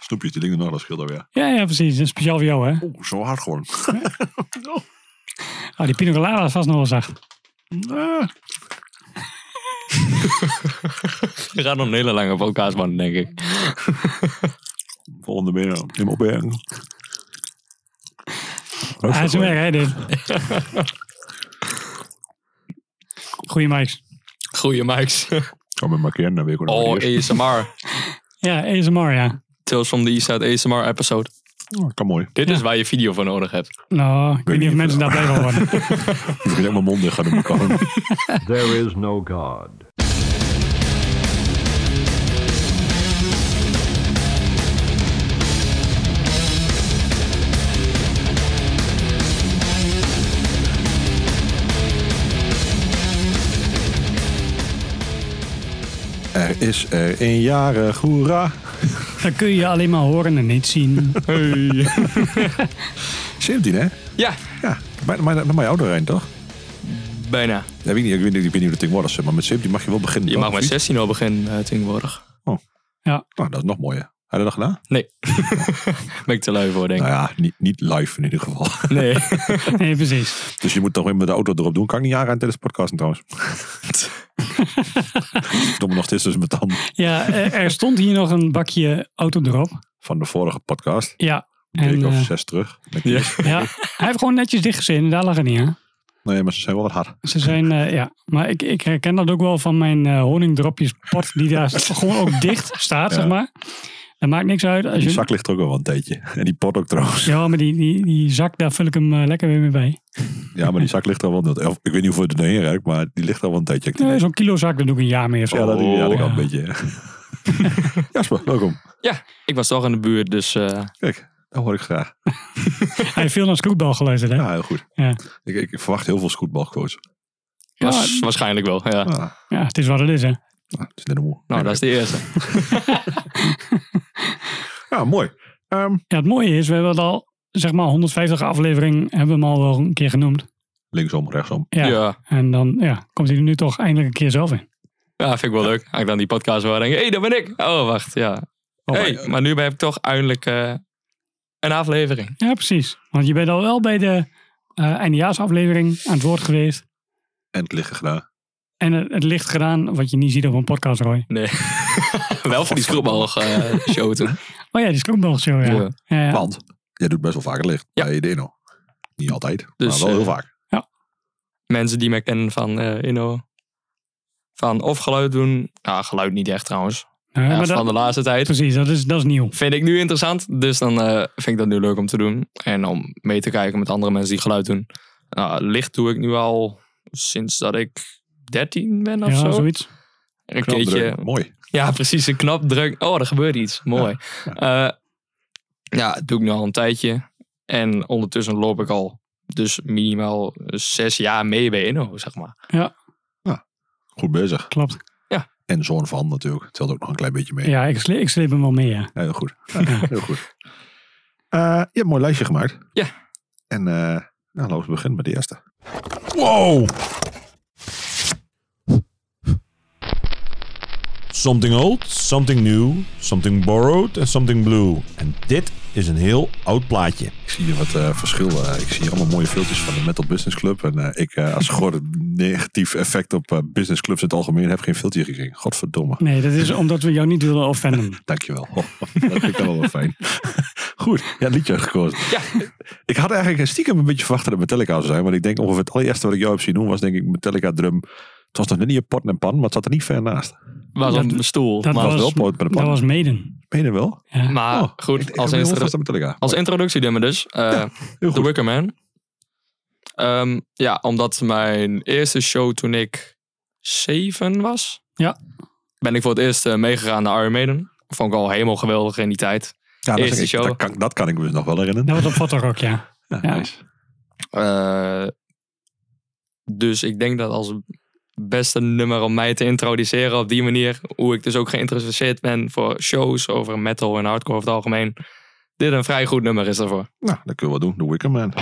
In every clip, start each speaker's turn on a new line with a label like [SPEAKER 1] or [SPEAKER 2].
[SPEAKER 1] snoepjes, die dingen, nou, dat scheelt alweer.
[SPEAKER 2] Ja, ja, precies. Dat is speciaal voor jou, hè?
[SPEAKER 1] Oeh, zo hard gewoon.
[SPEAKER 2] Oh, die pina colada is vast nog wel zacht.
[SPEAKER 1] Eh,
[SPEAKER 3] We gaan nog een hele lange podcast maken, denk ik.
[SPEAKER 1] volgende weer eh, in mijn opbergen. Dat is
[SPEAKER 2] Hij is
[SPEAKER 1] wel
[SPEAKER 2] weg, hè, dit. Goeie mics.
[SPEAKER 3] Goeie Max.
[SPEAKER 1] Kom met markeren, dan weet ik wel
[SPEAKER 3] Oh,
[SPEAKER 1] wat het is.
[SPEAKER 3] ASMR.
[SPEAKER 2] Ja, ASMR, ja.
[SPEAKER 3] Tales from the East Side ASMR episode.
[SPEAKER 1] Oh, kan mooi.
[SPEAKER 3] Dit is waar je video voor nodig hebt.
[SPEAKER 2] Nou, ik weet niet of mensen daar blij van worden.
[SPEAKER 1] Ik moet echt mijn mond dicht gaan doen. Kan.
[SPEAKER 4] There is no God.
[SPEAKER 1] Er is er een jarig, hoera.
[SPEAKER 2] Dan kun je alleen maar horen en niet zien.
[SPEAKER 1] 17, hè?
[SPEAKER 3] Ja,
[SPEAKER 1] Ja, maar maar maar mijn ouder Rijn, toch?
[SPEAKER 3] bijna.
[SPEAKER 1] Ja, weet ik, niet, ik, weet niet, ik weet niet hoe dat ding was, maar met 17 mag je wel beginnen.
[SPEAKER 3] Je
[SPEAKER 1] toch?
[SPEAKER 3] mag met
[SPEAKER 1] Of niet?
[SPEAKER 3] 16 al beginnen eh, tegenwoordig.
[SPEAKER 1] Nou, dat is nog mooier. Had je dat gedaan?
[SPEAKER 3] Nee. ben ik te lui voor, denk ik.
[SPEAKER 1] Nou ja, niet, niet live in ieder geval.
[SPEAKER 3] Nee.
[SPEAKER 2] Nee, precies.
[SPEAKER 1] Dus je moet toch weer met de auto erop doen. Kan ik niet aanrijden tijdens podcasten trouwens. Domme nog steeds dus tussen mijn tanden
[SPEAKER 2] Ja, eh, er stond hier nog een bakje autodrop.
[SPEAKER 1] van de vorige podcast.
[SPEAKER 2] Ja.
[SPEAKER 1] Een
[SPEAKER 2] En,
[SPEAKER 1] week of
[SPEAKER 2] eh,
[SPEAKER 1] zes terug. Denk ik.
[SPEAKER 3] Ja.
[SPEAKER 2] ja, hij heeft gewoon netjes dichtgezet en daar lag het niet, hè?
[SPEAKER 1] Nee, maar ze zijn wel wat hard.
[SPEAKER 2] Ze zijn, eh, ja. Maar ik, ik herken dat ook wel van mijn eh honingdropjespot die daar gewoon ook dicht staat,
[SPEAKER 1] Ja.
[SPEAKER 2] zeg maar. Dat maakt niks uit. Als
[SPEAKER 1] Die
[SPEAKER 2] je,
[SPEAKER 1] zak ligt er ook al wel een tijdje. En die pot ook trouwens. Ja,
[SPEAKER 2] Ja, maar die, die, die zak, daar vul ik hem eh, lekker weer mee bij.
[SPEAKER 1] maar die zak ligt er al wel... Of, ik weet niet hoeveel het erheen ruikt, maar die ligt er al wel een tijdje. actief.
[SPEAKER 2] Nee, Eh, Zo'n kilo zak, daar doe ik een jaar mee of zo.
[SPEAKER 1] ja, dat, ja, dat kan
[SPEAKER 2] Ja.
[SPEAKER 1] een beetje. Jasper, welkom.
[SPEAKER 3] Ik was toch in de buurt, dus eh,
[SPEAKER 1] Kijk, dat hoor ik graag.
[SPEAKER 2] Hij heeft veel naar scootbal geluisterd, hè?
[SPEAKER 1] Ja, heel goed.
[SPEAKER 2] Ja.
[SPEAKER 1] Ik, ik verwacht heel veel scootbalcoach.
[SPEAKER 3] was, waarschijnlijk wel. Ja.
[SPEAKER 1] Ah, nou,
[SPEAKER 2] Ja, het is wat het is, hè?
[SPEAKER 1] het is net een moe.
[SPEAKER 3] Nou, dat is de eerste.
[SPEAKER 1] Ja, mooi. Ehm,
[SPEAKER 2] Ja, het mooie is, we hebben het al, zeg maar, 150 aflevering hebben we hem al wel een keer genoemd.
[SPEAKER 1] linksom, rechtsom.
[SPEAKER 2] Ja.
[SPEAKER 3] Ja. ja.
[SPEAKER 2] En dan ja, komt hij er nu toch eindelijk een keer zelf in.
[SPEAKER 3] vind ik wel leuk. Als ik dan die podcast waar denk ik, hé, hey, dat ben ik. Oh, wacht, ja.
[SPEAKER 1] Oh,
[SPEAKER 3] hey,
[SPEAKER 1] maar-
[SPEAKER 3] maar nu heb ik toch eindelijk eh, een aflevering.
[SPEAKER 2] Ja, precies. Want je bent al wel bij de eh eindejaarsaflevering aan het woord geweest.
[SPEAKER 1] En het liggen gedaan.
[SPEAKER 2] En het, het licht gedaan, wat je niet ziet op een podcast, Roy.
[SPEAKER 3] Nee. wel voor die scrubbal eh, show toen.
[SPEAKER 2] Oh ja, die scootbal show, ja.
[SPEAKER 3] Ja.
[SPEAKER 2] Ja, ja.
[SPEAKER 1] Want jij doet best wel vaak het licht
[SPEAKER 3] Ja.
[SPEAKER 1] bij de Inno. Niet altijd,
[SPEAKER 3] Dus,
[SPEAKER 1] maar wel heel
[SPEAKER 3] eh,
[SPEAKER 1] vaak.
[SPEAKER 3] Mensen die mij kennen van eh Inno. Van of geluid doen. Nou, geluid niet echt trouwens.
[SPEAKER 2] Nou,
[SPEAKER 3] Ja,
[SPEAKER 2] maar
[SPEAKER 3] van
[SPEAKER 2] dat,
[SPEAKER 3] de laatste tijd.
[SPEAKER 2] precies, dat is, dat is nieuw.
[SPEAKER 3] Vind ik nu interessant. Dus dan eh, vind ik dat nu leuk om te doen. En om mee te kijken met andere mensen die geluid doen. Nou, licht doe ik nu al sinds dat ik 13 ben of
[SPEAKER 2] ja,
[SPEAKER 3] zo.
[SPEAKER 2] zoiets.
[SPEAKER 3] Een keertje.
[SPEAKER 1] Knapdruk, Mooi.
[SPEAKER 3] Ja, precies. Een knap druk. Oh, er gebeurt iets. Mooi. Ja, ja dat doe ik nu al een tijdje. En ondertussen loop ik al dus minimaal zes jaar mee bij Inno, zeg maar.
[SPEAKER 1] Goed bezig.
[SPEAKER 2] Klopt.
[SPEAKER 1] En zo'n van natuurlijk. Het telt ook nog een klein beetje mee. Ja.
[SPEAKER 2] Ja, ik, sle- ik sleep hem wel mee, ja.
[SPEAKER 1] heel goed. Ja, heel goed. Eh, je hebt een mooi lijstje gemaakt.
[SPEAKER 3] Ja.
[SPEAKER 1] En eh, nou, laten we beginnen met de eerste. Wow!
[SPEAKER 5] Something old, something new, something borrowed en something blue. En dit is een heel oud plaatje.
[SPEAKER 1] Ik zie hier wat eh, verschillen. ik zie hier allemaal mooie filmpjes van de Metal Business Club. En eh, ik, eh, als goor negatief effect op eh, business clubs in het algemeen, heb geen filmpje gekregen. Godverdomme.
[SPEAKER 2] Nee, dat is omdat we jou niet willen offenden.
[SPEAKER 1] Dankjewel. Oh, dat vind ik wel wel fijn. Goed, ja, het liedje uitgekozen.
[SPEAKER 3] Ja.
[SPEAKER 1] Ik had eigenlijk stiekem een beetje verwacht dat het Metallica zou zijn. Want ik denk ongeveer het allereerste wat ik jou heb zien doen was denk ik Metallica drum. Het was nog net niet een pot en pan, maar het zat er niet ver naast.
[SPEAKER 3] Was
[SPEAKER 2] Dat-
[SPEAKER 3] op een stoel.
[SPEAKER 2] Dat
[SPEAKER 3] maar
[SPEAKER 1] was
[SPEAKER 2] was,
[SPEAKER 1] wel poot met een
[SPEAKER 2] dat
[SPEAKER 1] pan.
[SPEAKER 2] was meden.
[SPEAKER 1] Ben je er wel?
[SPEAKER 2] Ja.
[SPEAKER 3] maar
[SPEAKER 1] Oh,
[SPEAKER 3] Ah, goed,
[SPEAKER 1] ik- ik
[SPEAKER 3] als,
[SPEAKER 1] heb heel
[SPEAKER 3] introdu-
[SPEAKER 1] vast aan Metallica.
[SPEAKER 3] als
[SPEAKER 1] Mooi,
[SPEAKER 3] introductie doen we dus. eh,
[SPEAKER 1] heel
[SPEAKER 3] The
[SPEAKER 1] goed.
[SPEAKER 3] Wicker Man. Ehm, ja, omdat mijn eerste show toen ik zeven was.
[SPEAKER 2] Ja.
[SPEAKER 3] Ben ik voor het eerst eh, meegegaan naar Iron Maiden. Vond ik al helemaal geweldig in die tijd.
[SPEAKER 1] Ja, dat,
[SPEAKER 3] eerste
[SPEAKER 1] is-
[SPEAKER 3] show.
[SPEAKER 1] dat kan, dat kan ik me dus nog wel herinneren.
[SPEAKER 2] Dat was op Fotorock, ja.
[SPEAKER 1] Ja,
[SPEAKER 2] Ja.
[SPEAKER 1] nice.
[SPEAKER 3] Eh, dus ik denk dat als beste nummer om mij te introduceren op die manier, hoe ik dus ook geïnteresseerd ben voor shows over metal en hardcore over het algemeen, dit een vrij goed nummer is daarvoor.
[SPEAKER 1] Nou, dat kunnen we wel doen. The Wicker Man.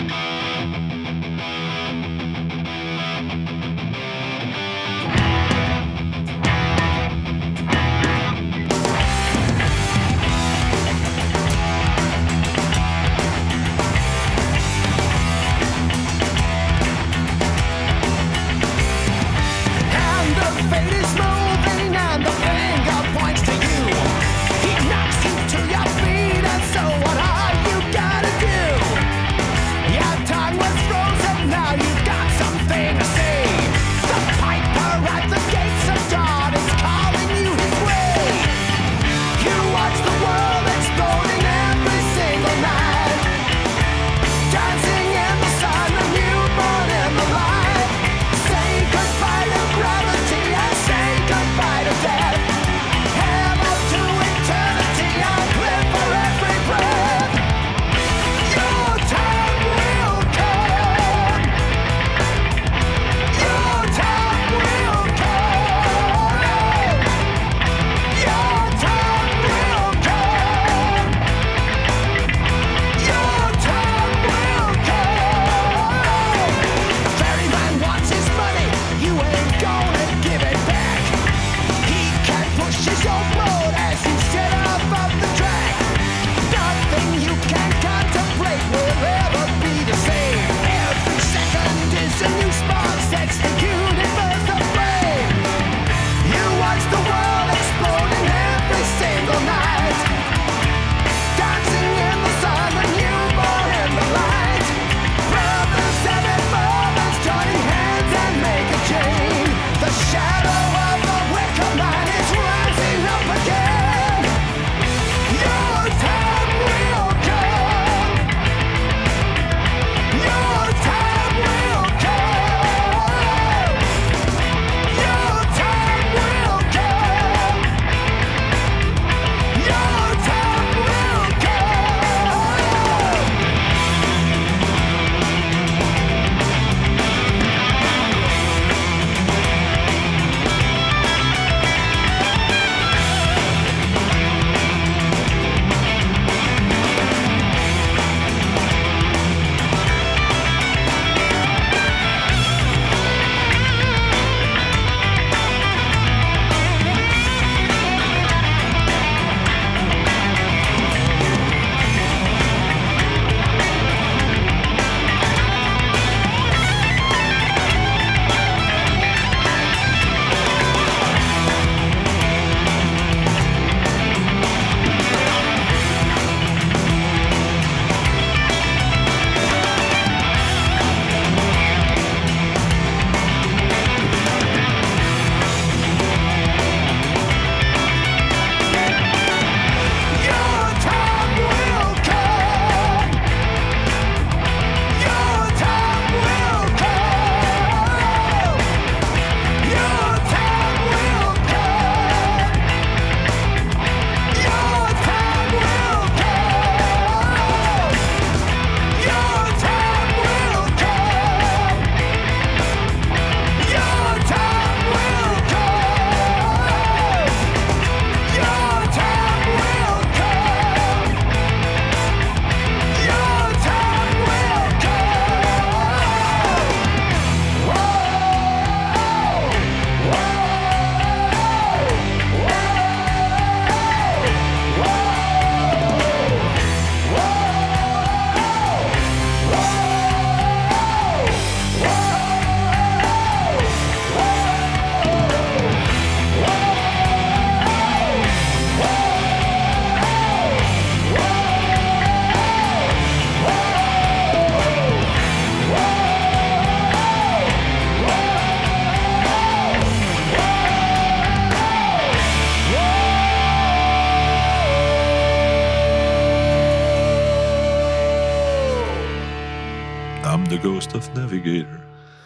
[SPEAKER 1] I'm the ghost of Navigator.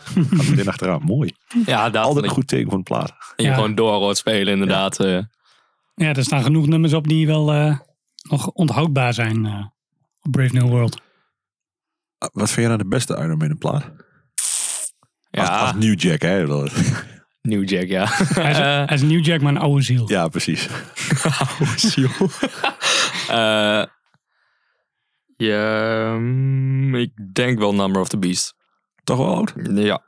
[SPEAKER 1] Gaat meteen achteraan. Mooi.
[SPEAKER 3] Ja, dat
[SPEAKER 1] Altijd een goed teken van een plaat.
[SPEAKER 3] Je
[SPEAKER 2] Ja.
[SPEAKER 3] gewoon door hoort spelen inderdaad. eh.
[SPEAKER 2] Ja, er staan genoeg nummers op die wel eh, nog onthoudbaar zijn eh, op Brave New World.
[SPEAKER 1] Ah, Wat vind jij nou de beste Iron Maiden plaat? Als,
[SPEAKER 3] ja,
[SPEAKER 1] als New Jack, hè? Dat-
[SPEAKER 3] New Jack, ja.
[SPEAKER 2] Hij is, hij is New Jack, maar een oude ziel.
[SPEAKER 1] Ja, precies.
[SPEAKER 3] Eh, ja, mm, ik denk wel Number of the Beast.
[SPEAKER 1] Toch wel oud?
[SPEAKER 3] Ja.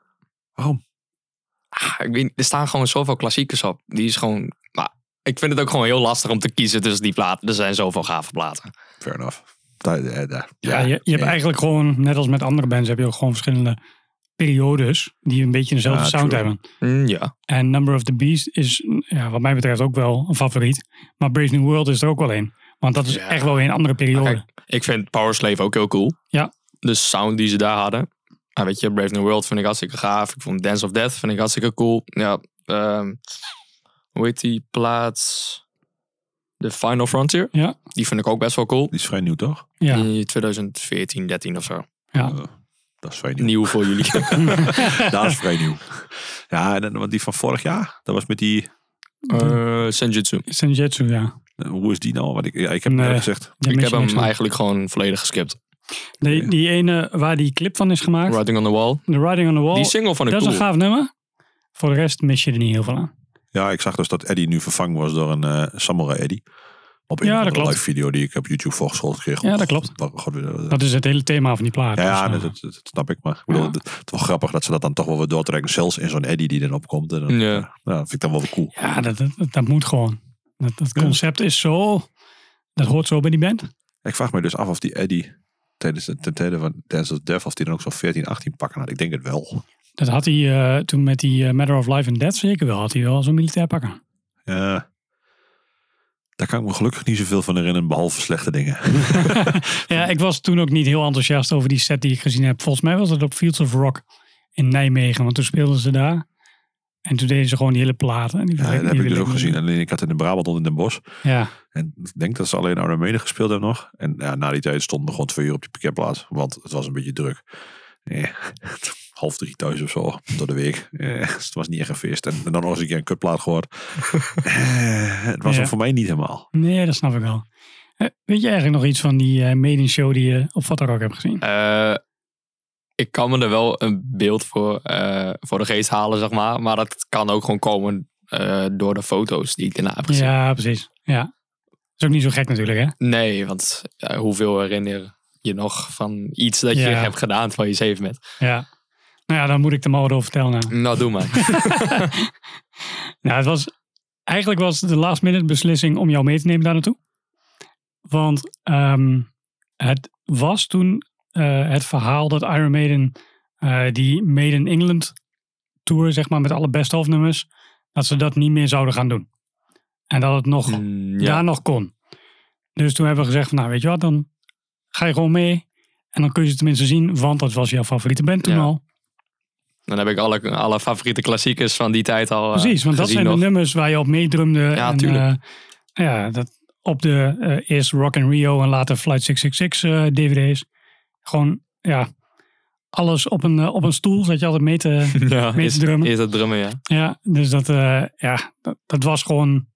[SPEAKER 1] Waarom?
[SPEAKER 3] Ah, ik weet niet, er staan gewoon zoveel klassiekers op. Die is gewoon... Maar ik vind het ook gewoon heel lastig om te kiezen tussen die platen. Er zijn zoveel gave platen.
[SPEAKER 1] Fair enough. Da- eh, da-
[SPEAKER 2] Ja, je, je hebt
[SPEAKER 1] ja.
[SPEAKER 2] eigenlijk gewoon, net als met andere bands, heb je ook gewoon verschillende periodes die een beetje dezelfde
[SPEAKER 1] Ah,
[SPEAKER 2] sound
[SPEAKER 1] true.
[SPEAKER 2] hebben.
[SPEAKER 3] Mm, ja.
[SPEAKER 2] En Number of the Beast is, mm, ja, wat mij betreft, ook wel een favoriet. Maar Brave New World is er ook wel een. Want dat is
[SPEAKER 3] Ja. Ah,
[SPEAKER 2] echt wel weer een andere periode.
[SPEAKER 3] Kijk, ik vind Power Slave ook heel cool.
[SPEAKER 2] Ja.
[SPEAKER 3] De sound die ze daar hadden. Ah, weet je, Brave New World vind ik hartstikke gaaf. Ik vond Dance of Death vind ik hartstikke cool. Ja, ehm, hoe heet die plaats? The Final Frontier.
[SPEAKER 2] Ja.
[SPEAKER 3] Die vind ik ook best wel cool.
[SPEAKER 1] Die is vrij nieuw, toch?
[SPEAKER 2] ja.
[SPEAKER 3] Die 2014, 13 of zo.
[SPEAKER 2] Ja.
[SPEAKER 1] Eh, dat is vrij nieuw.
[SPEAKER 3] Nieuw voor jullie.
[SPEAKER 1] Dat is vrij nieuw. Ja, en dan, want die van vorig jaar, dat was met die...
[SPEAKER 3] Eh Senjutsu.
[SPEAKER 2] Senjutsu, ja.
[SPEAKER 1] eh, Hoe is die nou? Want ik, ja, ik heb
[SPEAKER 2] Nee.
[SPEAKER 1] net gezegd.
[SPEAKER 3] Ik heb
[SPEAKER 2] Dimension
[SPEAKER 3] hem
[SPEAKER 2] X.
[SPEAKER 3] eigenlijk gewoon volledig geskipt.
[SPEAKER 2] Die, die ene waar die clip van is gemaakt,
[SPEAKER 3] Riding on the Wall.
[SPEAKER 2] The Riding on the Wall,
[SPEAKER 3] Die single vond ik
[SPEAKER 2] dat is
[SPEAKER 3] cool.
[SPEAKER 2] een gaaf nummer. Voor de rest mis je er niet heel veel aan.
[SPEAKER 1] Ja, ik zag dus dat Eddie nu vervangen was door een eh, Samurai Eddie. Op een
[SPEAKER 2] Ja,
[SPEAKER 1] of
[SPEAKER 2] dat
[SPEAKER 1] andere
[SPEAKER 2] klopt.
[SPEAKER 1] live video die ik op YouTube voorgeschold kreeg.
[SPEAKER 2] Ja, dat klopt.
[SPEAKER 1] Wat- God, weet-
[SPEAKER 2] Dat is het hele thema van die plaat.
[SPEAKER 1] ja, ja
[SPEAKER 2] Dus,
[SPEAKER 1] dat,
[SPEAKER 2] eh,
[SPEAKER 1] dat- dat snap ik. Maar ik bedoel,
[SPEAKER 2] Ja.
[SPEAKER 1] het het is wel grappig dat ze dat dan toch wel weer doortrekken. Zelfs in zo'n Eddie die dan opkomt. En dan,
[SPEAKER 3] Ja.
[SPEAKER 1] ja, dat vind ik dan wel weer cool.
[SPEAKER 2] ja, dat, dat, dat moet gewoon. Dat, dat concept is zo... Dat hoort zo bij die band.
[SPEAKER 1] Ik vraag me dus af of die Eddie tijdens het ten tijde van Dance of Death, of die dan ook zo'n 14, 18 pakken had. Ik denk het wel.
[SPEAKER 2] Dat had hij eh, toen met die eh, Matter of Life and Death zeker wel. Had hij wel zo'n militair pakken.
[SPEAKER 1] Ja. Daar kan ik me gelukkig niet zoveel van herinneren, behalve slechte dingen.
[SPEAKER 2] Ja, ik was toen ook niet heel enthousiast over die set die ik gezien heb. Volgens mij was dat op Fields of Rock in Nijmegen. Want toen speelden ze daar. En toen deden ze gewoon die hele platen. En die
[SPEAKER 1] Ja,
[SPEAKER 2] wil ik-
[SPEAKER 1] dat heb
[SPEAKER 2] die
[SPEAKER 1] ik dus
[SPEAKER 2] wil
[SPEAKER 1] ook gezien. Alleen ik had in de Brabant onder Den Bosch.
[SPEAKER 2] Ja,
[SPEAKER 1] En ik denk dat ze alleen Armene gespeeld hebben nog. En ja, na die tijd stond me gewoon twee uur op die parkeerplaats. Want het was een beetje druk. Eh, half drie thuis of zo, door de week. Eh, dus het was niet echt een feest. En, en dan nog eens een keer een kutplaat gehoord. Eh, het was
[SPEAKER 2] Ja.
[SPEAKER 1] hem voor mij niet helemaal.
[SPEAKER 2] nee, dat snap ik wel. Eh, weet je eigenlijk nog iets van die eh Maiden show die je op Fatter Rock hebt gezien?
[SPEAKER 3] Eh, ik kan me er wel een beeld voor, eh, voor de geest halen, zeg maar. Maar dat kan ook gewoon komen eh, door de foto's die ik daarna heb gezien.
[SPEAKER 2] Ja, precies. Ja. Is ook niet zo gek natuurlijk, hè?
[SPEAKER 3] Nee, want ja, hoeveel herinner je nog van iets dat je
[SPEAKER 2] Ja.
[SPEAKER 3] hebt gedaan van je zeven bent?
[SPEAKER 2] Ja. Nou ja, dan moet ik er maar wat over vertellen. nou.
[SPEAKER 3] Nou, doe maar.
[SPEAKER 2] Nou, het was, eigenlijk was het de last minute beslissing om jou mee te nemen daar naartoe. Want ehm, het was toen eh, het verhaal dat Iron Maiden eh, die Made in England tour, zeg maar, met alle best of nummers, dat ze dat niet meer zouden gaan doen. En dat het nog
[SPEAKER 3] Mm,
[SPEAKER 2] daar
[SPEAKER 3] ja.
[SPEAKER 2] nog kon. Dus toen hebben we gezegd, van, nou weet je wat, dan ga je gewoon mee. En dan kun je ze tenminste zien, want dat was jouw favoriete band toen
[SPEAKER 3] Ja.
[SPEAKER 2] al.
[SPEAKER 3] Dan heb ik alle, alle favoriete klassiekers van die tijd al. eh,
[SPEAKER 2] Precies, want dat
[SPEAKER 3] gezien
[SPEAKER 2] zijn de
[SPEAKER 3] nog.
[SPEAKER 2] nummers waar je op meedrumde.
[SPEAKER 3] Ja,
[SPEAKER 2] en,
[SPEAKER 3] tuurlijk.
[SPEAKER 2] eh, ja, dat op de eh eerst Rock and Rio en later Flight 666 eh, DVD's. Gewoon, ja, alles op een, eh, op een stoel zat je altijd mee te...
[SPEAKER 3] Ja,
[SPEAKER 2] mee
[SPEAKER 3] is,
[SPEAKER 2] te drummen.
[SPEAKER 3] is dat drummen, ja.
[SPEAKER 2] ja, dus dat, eh, ja, dat, dat was gewoon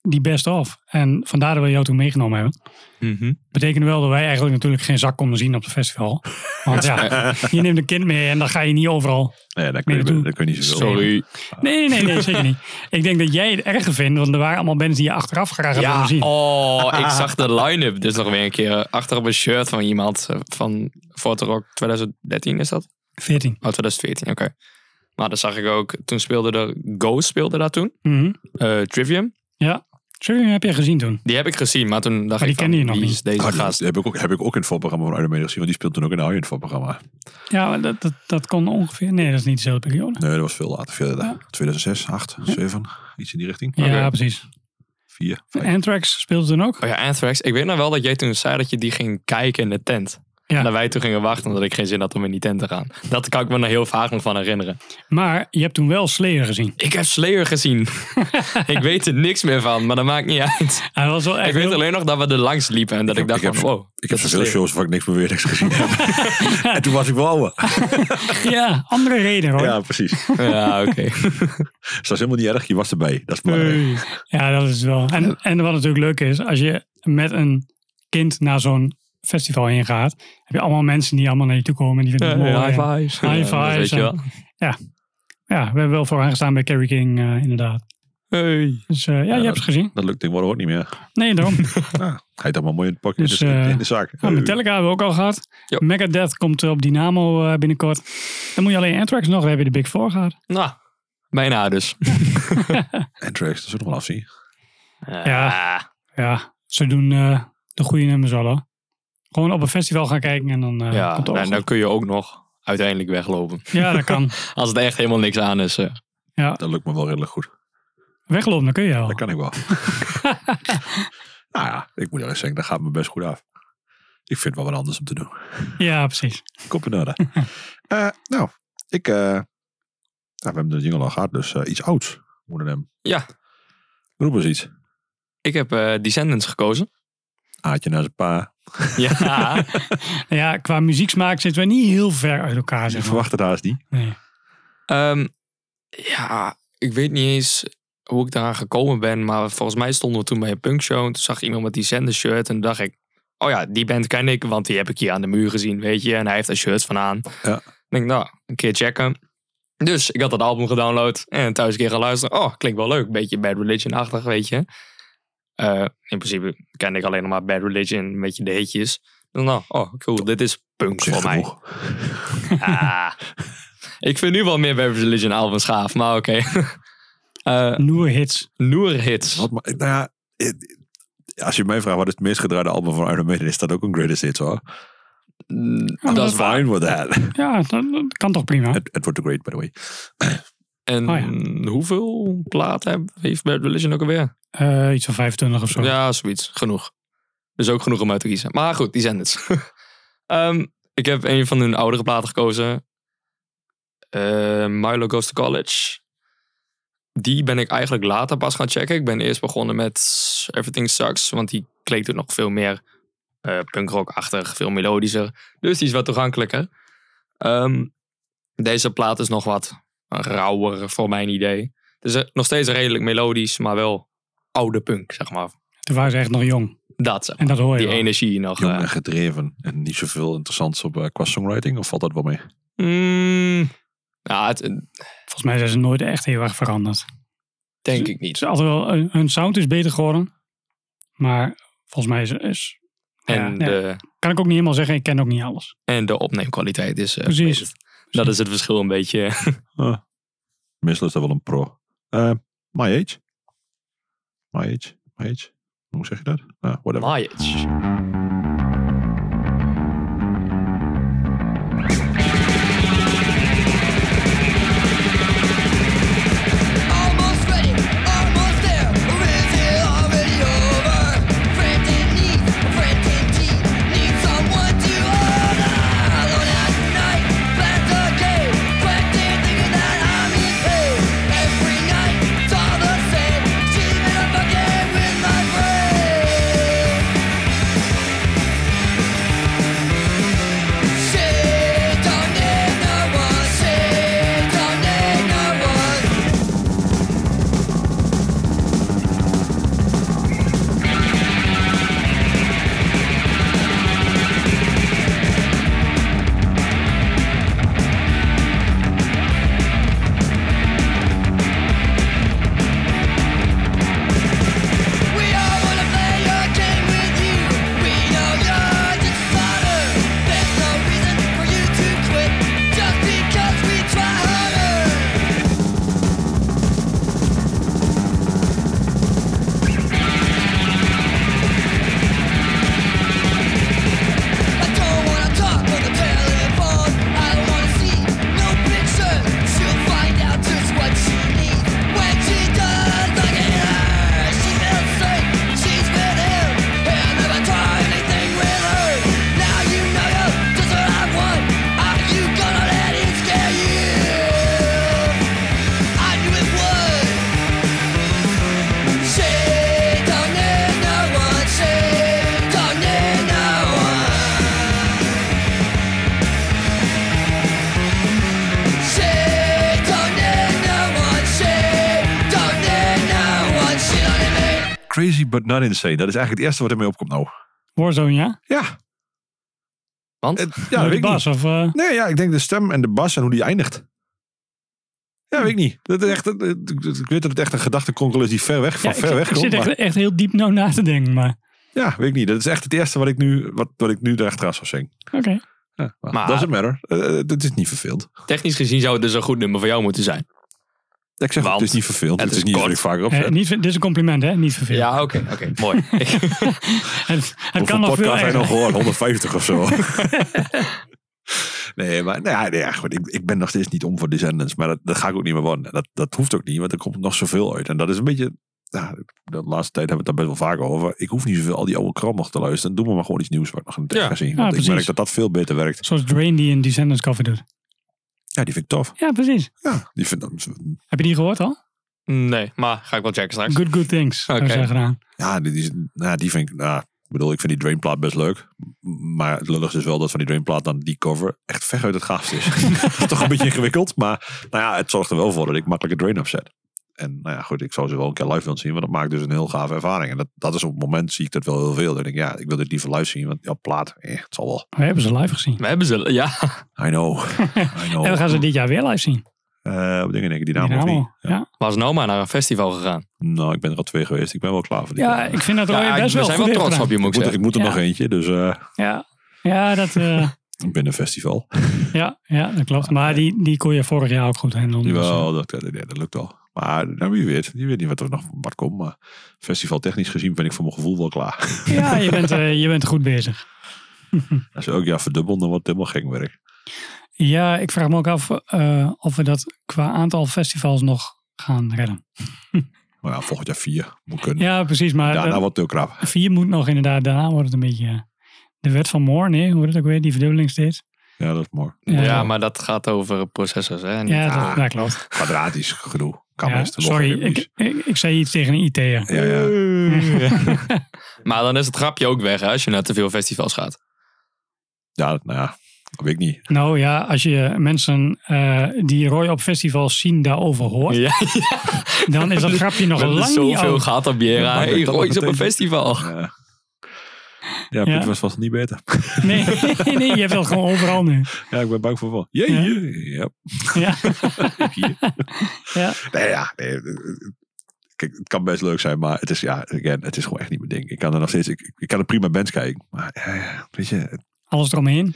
[SPEAKER 2] die best of. En vandaar dat we jou toen meegenomen hebben.
[SPEAKER 3] Mhm.
[SPEAKER 2] Betekende wel dat wij eigenlijk natuurlijk geen zak konden zien op het festival. Want ja, je neemt een kind mee en dan ga je niet overal
[SPEAKER 1] Nee, daar kun je,
[SPEAKER 2] Nee, dat
[SPEAKER 1] daar kun je niet zoveel aan.
[SPEAKER 3] Sorry.
[SPEAKER 2] Nee, nee, nee, nee, zeker niet. Ik denk dat jij het erger vindt, want er waren allemaal bands die je achteraf graag had willen
[SPEAKER 3] Ja,
[SPEAKER 2] zien.
[SPEAKER 3] oh, ik zag de line-up dus nog weer een keer achter op een shirt van iemand eh, van Fort Rock 2013 is dat?
[SPEAKER 2] 14.
[SPEAKER 3] Oh, 2014, oké. Maar dat zag ik ook, toen speelde de Ghost speelde daar toen,
[SPEAKER 2] Mhm.
[SPEAKER 3] eh, Trivium.
[SPEAKER 2] Ja. Trivium heb je gezien toen.
[SPEAKER 3] Die heb ik gezien, maar toen dacht
[SPEAKER 2] Maar die
[SPEAKER 3] ik van,
[SPEAKER 2] kende je nog
[SPEAKER 3] wie
[SPEAKER 2] niet.
[SPEAKER 3] is deze
[SPEAKER 1] Ah, die
[SPEAKER 3] gast?
[SPEAKER 1] heb, ik ook, heb ik ook in het voorprogramma van Iron Maiden gezien. Want die speelt toen ook in de Iron voorprogramma.
[SPEAKER 2] Ja, maar dat, dat, dat kon ongeveer. Nee, dat is niet dezelfde periode.
[SPEAKER 1] Nee, dat was veel later. Veel later. 2006, 8, 7. Iets in die richting.
[SPEAKER 2] Ja,
[SPEAKER 3] Oké.
[SPEAKER 2] precies.
[SPEAKER 1] 4, 5.
[SPEAKER 2] Anthrax speelde toen ook.
[SPEAKER 3] Oh ja, Anthrax. Ik weet nou wel dat jij toen zei dat je die ging kijken in de tent.
[SPEAKER 2] Ja.
[SPEAKER 3] En dat wij toen gingen wachten omdat ik geen zin had om in die tent te gaan. Dat kan ik me nog heel vaag nog van herinneren.
[SPEAKER 2] Maar je hebt toen wel Slayer gezien.
[SPEAKER 3] Ik heb Slayer gezien. ik weet er niks meer van, maar dat maakt niet uit.
[SPEAKER 2] Hij was wel echt
[SPEAKER 3] ik weet
[SPEAKER 2] heel-
[SPEAKER 3] alleen nog dat we er langs liepen en dat ik,
[SPEAKER 1] heb-
[SPEAKER 3] dacht
[SPEAKER 1] ik heb-
[SPEAKER 3] van, wow.
[SPEAKER 1] Ik heb
[SPEAKER 3] dat is
[SPEAKER 1] zoveel
[SPEAKER 3] Slayer.
[SPEAKER 1] shows waar ik niks meer weer niks gezien heb. en toen was ik wel ouder.
[SPEAKER 2] Ja, andere reden hoor.
[SPEAKER 1] Ja, precies.
[SPEAKER 3] Ja, oké.
[SPEAKER 1] Dus dat is helemaal niet erg. Je was erbij. Dat is belangrijk.
[SPEAKER 2] Hey. Ja, dat is wel. En, en wat natuurlijk leuk is, als je met een kind naar zo'n festival heen gaat, heb je allemaal mensen die allemaal naar je toe komen en die vinden het mooi.
[SPEAKER 3] high
[SPEAKER 2] En-
[SPEAKER 3] fives.
[SPEAKER 2] High
[SPEAKER 3] Ja, dat
[SPEAKER 2] fives
[SPEAKER 3] Weet je
[SPEAKER 2] en-
[SPEAKER 3] wel.
[SPEAKER 2] Ja, we hebben wel voor haar gestaan bij Carrie King, eh, inderdaad.
[SPEAKER 3] Hey.
[SPEAKER 2] Dus eh, ja, je
[SPEAKER 1] dat-
[SPEAKER 2] hebt ze gezien.
[SPEAKER 1] Dat lukt tegenwoordig ook niet meer.
[SPEAKER 2] Nee, daarom.
[SPEAKER 1] Nou, ga je dan maar mooi in het pakje
[SPEAKER 2] Dus,
[SPEAKER 1] in, de,
[SPEAKER 2] eh,
[SPEAKER 1] in de zak.
[SPEAKER 2] Nou, Metallica hebben we ook al gehad.
[SPEAKER 3] Ja.
[SPEAKER 2] Megadeth komt eh, op Dynamo eh, binnenkort. Dan moet je alleen Anthrax nog. We hebben de Big Four gehad.
[SPEAKER 3] Nou, bijna dus.
[SPEAKER 1] En tracks, dat zullen we wel afzien.
[SPEAKER 3] Ah.
[SPEAKER 2] Ja. Ja, ze doen eh, de goede nummers al hoor. Gewoon op een festival gaan kijken en dan eh,
[SPEAKER 3] ja,
[SPEAKER 2] komt het
[SPEAKER 3] nou,
[SPEAKER 2] ook
[SPEAKER 3] dan
[SPEAKER 2] goed.
[SPEAKER 3] kun je ook nog uiteindelijk weglopen.
[SPEAKER 2] Ja, dat kan.
[SPEAKER 3] Als het echt helemaal niks aan is. eh.
[SPEAKER 1] Dat lukt me wel redelijk goed.
[SPEAKER 2] Weglopen, dan kun je al.
[SPEAKER 1] Dat kan ik wel. nou ja, ik moet eerlijk zeggen, dat gaat me best goed af. Ik vind wel wat anders om te doen.
[SPEAKER 2] Ja, precies.
[SPEAKER 1] Copenhagen. Eh nou, ik... eh, nou, we hebben de jingle al gehad, dus eh, iets ouds. Moeten hem.
[SPEAKER 3] Ja,
[SPEAKER 1] Roep eens iets.
[SPEAKER 3] ik heb eh, Descendants gekozen.
[SPEAKER 1] Aatje naar zijn pa.
[SPEAKER 3] Ja,
[SPEAKER 2] Nou Ja, qua muzieksmaak zitten we niet heel ver uit elkaar.
[SPEAKER 1] Je
[SPEAKER 2] Zeg maar.
[SPEAKER 1] verwacht het haast niet.
[SPEAKER 2] nee.
[SPEAKER 3] Ehm, ja, ik weet niet eens hoe ik daaraan gekomen ben. Maar volgens mij stonden we toen bij een punkshow. En toen zag ik iemand met die zender shirt. En toen dacht ik, oh ja, die band ken ik. Want die heb ik hier aan de muur gezien, weet je. En hij heeft een shirt van aan.
[SPEAKER 1] Ja.
[SPEAKER 3] Ik denk, nou, een keer checken. Dus ik had dat album gedownload. En thuis een keer gaan luisteren. Oh, klinkt wel leuk. Beetje Bad Religion-achtig, weet je. Eh, in principe kende ik alleen nog maar Bad Religion. Een beetje de hitjes. Dan, nou, oh, cool. Dit is punk
[SPEAKER 1] Zeg
[SPEAKER 3] voor mij.
[SPEAKER 1] genoeg.
[SPEAKER 3] Ah. ik vind nu wel meer Bad Religion albums gaaf, maar oké. Eh
[SPEAKER 2] Nieuwe hits.
[SPEAKER 3] Noer hits.
[SPEAKER 1] Wat, maar, nou ja, het- als je mij vraagt wat is het meest gedraaide album van Iron Maiden, is dat ook een greatest hits hoor.
[SPEAKER 3] Mm,
[SPEAKER 1] Dat
[SPEAKER 3] dat
[SPEAKER 1] is
[SPEAKER 3] is waar.
[SPEAKER 1] fine with that.
[SPEAKER 2] Ja, dat, dat kan toch prima.
[SPEAKER 1] Het het wordt the Great, by the way.
[SPEAKER 3] En
[SPEAKER 2] Oh
[SPEAKER 3] hoeveel platen heb- heeft Bad Religion ook alweer?
[SPEAKER 2] Eh, iets van 25 of zo.
[SPEAKER 3] Ja, zoiets. Genoeg. Dus ook genoeg om uit te kiezen. Maar goed, die zijn het. Ehm, ik heb een van hun oudere platen gekozen. Eh, Milo Goes to College. Die ben ik eigenlijk later pas gaan checken. Ik ben eerst begonnen met Everything Sucks. Want die klinkt ook nog veel meer eh punkrockachtig, veel melodischer. Dus die is wat toegankelijker. Ehm, deze plaat is nog wat rauwer voor mijn idee. Het is eh, nog steeds redelijk melodisch, maar wel oude punk, zeg maar.
[SPEAKER 2] Toen waren ze echt nog jong.
[SPEAKER 3] Dat, zeg maar.
[SPEAKER 2] En dat hoor je
[SPEAKER 3] Die
[SPEAKER 2] wel.
[SPEAKER 3] energie nog.
[SPEAKER 1] Jong
[SPEAKER 3] eh.
[SPEAKER 1] en gedreven en niet zoveel interessants op, eh, qua songwriting, of valt dat wel mee?
[SPEAKER 3] Mm, ja, het,
[SPEAKER 2] Volgens mij zijn ze nooit echt heel erg veranderd.
[SPEAKER 3] denk ik
[SPEAKER 2] Het
[SPEAKER 3] niet.
[SPEAKER 2] is altijd wel, hun- hun sound is beter geworden. Maar volgens mij is... is
[SPEAKER 3] En,
[SPEAKER 2] ja, nee,
[SPEAKER 3] de,
[SPEAKER 2] Kan ik ook niet helemaal zeggen. Ik ken ook niet alles.
[SPEAKER 3] en de opneemkwaliteit is... eh,
[SPEAKER 2] Precies.
[SPEAKER 3] beter. Dat is het verschil een beetje.
[SPEAKER 1] Ah, meestal is dat wel een pro. Eh, my age? My age? My age? Hoe zeg je dat? Nou, whatever.
[SPEAKER 3] My age.
[SPEAKER 6] Almost ready, almost there. Or is it already over? Friend in need, a friend indeed. Need someone to hold on. Alone at night, back again. Practicing thinking that I'm in pain. Every night, it's all the same. Dreaming of a game with my brain.
[SPEAKER 1] Crazy but not insane. Dat is eigenlijk het eerste wat ermee opkomt nou.
[SPEAKER 2] Warzone, ja?
[SPEAKER 1] Ja.
[SPEAKER 3] Want?
[SPEAKER 1] Het- ja, dat
[SPEAKER 2] de
[SPEAKER 1] weet ik niet.
[SPEAKER 2] Of, eh,
[SPEAKER 1] Nee, ja, ik denk de stem en de bas en hoe die eindigt. Ja, weet ik niet. Dat is echt, dat- dat- ik weet dat het echt een gedachtenkronkel is die ver weg, van
[SPEAKER 2] ja,
[SPEAKER 1] ver
[SPEAKER 2] ik,
[SPEAKER 1] weg
[SPEAKER 2] ik
[SPEAKER 1] komt.
[SPEAKER 2] zit echt,
[SPEAKER 1] maar-
[SPEAKER 2] echt heel diep nou na te denken, maar
[SPEAKER 1] ja, weet ik niet. Dat is echt het eerste wat ik nu, wat, wat ik nu erachteraan zou zingen.
[SPEAKER 2] oké.
[SPEAKER 1] Ja, maar
[SPEAKER 3] Maar-
[SPEAKER 1] doesn't matter. Eh, eh, het is niet verveeld.
[SPEAKER 3] Technisch gezien zou het dus een goed nummer voor jou moeten zijn.
[SPEAKER 1] Ik zeg, ook,
[SPEAKER 3] Want
[SPEAKER 1] het is niet verveeld.
[SPEAKER 3] het
[SPEAKER 1] Het,
[SPEAKER 3] is
[SPEAKER 1] is niet wat
[SPEAKER 3] kort.
[SPEAKER 1] ik vaker
[SPEAKER 2] Eh,
[SPEAKER 1] opzet.
[SPEAKER 2] niet, ver- dit is een compliment, hè? Niet vervelend.
[SPEAKER 3] Ja, oké. Oké, mooi. Ik-
[SPEAKER 2] Het, het
[SPEAKER 1] Hoeveel
[SPEAKER 2] kan nog veel
[SPEAKER 1] podcasts zijn
[SPEAKER 2] erger.
[SPEAKER 1] nog gehoord? 150 of zo. nee, maar nou ja, nee, ja, goed, ik, ik ben nog steeds niet om voor Descendants. Maar dat, dat ga ik ook niet meer worden. Dat, dat hoeft ook niet, want er komt nog zoveel uit. En dat is een beetje... Nou, de laatste tijd hebben we het daar best wel vaak over. Ik hoef niet zoveel al die oude kram nog te luisteren. Doe me maar gewoon iets nieuws wat ik nog niet
[SPEAKER 3] Ja.
[SPEAKER 1] heb gezien. Want ik
[SPEAKER 2] precies.
[SPEAKER 1] merk dat dat veel beter werkt.
[SPEAKER 2] Zoals Drain die in Descendants cover doet.
[SPEAKER 1] Ja, die vind ik tof.
[SPEAKER 2] Ja, precies.
[SPEAKER 1] Ja, die vind ik...
[SPEAKER 2] Heb je die gehoord al?
[SPEAKER 3] nee, maar ga ik wel checken straks.
[SPEAKER 2] Good Good Things.
[SPEAKER 3] Oké.
[SPEAKER 2] hebben ze gedaan.
[SPEAKER 1] Ja, die, die, nou, die vind ik... Nou, ik bedoel, ik vind die Drainplaat best leuk. Maar het lulligste is wel dat van die Drainplaat dan die cover echt ver uit het gaafste is. dat is toch een beetje ingewikkeld. Maar nou ja, het zorgt er wel voor dat ik makkelijker Drain opzet. En nou ja, goed, ik zou ze wel een keer live willen zien. Want dat maakt dus een heel gave ervaring. En dat, dat is op het moment zie ik dat wel heel veel. Dat ik denk, ja, ik wil dit liever live zien. Want ja, plaat, eh, het zal wel.
[SPEAKER 2] We Oh, hebben ze live gezien.
[SPEAKER 3] We hebben ze, ja.
[SPEAKER 1] I know, I know.
[SPEAKER 2] En we gaan ze dit jaar weer live zien.
[SPEAKER 1] Eh, wat dingen denk ik, die naam
[SPEAKER 2] Die
[SPEAKER 1] of
[SPEAKER 2] namen.
[SPEAKER 1] niet? Oh, Ja.
[SPEAKER 2] Ja.
[SPEAKER 3] Was nou maar naar een festival gegaan.
[SPEAKER 1] Nou, ik ben er al twee geweest. Ik ben wel klaar voor die
[SPEAKER 2] ja,
[SPEAKER 1] keer.
[SPEAKER 2] ik vind dat er
[SPEAKER 3] Ja,
[SPEAKER 2] best
[SPEAKER 3] we
[SPEAKER 2] wel
[SPEAKER 3] zijn
[SPEAKER 2] goed
[SPEAKER 3] wel
[SPEAKER 2] in
[SPEAKER 3] trots op
[SPEAKER 2] gedaan.
[SPEAKER 1] ik,
[SPEAKER 3] je, moet ik
[SPEAKER 1] moet, er-
[SPEAKER 3] zeggen.
[SPEAKER 1] ik moet er
[SPEAKER 2] Ja.
[SPEAKER 1] nog eentje. Dus eh
[SPEAKER 2] Ja, ja, dat, eh,
[SPEAKER 1] binnen festival.
[SPEAKER 2] ja, ja, dat klopt. Maar die, die kon je vorig jaar ook goed handelen. Dus, eh,
[SPEAKER 1] Jawel, dat, dat, nee, dat lukt wel. Maar nou, wie weet, je weet niet wat er nog wat komt. Maar festivaltechnisch gezien ben ik voor mijn gevoel wel klaar.
[SPEAKER 2] ja, je bent, eh, je bent goed bezig.
[SPEAKER 1] Als we elk jaar verdubbelen, dan wordt het helemaal gek werk.
[SPEAKER 2] Ja, ik vraag me ook af eh, of we dat qua aantal festivals nog gaan redden.
[SPEAKER 1] Maar ja, volgend jaar vier moet kunnen.
[SPEAKER 2] Ja, precies. Maar
[SPEAKER 1] Daarna
[SPEAKER 2] eh,
[SPEAKER 1] wordt het heel krap.
[SPEAKER 2] vier moet nog inderdaad. Daarna wordt het een beetje eh, de wet van Moore. Nee, hoe heet het ook weer? Die verdubbeling steeds.
[SPEAKER 1] Ja, dat is mooi.
[SPEAKER 2] Ja.
[SPEAKER 3] Ja, maar dat gaat over processors, hè? Niet-
[SPEAKER 2] Ja, dat,
[SPEAKER 1] Ah.
[SPEAKER 2] dat klopt.
[SPEAKER 1] Kwadratisch gedoe. Kan
[SPEAKER 2] Ja,
[SPEAKER 1] best.
[SPEAKER 2] sorry, ik,
[SPEAKER 1] Logaritmisch.
[SPEAKER 2] ik, ik zei iets tegen een IT'er.
[SPEAKER 1] Ja, ja.
[SPEAKER 3] Maar dan is het grapje ook weg, hè, als je naar te veel festivals gaat.
[SPEAKER 1] ja, dat- nou ja, dat weet ik niet.
[SPEAKER 2] Nou ja, als je mensen eh, die Roy op festivals zien daarover hoort,
[SPEAKER 3] Ja,
[SPEAKER 2] dan is dat grapje nog
[SPEAKER 3] we hebben
[SPEAKER 2] lang niet oh.
[SPEAKER 3] zoveel
[SPEAKER 2] oud.
[SPEAKER 3] gehad op Biera.
[SPEAKER 1] Ja,
[SPEAKER 3] Hey,
[SPEAKER 1] dat-
[SPEAKER 3] Roy is
[SPEAKER 1] dat
[SPEAKER 3] op een
[SPEAKER 1] betekent-
[SPEAKER 3] festival.
[SPEAKER 1] Ja, ja, Piet
[SPEAKER 2] Ja.
[SPEAKER 1] was vast niet beter.
[SPEAKER 2] Nee, nee, je hebt dat gewoon overal nu.
[SPEAKER 1] Ja, ik ben bang voor wel. Jee,
[SPEAKER 2] Ja.
[SPEAKER 1] ja.
[SPEAKER 2] Ja.
[SPEAKER 1] Hier.
[SPEAKER 2] Ja.
[SPEAKER 1] Nee, ja. Nee, eh, kijk, het kan best leuk zijn, maar het is, ja, again, het is gewoon echt niet mijn ding. Ik kan er nog steeds, ik, ik kan er prima bands kijken. Maar eh, weet je, het-
[SPEAKER 2] Alles eromheen.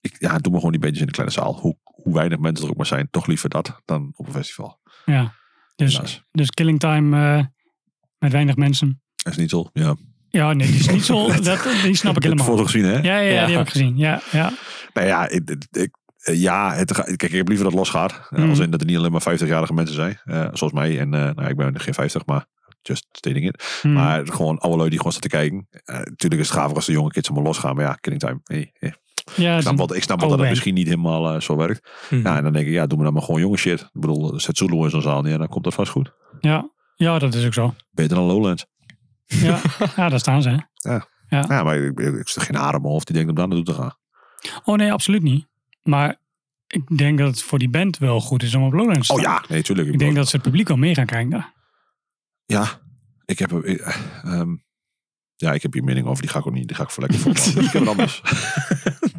[SPEAKER 1] ik, ja, doe me gewoon die bandjes in de kleine zaal. Hoe, hoe weinig mensen er ook maar zijn, toch liever dat dan op een festival.
[SPEAKER 2] Ja. Dus,
[SPEAKER 1] Helaas.
[SPEAKER 2] dus Killing Time eh, met weinig mensen.
[SPEAKER 1] Dat is niet zo. Ja.
[SPEAKER 2] Ja, nee, die is niet zo. Dat, die snap
[SPEAKER 1] Heb
[SPEAKER 2] ik
[SPEAKER 1] je
[SPEAKER 2] helemaal.
[SPEAKER 1] foto gezien, hè?
[SPEAKER 2] Ja, ja, ja, die
[SPEAKER 3] Ja.
[SPEAKER 2] heb ik gezien. Ja, ja.
[SPEAKER 1] Nou ja, ik, ik- ik- eh, ja het, ga- kijk, ik heb liever dat het losgaat. Eh,
[SPEAKER 2] Mm.
[SPEAKER 1] Als in dat er niet alleen maar 50-jarige mensen zijn, eh, zoals mij. En eh, nou, ik ben geen 50, maar just stating it.
[SPEAKER 2] Hmm.
[SPEAKER 1] Maar gewoon oude lui die gewoon staan te kijken. Eh, Natuurlijk is het gaaf als de jonge kids allemaal losgaan. Maar ja, killing time. Hey, hey.
[SPEAKER 2] ja, Mhm.
[SPEAKER 1] Ik
[SPEAKER 2] dat-
[SPEAKER 1] snap wel, ik snap wel
[SPEAKER 2] oude
[SPEAKER 1] dat het
[SPEAKER 2] band.
[SPEAKER 1] misschien niet helemaal eh, zo werkt.
[SPEAKER 3] Hm.
[SPEAKER 1] Ja, en dan denk ik, ja, doe me dan maar gewoon jonge shit. Ik bedoel, eh, zet Zulu in zo'n zaal neer en dan komt dat vast goed.
[SPEAKER 2] ja. ja, dat is ook zo.
[SPEAKER 1] Beter dan Lowlands.
[SPEAKER 2] Ja, ja daar staan ze. hè.
[SPEAKER 1] Ja, maar ik, ik, ik zit geen haar op mijn hoofd die denkt om daar naartoe te gaan.
[SPEAKER 2] Oh nee, absoluut niet. Maar ik denk dat het voor die band wel goed is om op Lowlands te
[SPEAKER 1] Oh
[SPEAKER 2] staan.
[SPEAKER 1] ja, nee, tuurlijk.
[SPEAKER 2] Ik denk dat ze het publiek wel mee gaan krijgen daar.
[SPEAKER 1] Ja, ik heb... eh, eh, ehm, ja, ik heb hier mening over. Die ga ik ook niet. Die ga ik voor lekker voor. ik heb het anders.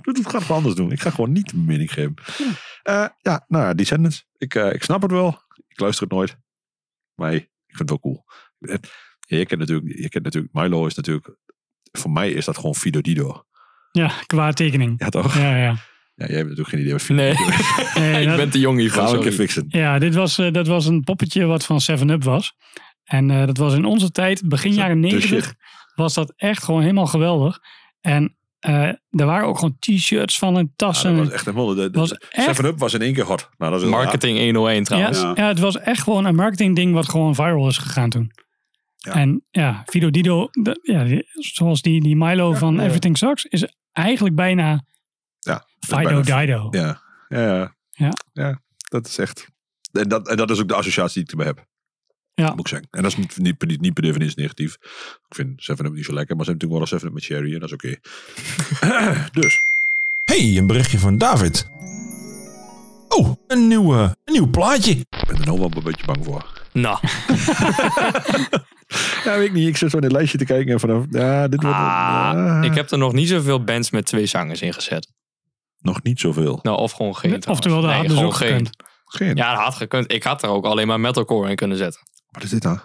[SPEAKER 1] dat ga ik wel anders doen. Ik ga gewoon niet mijn mening geven. Eh, ja, nou ja, Descendants. Ik, eh, ik snap het wel. Ik luister het nooit. Maar hey, ik vind het wel cool. Het- ja, je, kent natuurlijk, je kent natuurlijk... Milo is natuurlijk... Voor mij is dat gewoon Fido Dido.
[SPEAKER 2] Ja, qua tekening.
[SPEAKER 1] Ja, toch? Ja.
[SPEAKER 2] Ja, ja.
[SPEAKER 1] jij hebt natuurlijk geen idee wat Fido
[SPEAKER 3] Nee,
[SPEAKER 1] Dido is.
[SPEAKER 2] Nee,
[SPEAKER 3] ik
[SPEAKER 2] dat-
[SPEAKER 3] ben te jong hiervoor.
[SPEAKER 1] Gaan we een keer
[SPEAKER 3] sorry.
[SPEAKER 1] fixen.
[SPEAKER 2] Ja, dit was, eh, dat was een poppetje wat van 7-Up was. En eh, dat was in onze tijd, begin jaren
[SPEAKER 1] de
[SPEAKER 2] 90, was dat echt gewoon helemaal geweldig. En eh, er waren ook gewoon t-shirts van en
[SPEAKER 1] Ja,
[SPEAKER 2] tassen.
[SPEAKER 1] dat was echt eh, helemaal... de- de-
[SPEAKER 2] was echt-
[SPEAKER 1] 7-Up was in één keer hot. Nou, dat is heel raar.
[SPEAKER 3] Marketing 101
[SPEAKER 2] ja,
[SPEAKER 3] trouwens.
[SPEAKER 2] ja. het was echt gewoon een marketingding wat gewoon viral is gegaan toen.
[SPEAKER 1] Ja.
[SPEAKER 2] En ja, Fido Dido, de- ja, die- zoals die, die Milo van
[SPEAKER 1] ja.
[SPEAKER 2] Everything Sucks, is eigenlijk bijna
[SPEAKER 1] Ja, dat is
[SPEAKER 2] Fido
[SPEAKER 1] bijna-
[SPEAKER 2] Dido. Ja.
[SPEAKER 1] Ja, ja, ja.
[SPEAKER 2] Ja.
[SPEAKER 1] Ja, dat is echt. En dat, en dat is ook de associatie die ik erbij heb.
[SPEAKER 2] Ja.
[SPEAKER 1] Moet ik zeggen. En dat is niet, niet, niet, niet per definitie negatief. Ik vind 7-Up niet zo lekker, maar ze hebben natuurlijk wel een 7-Up met cherry en dat is oké. dus.
[SPEAKER 5] Hey, een berichtje van David. Oh, een, nieuwe, een nieuw plaatje.
[SPEAKER 1] Ik ben er nou wel een beetje bang voor.
[SPEAKER 3] Nou,
[SPEAKER 1] Ja, weet ik niet. Ik zit zo in het lijstje te kijken en vanaf... Ja, dit wordt...
[SPEAKER 3] ah,
[SPEAKER 1] ja,
[SPEAKER 3] ik heb er nog niet zoveel bands met twee zangers in gezet.
[SPEAKER 1] Nog niet zoveel.
[SPEAKER 3] Nou, of gewoon geen. trouwens.
[SPEAKER 2] Oftewel, daar
[SPEAKER 3] Nee,
[SPEAKER 2] had dus
[SPEAKER 3] gewoon
[SPEAKER 2] ook
[SPEAKER 3] geen.
[SPEAKER 2] gekund.
[SPEAKER 1] Geen.
[SPEAKER 3] Ja, dat had gekund. Ik had er ook alleen maar metalcore in kunnen zetten.
[SPEAKER 1] Wat is dit dan?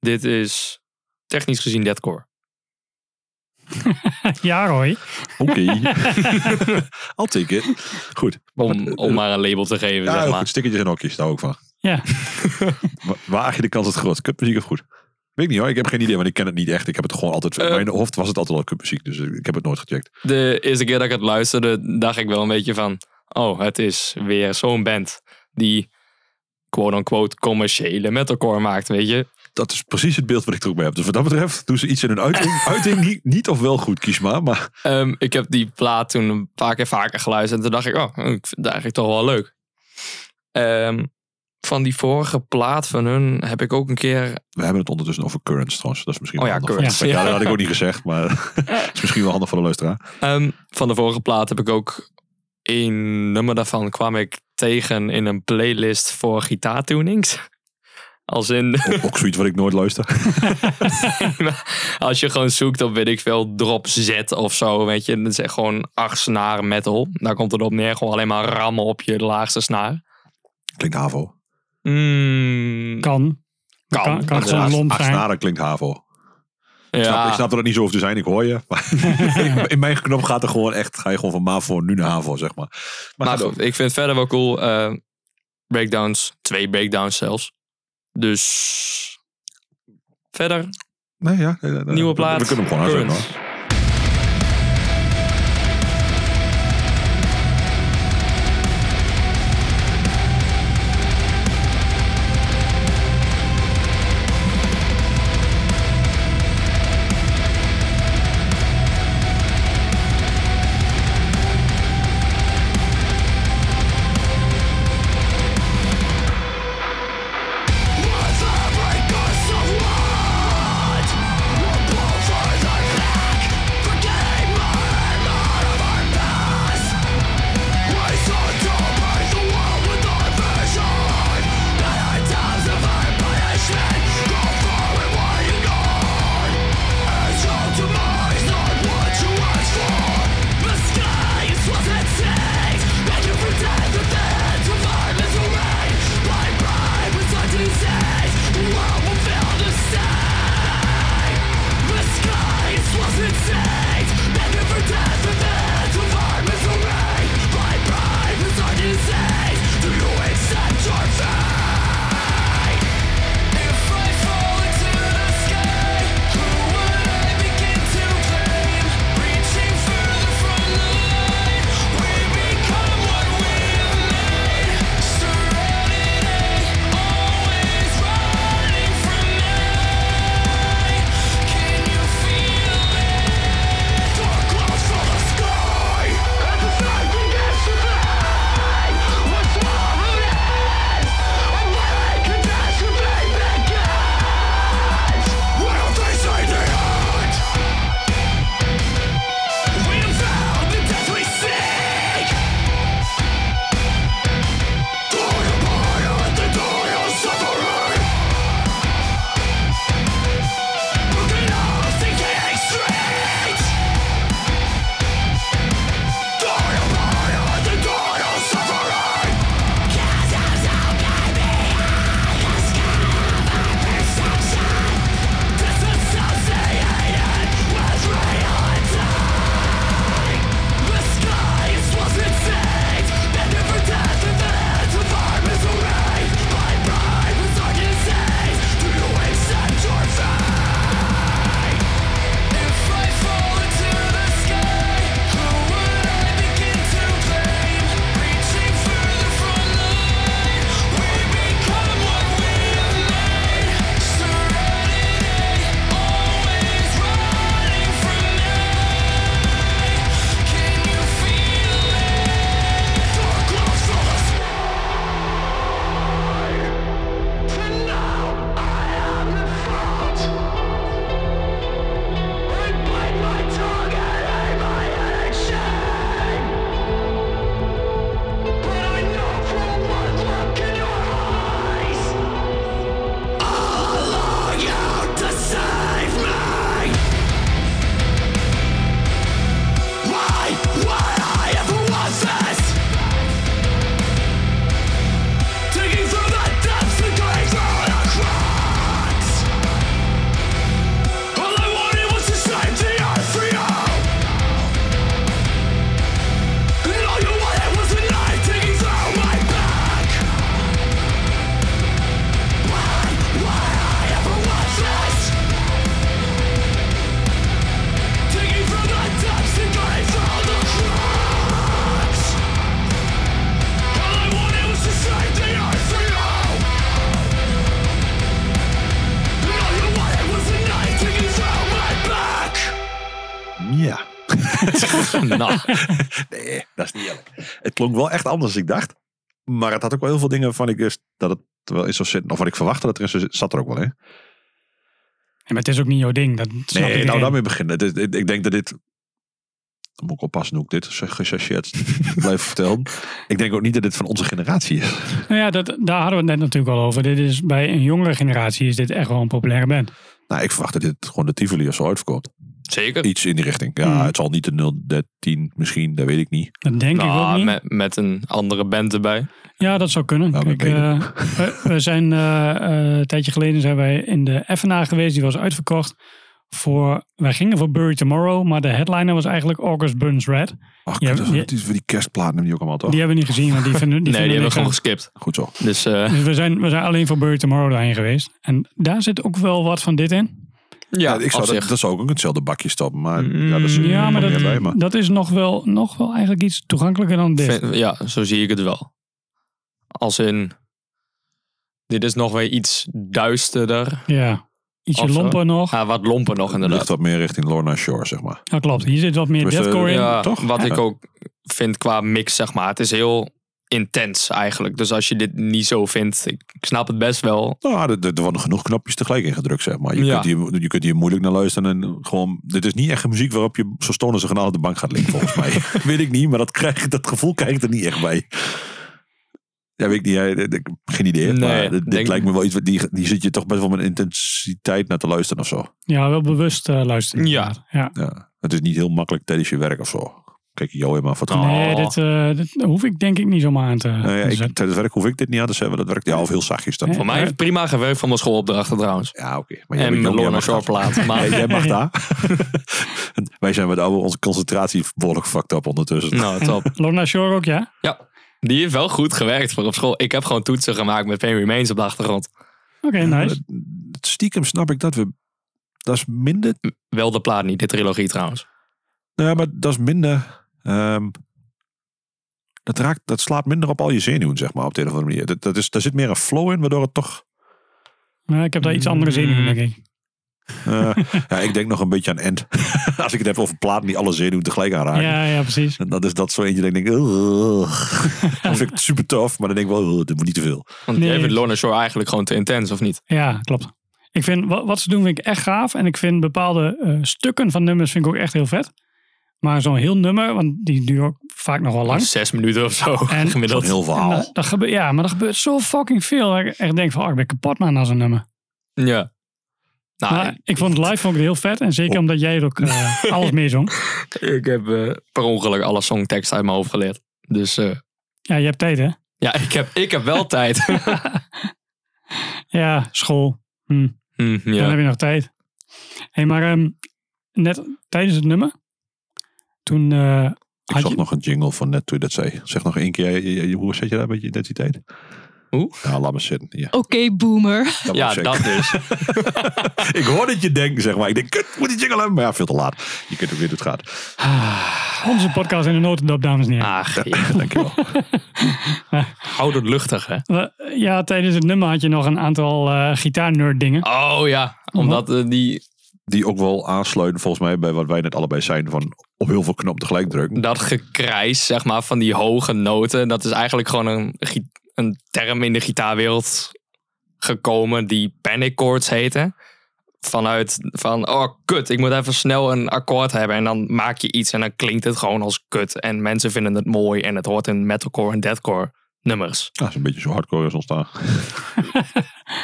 [SPEAKER 3] Dit is technisch gezien deadcore.
[SPEAKER 2] Ja, Roy.
[SPEAKER 1] Oké. I'll take it. Goed.
[SPEAKER 3] Om, om maar een label te geven,
[SPEAKER 1] Ja,
[SPEAKER 3] zeg
[SPEAKER 1] heel
[SPEAKER 3] maar.
[SPEAKER 1] goed. Stikkertjes en hokjes, daar ook van.
[SPEAKER 2] Ja.
[SPEAKER 1] Wa- Waag je de kans het groot? Cupmuziek of goed? Weet ik niet hoor, ik heb geen idee, want ik ken het niet echt. Ik heb het gewoon altijd...
[SPEAKER 3] Eh.
[SPEAKER 1] in mijn hoofd was het altijd al cupmuziek, dus eh, ik heb het nooit gecheckt.
[SPEAKER 3] De eerste keer dat ik het luisterde, dacht ik wel een beetje van... Oh, het is weer zo'n band die quote-unquote commerciële metalcore maakt, weet je.
[SPEAKER 1] Dat is precies het beeld wat ik er ook bij heb. Dus wat dat betreft doen ze iets in hun uiting. uiting niet, niet of wel goed, kies maar. Maar
[SPEAKER 3] Ehm, ik heb die plaat toen een paar keer vaker geluisterd. En toen dacht ik, oh, ik vind het eigenlijk toch wel leuk. Ehm, van die vorige plaat van hun heb ik ook een keer...
[SPEAKER 1] we hebben het ondertussen over Currents trouwens. Dat is misschien wel
[SPEAKER 3] Oh ja,
[SPEAKER 1] handig.
[SPEAKER 3] Currents,
[SPEAKER 1] Ja.
[SPEAKER 3] ja.
[SPEAKER 1] dat had ik ook niet gezegd, maar het is misschien wel handig voor de luisteraar.
[SPEAKER 3] ehm, van de vorige plaat heb ik ook één nummer daarvan kwam ik tegen in een playlist voor gitaartunings. Als in,
[SPEAKER 1] Ook, ook zoiets wat ik nooit luister.
[SPEAKER 3] als je gewoon zoekt op, weet ik veel, drop Z of zo, weet je. Dat is echt gewoon acht snaar metal. Daar komt het op neer, gewoon alleen maar rammen op je laagste snaar.
[SPEAKER 1] Klinkt havo.
[SPEAKER 3] Mm,
[SPEAKER 2] Kan.
[SPEAKER 3] Kan,
[SPEAKER 2] Kan, kan
[SPEAKER 3] inderdaad.
[SPEAKER 2] gewoon lomp
[SPEAKER 1] Acht
[SPEAKER 2] zijn.
[SPEAKER 1] snaren klinkt havo. Ik snap, ik snap dat het niet zo hoeft te zijn, ik hoor je. Maar in- in mijn knop gaat er gewoon echt, ga je gewoon van MAVO nu naar HAVO, zeg maar. Maar,
[SPEAKER 3] Maar
[SPEAKER 1] ga door.
[SPEAKER 3] goed, ik vind het verder wel cool. eh, breakdowns, twee breakdowns zelfs. Dus verder,
[SPEAKER 1] Nee, ja, nee, nee, nee.
[SPEAKER 3] nieuwe
[SPEAKER 1] We-
[SPEAKER 3] plaat.
[SPEAKER 1] We, kunnen hem gewoon aanzetten
[SPEAKER 3] Current.
[SPEAKER 1] hoor.
[SPEAKER 6] What's the purpose of what? We're both for the crack.
[SPEAKER 3] nou,
[SPEAKER 1] Nee, dat is niet eerlijk. Het klonk wel echt anders dan ik dacht. Maar het had ook wel heel veel dingen van ik wist dat het er wel in zou zitten. Of wat ik verwachtte dat er in zou zitten, zat er ook wel in.
[SPEAKER 2] maar het is ook niet jouw ding. Dat snap
[SPEAKER 1] Nee,
[SPEAKER 2] iedereen.
[SPEAKER 1] nou daarmee beginnen. Dit- dit- ik denk dat dit... Dan moet ik oppassen hoe ik dit ge- gechargeerd blijf vertellen. Ik denk ook niet dat dit van onze generatie is.
[SPEAKER 2] Nou ja, dat, daar hadden we het net natuurlijk al over. Dit is, bij een jongere generatie is dit echt wel een populaire band.
[SPEAKER 1] Nou, ik verwacht dat dit gewoon de Tivoli of zo uitverkoopt.
[SPEAKER 3] zeker.
[SPEAKER 1] Iets in die richting. Ja,
[SPEAKER 2] Hmm.
[SPEAKER 1] het zal niet de 013 misschien, dat weet ik niet.
[SPEAKER 2] Dat denk ik ook
[SPEAKER 3] Nou,
[SPEAKER 2] niet.
[SPEAKER 3] met, met een andere band erbij.
[SPEAKER 2] Ja, dat zou kunnen.
[SPEAKER 1] Nou, dat
[SPEAKER 2] Kijk,
[SPEAKER 1] weet ik.
[SPEAKER 2] eh, we, we zijn eh, eh, een tijdje geleden zijn wij in de FNA geweest. Die was uitverkocht. Voor, wij gingen voor Bury Tomorrow, maar de headliner was eigenlijk August Burns Red.
[SPEAKER 1] Ach,
[SPEAKER 2] Ja,
[SPEAKER 1] dat is
[SPEAKER 2] ja.
[SPEAKER 1] het is voor die kerstplaten hebben die ook allemaal toch?
[SPEAKER 2] Die hebben we niet gezien, want die vinden, die
[SPEAKER 3] nee, die
[SPEAKER 2] vinden
[SPEAKER 3] hebben we
[SPEAKER 2] niks
[SPEAKER 3] gewoon
[SPEAKER 2] aan.
[SPEAKER 3] geskipt.
[SPEAKER 1] Goed zo.
[SPEAKER 3] Dus eh,
[SPEAKER 2] Dus we zijn, we zijn alleen voor Bury Tomorrow daarheen geweest. En daar zit ook wel wat van dit in.
[SPEAKER 3] ja,
[SPEAKER 1] Ja, ik zou
[SPEAKER 3] op
[SPEAKER 1] dat,
[SPEAKER 3] zich.
[SPEAKER 1] dat zou ook in hetzelfde bakje stappen. Maar
[SPEAKER 3] Mm,
[SPEAKER 1] ja, dat is er
[SPEAKER 2] Ja,
[SPEAKER 1] nog
[SPEAKER 2] maar
[SPEAKER 1] meer
[SPEAKER 2] dat,
[SPEAKER 1] bij, maar
[SPEAKER 2] dat is nog wel, nog wel eigenlijk iets toegankelijker dan dit.
[SPEAKER 3] Vind- ja, zo zie ik het wel. Als in, dit is nog weer iets duisterder.
[SPEAKER 2] Ja, ietsje
[SPEAKER 3] Of zo.
[SPEAKER 2] lomper nog.
[SPEAKER 3] Ah, wat lomper nog
[SPEAKER 1] het ligt
[SPEAKER 3] inderdaad.
[SPEAKER 1] wat meer richting Lorna Shore, zeg maar.
[SPEAKER 2] Dat klopt, hier zit wat meer
[SPEAKER 1] Dus, eh,
[SPEAKER 2] deathcore in.
[SPEAKER 3] Ja,
[SPEAKER 1] toch?
[SPEAKER 3] Wat
[SPEAKER 1] Ja.
[SPEAKER 3] ik ook vind qua mix, zeg maar. Het is heel intens eigenlijk. Dus als je dit niet zo vindt, ik, ik snap het best wel.
[SPEAKER 1] Nou, er, er worden genoeg knopjes tegelijk ingedrukt, zeg maar. Je,
[SPEAKER 3] Ja.
[SPEAKER 1] kunt hier, je kunt hier moeilijk naar luisteren. En gewoon, dit is niet echt een muziek waarop je zo stonen ze genaal op de bank gaat liggen, volgens mij. Weet ik niet, maar dat, krijg, dat gevoel krijg ik er niet echt bij. Ja, weet ik niet. ja, ik- ik- Geen idee.
[SPEAKER 3] Nee,
[SPEAKER 1] maar dit, dit
[SPEAKER 3] denk-
[SPEAKER 1] lijkt me wel iets, wat- die, die zit je toch best wel met intensiteit naar te luisteren of zo.
[SPEAKER 2] Ja, wel bewust eh, luisteren.
[SPEAKER 3] Ja.
[SPEAKER 2] inderdaad. ja.
[SPEAKER 1] Ja. Het is niet heel makkelijk tijdens je werk of zo. Kijk, Joey, maar voor het
[SPEAKER 3] Nou,
[SPEAKER 1] gemak.
[SPEAKER 3] Oh.
[SPEAKER 2] Nee, dit, eh, dit hoef ik denk ik niet zomaar aan te
[SPEAKER 1] Nou ja,
[SPEAKER 2] te
[SPEAKER 1] ik,
[SPEAKER 2] zetten.
[SPEAKER 1] tijdens het werk hoef ik dit niet aan te zeggen. Dat werkt ja, of heel zachtjes. Dan.
[SPEAKER 2] Nee.
[SPEAKER 3] Voor mij heeft prima gewerkt van mijn schoolopdrachten trouwens.
[SPEAKER 1] Ja, oké. Maar jij
[SPEAKER 3] En
[SPEAKER 1] bent jong,
[SPEAKER 3] mijn
[SPEAKER 1] jij
[SPEAKER 3] Lorna
[SPEAKER 1] mag
[SPEAKER 3] Shore
[SPEAKER 1] dat.
[SPEAKER 3] plaat. Maar
[SPEAKER 1] Jij, jij mag daar. Wij zijn met oude, onze concentratie behoorlijk fucked up ondertussen.
[SPEAKER 3] nou, top.
[SPEAKER 2] Lorna Shore ook, ja?
[SPEAKER 3] Ja, die heeft wel goed gewerkt voor op school. Ik heb gewoon toetsen gemaakt met Pain Remains op de achtergrond.
[SPEAKER 2] Oké, nice.
[SPEAKER 1] eh, Stiekem snap ik dat we... Dat is minder...
[SPEAKER 3] Wel de plaat niet, de trilogie trouwens.
[SPEAKER 1] Nou ja, maar dat is minder... ehm, dat, raakt, dat slaat minder op al je zenuwen, zeg maar, op de een of andere manier. Dat, dat is, daar zit meer een flow in, waardoor het toch...
[SPEAKER 2] Maar ik heb daar iets andere zin in,
[SPEAKER 3] Mm.
[SPEAKER 2] denk ik.
[SPEAKER 1] eh, ja, ik denk nog een beetje aan end. Als ik het heb over platen die alle zenuwen tegelijk aanraken.
[SPEAKER 2] Ja, ja, precies.
[SPEAKER 1] En dat is dat zo eentje dat ik denk, "Ugh." dat vind ik super tof, maar dan denk ik wel, "Ugh, dit moet niet te veel.
[SPEAKER 3] Want
[SPEAKER 2] Nee.
[SPEAKER 3] jij vindt Lorna Shore eigenlijk gewoon te intens, of niet?
[SPEAKER 2] Ja, klopt. Ik vind, wa- wat ze doen vind ik echt gaaf. En ik vind bepaalde eh, stukken van nummers vind ik ook echt heel vet. Maar zo'n heel nummer, want die duurt ook vaak nog wel lang.
[SPEAKER 3] Zes minuten of zo,
[SPEAKER 2] En-
[SPEAKER 3] gemiddeld.
[SPEAKER 1] Heel
[SPEAKER 2] En
[SPEAKER 1] verhaal.
[SPEAKER 2] dat, dat gebe- ja, maar dat gebeurt zo fucking veel. Dat ik echt denk van, oh, ik ben kapot man aan zo'n nummer.
[SPEAKER 3] Ja.
[SPEAKER 1] Ah,
[SPEAKER 3] Nou,
[SPEAKER 2] Maar ik vond het live vond ik het heel vet. En
[SPEAKER 1] Oh.
[SPEAKER 2] zeker omdat jij er ook eh, alles mee zong.
[SPEAKER 3] ik, ik heb eh, per ongeluk alle songtekst uit mijn hoofd geleerd. Dus eh,
[SPEAKER 2] Ja, je hebt tijd hè?
[SPEAKER 3] ja, ik heb, ik heb wel tijd.
[SPEAKER 2] Ja, school. Hm.
[SPEAKER 3] Hm,
[SPEAKER 2] Dan
[SPEAKER 3] ja.
[SPEAKER 2] heb je nog tijd. Hé, hey, maar ehm, net tijdens het nummer, toen eh,
[SPEAKER 1] Ik
[SPEAKER 2] had
[SPEAKER 1] zag
[SPEAKER 2] je...
[SPEAKER 1] nog een jingle van net toen je dat zei. Zeg nog één keer, je- je- je- hoe zet je daar met je identiteit?
[SPEAKER 3] Hoe?
[SPEAKER 1] Nou, laat me zitten. Ja,
[SPEAKER 7] Oké, boomer.
[SPEAKER 1] dat
[SPEAKER 3] ja,
[SPEAKER 1] moet ik
[SPEAKER 3] dat
[SPEAKER 1] zeggen.
[SPEAKER 3] dus.
[SPEAKER 1] Ik hoor dat je denkt, zeg maar. Ik denk, kut, moet die jingle hebben? Maar ja, veel te laat. Je kunt ook weer hoe het gaat.
[SPEAKER 2] Onze podcast in de notendop, dames en heren.
[SPEAKER 3] Ah, Ach, ja.
[SPEAKER 1] Dankjewel.
[SPEAKER 3] Houd het luchtig, hè.
[SPEAKER 2] We- Eh, ja, tijdens het nummer had je nog een aantal eh gitaarnerd dingen.
[SPEAKER 3] Oh ja, omdat eh, die,
[SPEAKER 1] Die ook wel aansluiten volgens mij bij wat wij net allebei zijn. Van op heel veel knop tegelijk drukken.
[SPEAKER 3] dat gekrijs, zeg maar, van die hoge noten... dat is eigenlijk gewoon een, gi- een term in de gitaarwereld gekomen... die panic chords heten. Vanuit van, oh kut, ik moet even snel een akkoord hebben... en dan maak je iets en dan klinkt het gewoon als kut... en mensen vinden het mooi en het hoort in metalcore en deathcore nummers.
[SPEAKER 1] Nou, dat is een beetje zo hardcore is ontstaan.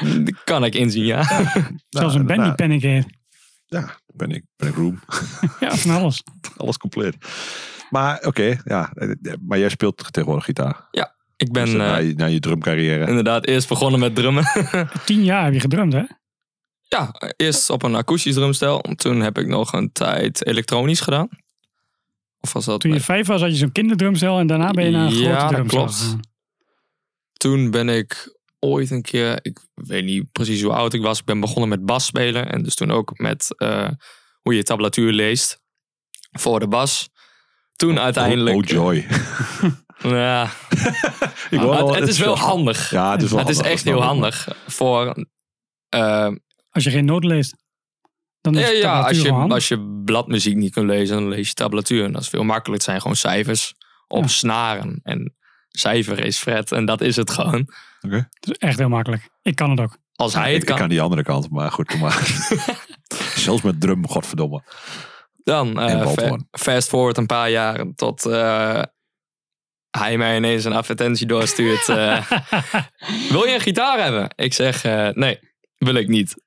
[SPEAKER 3] Dat kan ik inzien, ja.
[SPEAKER 2] Zelfs
[SPEAKER 3] ah.
[SPEAKER 2] een band die
[SPEAKER 1] nou,
[SPEAKER 2] panic heet.
[SPEAKER 1] Ja, ben ik, ben ik room.
[SPEAKER 2] Ja, van alles.
[SPEAKER 1] Alles compleet. Maar oké, ja. Maar jij speelt tegenwoordig gitaar.
[SPEAKER 3] Ik ben
[SPEAKER 1] Dus, eh, na,
[SPEAKER 3] eh,
[SPEAKER 1] je, na je drumcarrière.
[SPEAKER 3] inderdaad eerst begonnen met drummen.
[SPEAKER 2] Tien jaar heb je gedrumd, hè?
[SPEAKER 3] Ja, eerst op een akoestisch drumstel. Toen heb ik nog een tijd elektronisch gedaan. Of was dat...
[SPEAKER 2] Toen je vijf was had je zo'n kinderdrumstel en daarna ben je naar een
[SPEAKER 3] Ja, dat
[SPEAKER 2] grote drumstel.
[SPEAKER 3] klopt.
[SPEAKER 2] gegaan.
[SPEAKER 3] Toen ben ik ooit een keer... Ik weet niet precies hoe oud ik was. Ik ben begonnen met bas spelen. En dus toen ook met eh, hoe je tablatuur leest. Voor de bas. Toen uiteindelijk...
[SPEAKER 1] Oh, oh joy.
[SPEAKER 3] Ja,
[SPEAKER 1] Ik
[SPEAKER 3] maar
[SPEAKER 1] hoor
[SPEAKER 3] het,
[SPEAKER 1] wel-
[SPEAKER 3] het is wel handig.
[SPEAKER 1] Ja, het is wel
[SPEAKER 3] het is
[SPEAKER 1] handig,
[SPEAKER 3] echt
[SPEAKER 1] dat
[SPEAKER 3] heel
[SPEAKER 1] snap ik.
[SPEAKER 3] handig. Voor... eh,
[SPEAKER 2] Als je geen noot leest. Dan is
[SPEAKER 3] Ja,
[SPEAKER 2] het
[SPEAKER 3] ja als, je,
[SPEAKER 2] tablatuur
[SPEAKER 3] als je bladmuziek niet kunt lezen, dan lees je tablatuur. En dat is veel makkelijker. Het zijn gewoon cijfers op
[SPEAKER 2] Ja.
[SPEAKER 3] snaren. En cijfer is Fred. En dat is het gewoon.
[SPEAKER 2] Dat is echt heel makkelijk. Ik kan het ook.
[SPEAKER 3] Als hij
[SPEAKER 1] ik,
[SPEAKER 3] het
[SPEAKER 1] ik
[SPEAKER 3] kan,
[SPEAKER 1] die andere kant, maar goed, doe maar. Zelfs met drum, godverdomme.
[SPEAKER 3] dan eh,
[SPEAKER 1] En
[SPEAKER 3] fa-
[SPEAKER 1] Waldhorn.
[SPEAKER 3] fast forward een paar jaar tot eh, hij mij ineens een advertentie doorstuurt. eh, wil je een gitaar hebben? Ik zeg eh, nee, wil ik niet.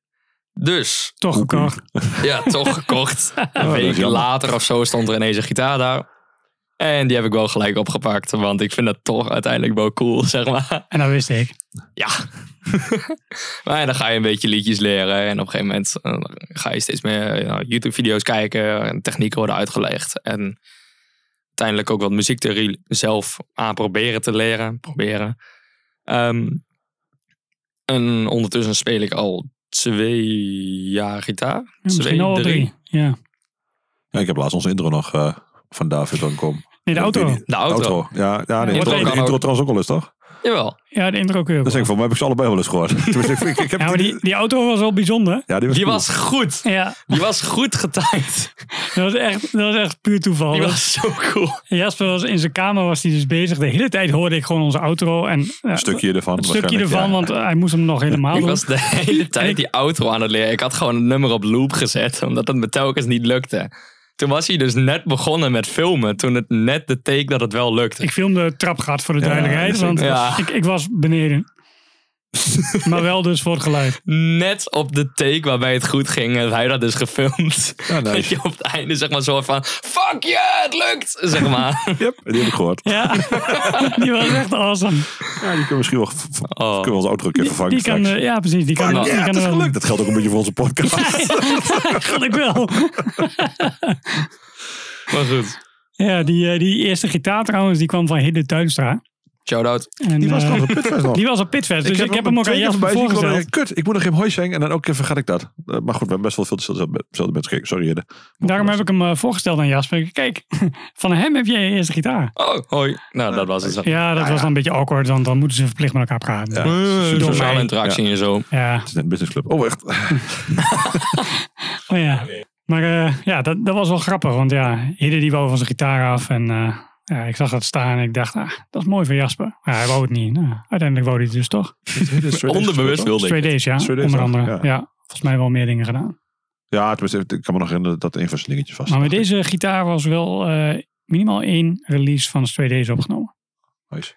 [SPEAKER 3] Dus
[SPEAKER 2] Toch gekocht.
[SPEAKER 3] Ja, toch gekocht. Een
[SPEAKER 1] dat is
[SPEAKER 3] week
[SPEAKER 1] jammer.
[SPEAKER 3] later of zo stond er ineens een gitaar daar. En die heb ik wel gelijk opgepakt, want ik vind dat toch uiteindelijk wel cool, zeg maar.
[SPEAKER 2] En dat wist ik.
[SPEAKER 3] Ja. maar ja, dan ga je een beetje liedjes leren en op een gegeven moment eh, ga je steeds meer ja, YouTube-video's kijken en technieken worden uitgelegd. En uiteindelijk ook wat muziektheorie zelf aan proberen te leren. Proberen. Ehm, en ondertussen speel ik al twee jaar gitaar.
[SPEAKER 2] Ja, misschien
[SPEAKER 3] Twee,
[SPEAKER 2] al wel
[SPEAKER 3] drie.
[SPEAKER 2] drie. Ja.
[SPEAKER 1] Ja, ik heb laatst onze intro nog eh, van David Rankom.
[SPEAKER 2] Nee, de auto.
[SPEAKER 3] De auto.
[SPEAKER 1] Ja, ja de
[SPEAKER 2] Ja,
[SPEAKER 1] intro,
[SPEAKER 2] wordt
[SPEAKER 1] de
[SPEAKER 3] ook-
[SPEAKER 1] intro trouwens ook wel eens, toch?
[SPEAKER 3] Jawel.
[SPEAKER 2] Ja, de intro keur.
[SPEAKER 1] Dat zeg ik, voor mij heb ik ze allebei wel eens gehoord. Tenminste, ik, ik, ik heb
[SPEAKER 2] Ja, maar die, die auto was wel bijzonder.
[SPEAKER 1] ja, die was,
[SPEAKER 3] Die
[SPEAKER 1] cool.
[SPEAKER 3] was goed.
[SPEAKER 2] Ja,
[SPEAKER 3] Die was goed getimed.
[SPEAKER 2] dat was echt, dat was echt puur toeval.
[SPEAKER 3] Die
[SPEAKER 2] Dat-
[SPEAKER 3] was zo cool.
[SPEAKER 2] Jasper was in zijn kamer was hij dus bezig. De hele tijd hoorde ik gewoon onze outro en ja,
[SPEAKER 1] een stukje ervan.
[SPEAKER 2] het stukje
[SPEAKER 1] waarschijnlijk,
[SPEAKER 2] ervan,
[SPEAKER 1] ja.
[SPEAKER 2] want eh, hij moest hem nog helemaal
[SPEAKER 3] Ik
[SPEAKER 2] doen.
[SPEAKER 3] was de hele tijd die outro aan het leren. Ik had gewoon een nummer op loop gezet, omdat het me telkens niet lukte. Toen was hij dus net begonnen met filmen, toen het net de take dat het wel lukte.
[SPEAKER 2] Ik filmde het trapgat voor de duidelijkheid,
[SPEAKER 1] dat is
[SPEAKER 2] want
[SPEAKER 3] Ja.
[SPEAKER 2] ik, ik was beneden. maar wel dus voor het geluid.
[SPEAKER 3] Net op de take waarbij het goed ging, heeft hij dat dus gefilmd.
[SPEAKER 1] Ja, nice.
[SPEAKER 3] Dat je op het einde zeg maar zo van, fuck je, het lukt, zeg maar.
[SPEAKER 1] Yep, die heb ik gehoord.
[SPEAKER 2] Ja, die was echt awesome.
[SPEAKER 1] Ja, die kunnen we misschien wel v- v-
[SPEAKER 3] Oh.
[SPEAKER 1] kunnen we onze outro een keer vervangen
[SPEAKER 2] Die kan,
[SPEAKER 1] straks.
[SPEAKER 2] eh, ja, precies. Die kan,
[SPEAKER 1] Fuck
[SPEAKER 2] die
[SPEAKER 1] yeah,
[SPEAKER 2] kan eh,
[SPEAKER 1] het is
[SPEAKER 2] er wel-
[SPEAKER 1] gelukt. Dat geldt ook een beetje voor onze podcast.
[SPEAKER 2] kan ik wel.
[SPEAKER 3] Maar goed.
[SPEAKER 2] Ja, die, eh, die eerste gitaar trouwens, die kwam van Hidde Tuinstra.
[SPEAKER 3] Shout-out.
[SPEAKER 2] En,
[SPEAKER 1] Die was
[SPEAKER 2] eh,
[SPEAKER 1] nog een pitfest nog.
[SPEAKER 2] die was op Pitfest, dus ik heb hem ook aan
[SPEAKER 1] twee keer
[SPEAKER 2] Jasper
[SPEAKER 1] voorbij zien komen en
[SPEAKER 2] voorgesteld.
[SPEAKER 1] ik, Kut, ik moet nog geen hoi zeggen en dan ook even vergat ik dat. Eh, maar goed, we hebben best wel veel dezelfde dezelfde mensen gekeken. Sorry, Hidde.
[SPEAKER 2] Daarom heb ik hem eh, voorgesteld aan Jasper. Ik zei, Kijk, van hem heb jij je eerste gitaar.
[SPEAKER 3] Oh, hoi. Nou, dat was het.
[SPEAKER 2] Ja, dat was dan een beetje awkward, want dan moeten ze verplicht met elkaar
[SPEAKER 1] Ja,
[SPEAKER 2] praten.
[SPEAKER 1] het is
[SPEAKER 3] De
[SPEAKER 1] een
[SPEAKER 2] Door
[SPEAKER 3] Sociale
[SPEAKER 2] mij.
[SPEAKER 3] interactie en zo.
[SPEAKER 2] Ja,
[SPEAKER 1] het is net een businessclub. Oh, echt.
[SPEAKER 2] Oh, ja. maar eh, ja, dat, dat was wel grappig, want ja, Hidde die wou van zijn gitaar af en eh, ja, ik zag dat staan en ik dacht, ah, dat is mooi voor Jasper. Maar hij wou het niet. Nou, uiteindelijk wou hij het dus toch.
[SPEAKER 3] Onderbewust wilde
[SPEAKER 2] Twee
[SPEAKER 3] ik.
[SPEAKER 2] days, ja,
[SPEAKER 1] Straight A's
[SPEAKER 2] onder
[SPEAKER 1] af,
[SPEAKER 2] andere.
[SPEAKER 1] ja.
[SPEAKER 2] Ja. volgens mij wel meer dingen gedaan.
[SPEAKER 1] Ja, tenminste, ik kan me nog herinneren dat een van zijn dingetjes was.
[SPEAKER 2] Maar met deze gitaar was wel eh, minimaal één release van zijn twee days opgenomen.
[SPEAKER 1] Nice.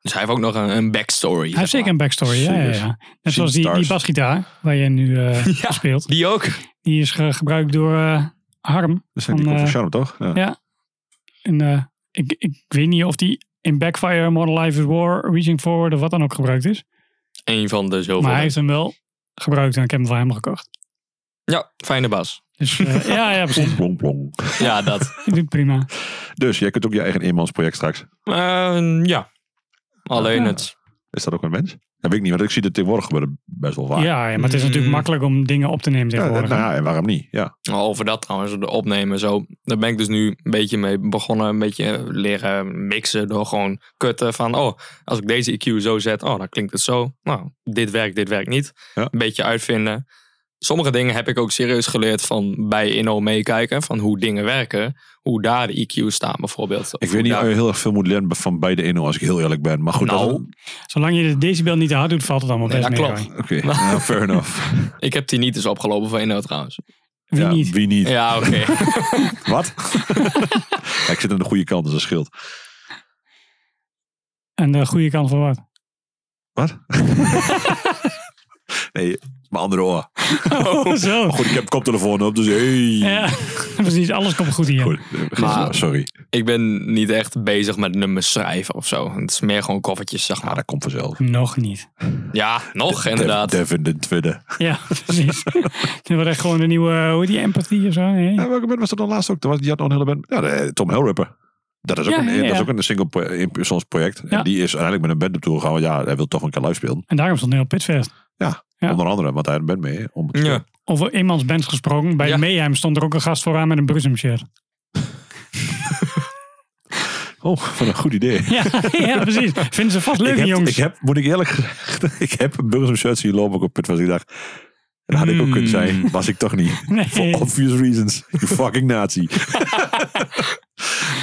[SPEAKER 3] Dus hij heeft ook nog een, een backstory.
[SPEAKER 2] Hij heeft
[SPEAKER 3] zeg
[SPEAKER 2] zeker
[SPEAKER 3] maar.
[SPEAKER 2] een backstory, ja, ja,
[SPEAKER 1] Serieus.
[SPEAKER 2] ja. Net zoals die, die
[SPEAKER 1] Stars.
[SPEAKER 2] basgitaar waar je nu eh,
[SPEAKER 3] Ja.
[SPEAKER 2] speelt.
[SPEAKER 3] Die ook.
[SPEAKER 2] Die is ge- gebruikt door eh, Harm.
[SPEAKER 1] Dat zijn die
[SPEAKER 2] Van,
[SPEAKER 1] van, van
[SPEAKER 2] eh,
[SPEAKER 1] Charme, toch? Ja.
[SPEAKER 2] En eh, ik, ik weet niet of die in Backfire, Modern Life is War, Reaching Forward of wat dan ook gebruikt is.
[SPEAKER 3] Een van de zoveel.
[SPEAKER 2] Maar hij heeft hem wel gebruikt en ik heb hem van hem gekocht.
[SPEAKER 3] Ja, fijne baas.
[SPEAKER 2] Dus eh, ja, ja, precies.
[SPEAKER 1] Plong, plong, plong.
[SPEAKER 3] Ja, dat.
[SPEAKER 2] Ik doe het prima.
[SPEAKER 1] Dus jij kunt ook je eigen eenmansproject straks.
[SPEAKER 3] Eh, ja. Alleen
[SPEAKER 2] Ja.
[SPEAKER 3] het.
[SPEAKER 1] Is dat ook een mens? Dat weet ik niet, want ik zie dat tegenwoordig gebeuren best wel vaak.
[SPEAKER 2] Ja, ja, maar het is
[SPEAKER 3] Mm.
[SPEAKER 2] natuurlijk makkelijk om dingen op te nemen
[SPEAKER 1] Ja,
[SPEAKER 2] tegenwoordig.
[SPEAKER 1] nou ja, en waarom niet? Ja.
[SPEAKER 3] Over dat trouwens, de opnemen zo. Daar ben ik dus nu een beetje mee begonnen. Een beetje leren mixen door gewoon kutten van... Oh, als ik deze EQ zo zet, oh, dan klinkt het zo. Nou, dit werkt, dit werkt niet.
[SPEAKER 1] Ja.
[SPEAKER 3] Een beetje uitvinden. Sommige dingen heb ik ook serieus geleerd van bij Inno meekijken. Van hoe dingen werken. Hoe daar de EQ's staan bijvoorbeeld.
[SPEAKER 1] Ik weet niet of je heel erg veel moet leren van beide eno als ik heel eerlijk ben. Maar goed,
[SPEAKER 3] Nou.
[SPEAKER 1] dat,
[SPEAKER 2] Zolang je de decibel niet te hard doet, valt het allemaal
[SPEAKER 3] Nee,
[SPEAKER 2] best
[SPEAKER 3] dat
[SPEAKER 2] mee.
[SPEAKER 3] klopt.
[SPEAKER 2] hoor.
[SPEAKER 1] Oké, ja, fair enough.
[SPEAKER 3] Ik heb die niet eens opgelopen van Inno trouwens.
[SPEAKER 2] Wie
[SPEAKER 1] ja,
[SPEAKER 2] niet?
[SPEAKER 1] Wie niet?
[SPEAKER 3] Ja, oké.
[SPEAKER 1] Wat? Ja, ik zit aan de goede kant, dus dat scheelt.
[SPEAKER 2] En de goede kant van wat?
[SPEAKER 1] Wat? nee, mijn andere oor.
[SPEAKER 2] Oh, zo.
[SPEAKER 1] Maar goed, ik heb koptelefoon op, dus hey.
[SPEAKER 2] Ja, precies. Alles komt goed hier.
[SPEAKER 1] Goed, eh,
[SPEAKER 3] Maar-
[SPEAKER 1] sorry.
[SPEAKER 3] ik ben niet echt bezig met nummers schrijven of zo. Het is meer gewoon koffertjes, zeg
[SPEAKER 1] Ah,
[SPEAKER 3] maar.
[SPEAKER 1] dat komt vanzelf.
[SPEAKER 2] Nog niet.
[SPEAKER 3] Ja, nog inderdaad.
[SPEAKER 1] Dev, Dev in de tweede.
[SPEAKER 2] Ja, precies. Dit wordt echt gewoon een nieuwe, hoe heet die, empathy of zo? Nee.
[SPEAKER 1] Ja, welke band was dat dan laatst ook? Dat was, die had nog een hele band. Ja, de- Tom Hellripper. Dat is ook,
[SPEAKER 2] Ja,
[SPEAKER 1] een,
[SPEAKER 2] ja, ja.
[SPEAKER 1] Dat is ook een single pro- in- in soms project.
[SPEAKER 2] Ja.
[SPEAKER 1] En die is uiteindelijk met een band op tour gegaan. want Ja, hij wil toch een keer live spelen.
[SPEAKER 2] En daarom stond hij op Pitfest. Ja.
[SPEAKER 1] Onder andere, want hij had een band mee. Om het
[SPEAKER 3] Ja.
[SPEAKER 2] Over eenmans bands gesproken. Bij
[SPEAKER 3] Ja.
[SPEAKER 2] Mayhem stond er ook een gast vooraan met een Brusum shirt.
[SPEAKER 1] Oh, wat een goed idee.
[SPEAKER 2] Ja, ja precies. Vinden ze vast leuk,
[SPEAKER 1] ik
[SPEAKER 2] die
[SPEAKER 1] heb,
[SPEAKER 2] jongens.
[SPEAKER 1] Ik heb, moet ik eerlijk gezegd, ik heb een Burgers shirt zien lopen ook op Pitfest. Ik dacht, En had ik ook
[SPEAKER 3] Hmm.
[SPEAKER 1] kunnen zijn, was ik toch niet. For
[SPEAKER 2] Nee.
[SPEAKER 1] obvious reasons. You fucking nazi.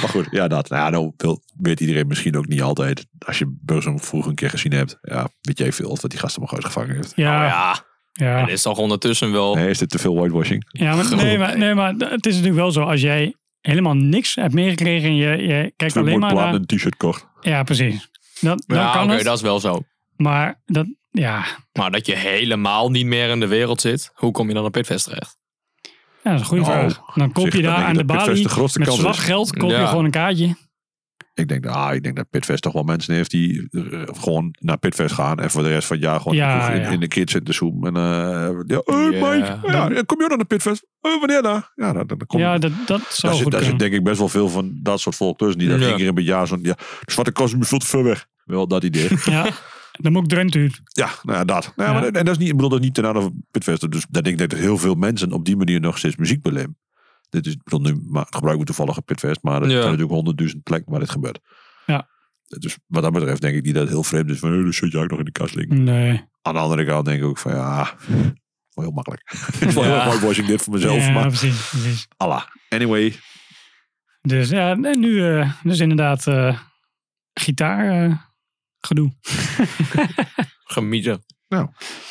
[SPEAKER 1] maar goed, ja, dat. Nou, ja, nou wil- weet iedereen misschien ook niet altijd. Als je Burzum vroeger een keer gezien hebt, ja, weet jij veel of dat die gast hem nog uitgevangen heeft.
[SPEAKER 2] Ja,
[SPEAKER 3] Nou
[SPEAKER 2] ja.
[SPEAKER 3] ja,
[SPEAKER 2] ja.
[SPEAKER 3] het is toch ondertussen
[SPEAKER 2] Oh.
[SPEAKER 3] wel.
[SPEAKER 1] Nee, is dit te veel whitewashing?
[SPEAKER 2] maar, nee,
[SPEAKER 3] Goed.
[SPEAKER 2] maar, nee, maar het is natuurlijk wel zo. Als jij helemaal niks hebt meegekregen en je, je kijkt
[SPEAKER 1] Twee
[SPEAKER 2] alleen maar eh,
[SPEAKER 1] moordplaten
[SPEAKER 2] naar...
[SPEAKER 1] en een t-shirt kocht.
[SPEAKER 2] Ja, precies. Dat, dan
[SPEAKER 3] ja,
[SPEAKER 2] kan
[SPEAKER 3] oké,
[SPEAKER 2] het.
[SPEAKER 3] dat is wel zo.
[SPEAKER 2] Maar dat, ja,
[SPEAKER 3] Maar dat je helemaal niet meer in de wereld zit, hoe kom je dan op Pitfest terecht?
[SPEAKER 2] ja, dat is een goede
[SPEAKER 1] Nou,
[SPEAKER 2] vraag. Dan koop
[SPEAKER 1] zeg,
[SPEAKER 2] je
[SPEAKER 1] dan
[SPEAKER 2] daar
[SPEAKER 1] denk
[SPEAKER 2] aan
[SPEAKER 1] ik
[SPEAKER 2] de
[SPEAKER 1] dat Pitfest
[SPEAKER 2] balie
[SPEAKER 1] de grootste
[SPEAKER 2] met
[SPEAKER 1] kans is.
[SPEAKER 2] zwartgeld koop je
[SPEAKER 3] Ja.
[SPEAKER 2] gewoon een kaartje.
[SPEAKER 1] Ik denk, ah, ik denk dat Pitfest toch wel mensen heeft die eh, gewoon naar Pitfest gaan. En voor de rest van het jaar gewoon
[SPEAKER 2] Ja,
[SPEAKER 1] in,
[SPEAKER 2] ja.
[SPEAKER 1] in de kids zitten zoomen. En, eh, ja, hey,
[SPEAKER 3] Ja.
[SPEAKER 1] Mike, ja, ja, kom je ook naar de Pitfest? Eh, wanneer dan? Ja, dan, dan kom
[SPEAKER 2] Ja,
[SPEAKER 1] je.
[SPEAKER 2] dat, dat zou
[SPEAKER 1] Daar zit, daar
[SPEAKER 2] goed
[SPEAKER 1] zit
[SPEAKER 2] kunnen.
[SPEAKER 1] denk ik best wel veel van dat soort volk tussen. Die dat
[SPEAKER 3] Ja.
[SPEAKER 1] één keer in het jaar zo'n... Ja, de zwarte kast is me veel te ver weg. Wel dat idee.
[SPEAKER 2] Ja, dan moet ik Drenthe uit.
[SPEAKER 1] ja, nou ja, dat. Nou, ja,
[SPEAKER 2] Ja.
[SPEAKER 1] Maar, en dat is niet, ik bedoel dat is niet ten aanzien van Pitfest. Dus daar denk ik dat heel veel mensen op die manier nog steeds muziek beleven. Dit is, ik bedoel, nu maar, gebruiken we toevallig een Pitfest. Maar er
[SPEAKER 3] Ja.
[SPEAKER 1] zijn natuurlijk honderdduizend plekken waar dit gebeurt.
[SPEAKER 2] Ja.
[SPEAKER 1] Dus wat dat betreft denk ik niet dat het heel vreemd is van... Hey, dat shit je ook nog in de kast liggen.
[SPEAKER 2] Nee.
[SPEAKER 1] Aan de andere kant denk ik ook van ja... Wel heel makkelijk. Het is wel heel
[SPEAKER 3] Ja.
[SPEAKER 1] mooi was ik dit voor mezelf.
[SPEAKER 2] ja,
[SPEAKER 1] maar
[SPEAKER 2] precies, precies.
[SPEAKER 1] Allah. Anyway,
[SPEAKER 2] Dus ja, en nu eh, dus inderdaad eh gitaar eh, gedoe.
[SPEAKER 3] Gemieten.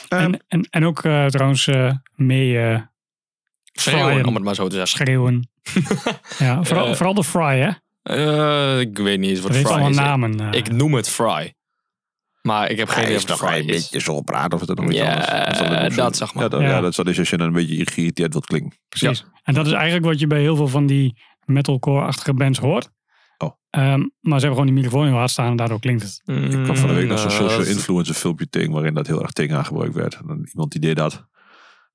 [SPEAKER 2] en, en, en ook eh, trouwens eh, mee eh,
[SPEAKER 3] Schreeuwen,
[SPEAKER 2] Zwaaien.
[SPEAKER 3] om het maar zo te zeggen.
[SPEAKER 2] schreeuwen. ja, vooral,
[SPEAKER 3] Eh,
[SPEAKER 2] vooral de fry, hè?
[SPEAKER 3] Eh, ik weet niet eens wat
[SPEAKER 2] Dat heeft
[SPEAKER 3] fry
[SPEAKER 2] allemaal
[SPEAKER 3] is.
[SPEAKER 2] namen. eh.
[SPEAKER 3] Ik noem het fry. Maar ik heb
[SPEAKER 1] Hij
[SPEAKER 3] geen idee
[SPEAKER 1] is
[SPEAKER 3] of het
[SPEAKER 1] toch
[SPEAKER 3] fry
[SPEAKER 1] een
[SPEAKER 3] is.
[SPEAKER 1] beetje zo praten of het dan nog iets
[SPEAKER 3] Ja,
[SPEAKER 1] anders is. dan ook zo-
[SPEAKER 3] dat zeg maar.
[SPEAKER 1] Ja, dat,
[SPEAKER 2] Ja.
[SPEAKER 1] ja. dat is dus als je dan een beetje geïrriteerd wilt klinken.
[SPEAKER 2] Precies. En dat is eigenlijk wat je bij heel veel van die metalcore-achtige bands hoort.
[SPEAKER 1] Oh.
[SPEAKER 2] Ehm, maar ze hebben gewoon die microfoon heel hard staan en daardoor klinkt het.
[SPEAKER 1] Ik kwam van de week naar zo'n
[SPEAKER 3] Eh,
[SPEAKER 1] social
[SPEAKER 3] dat is-
[SPEAKER 1] influencer filmpje tegen waarin dat heel erg tegen aangebruikt werd. En dan iemand die deed dat.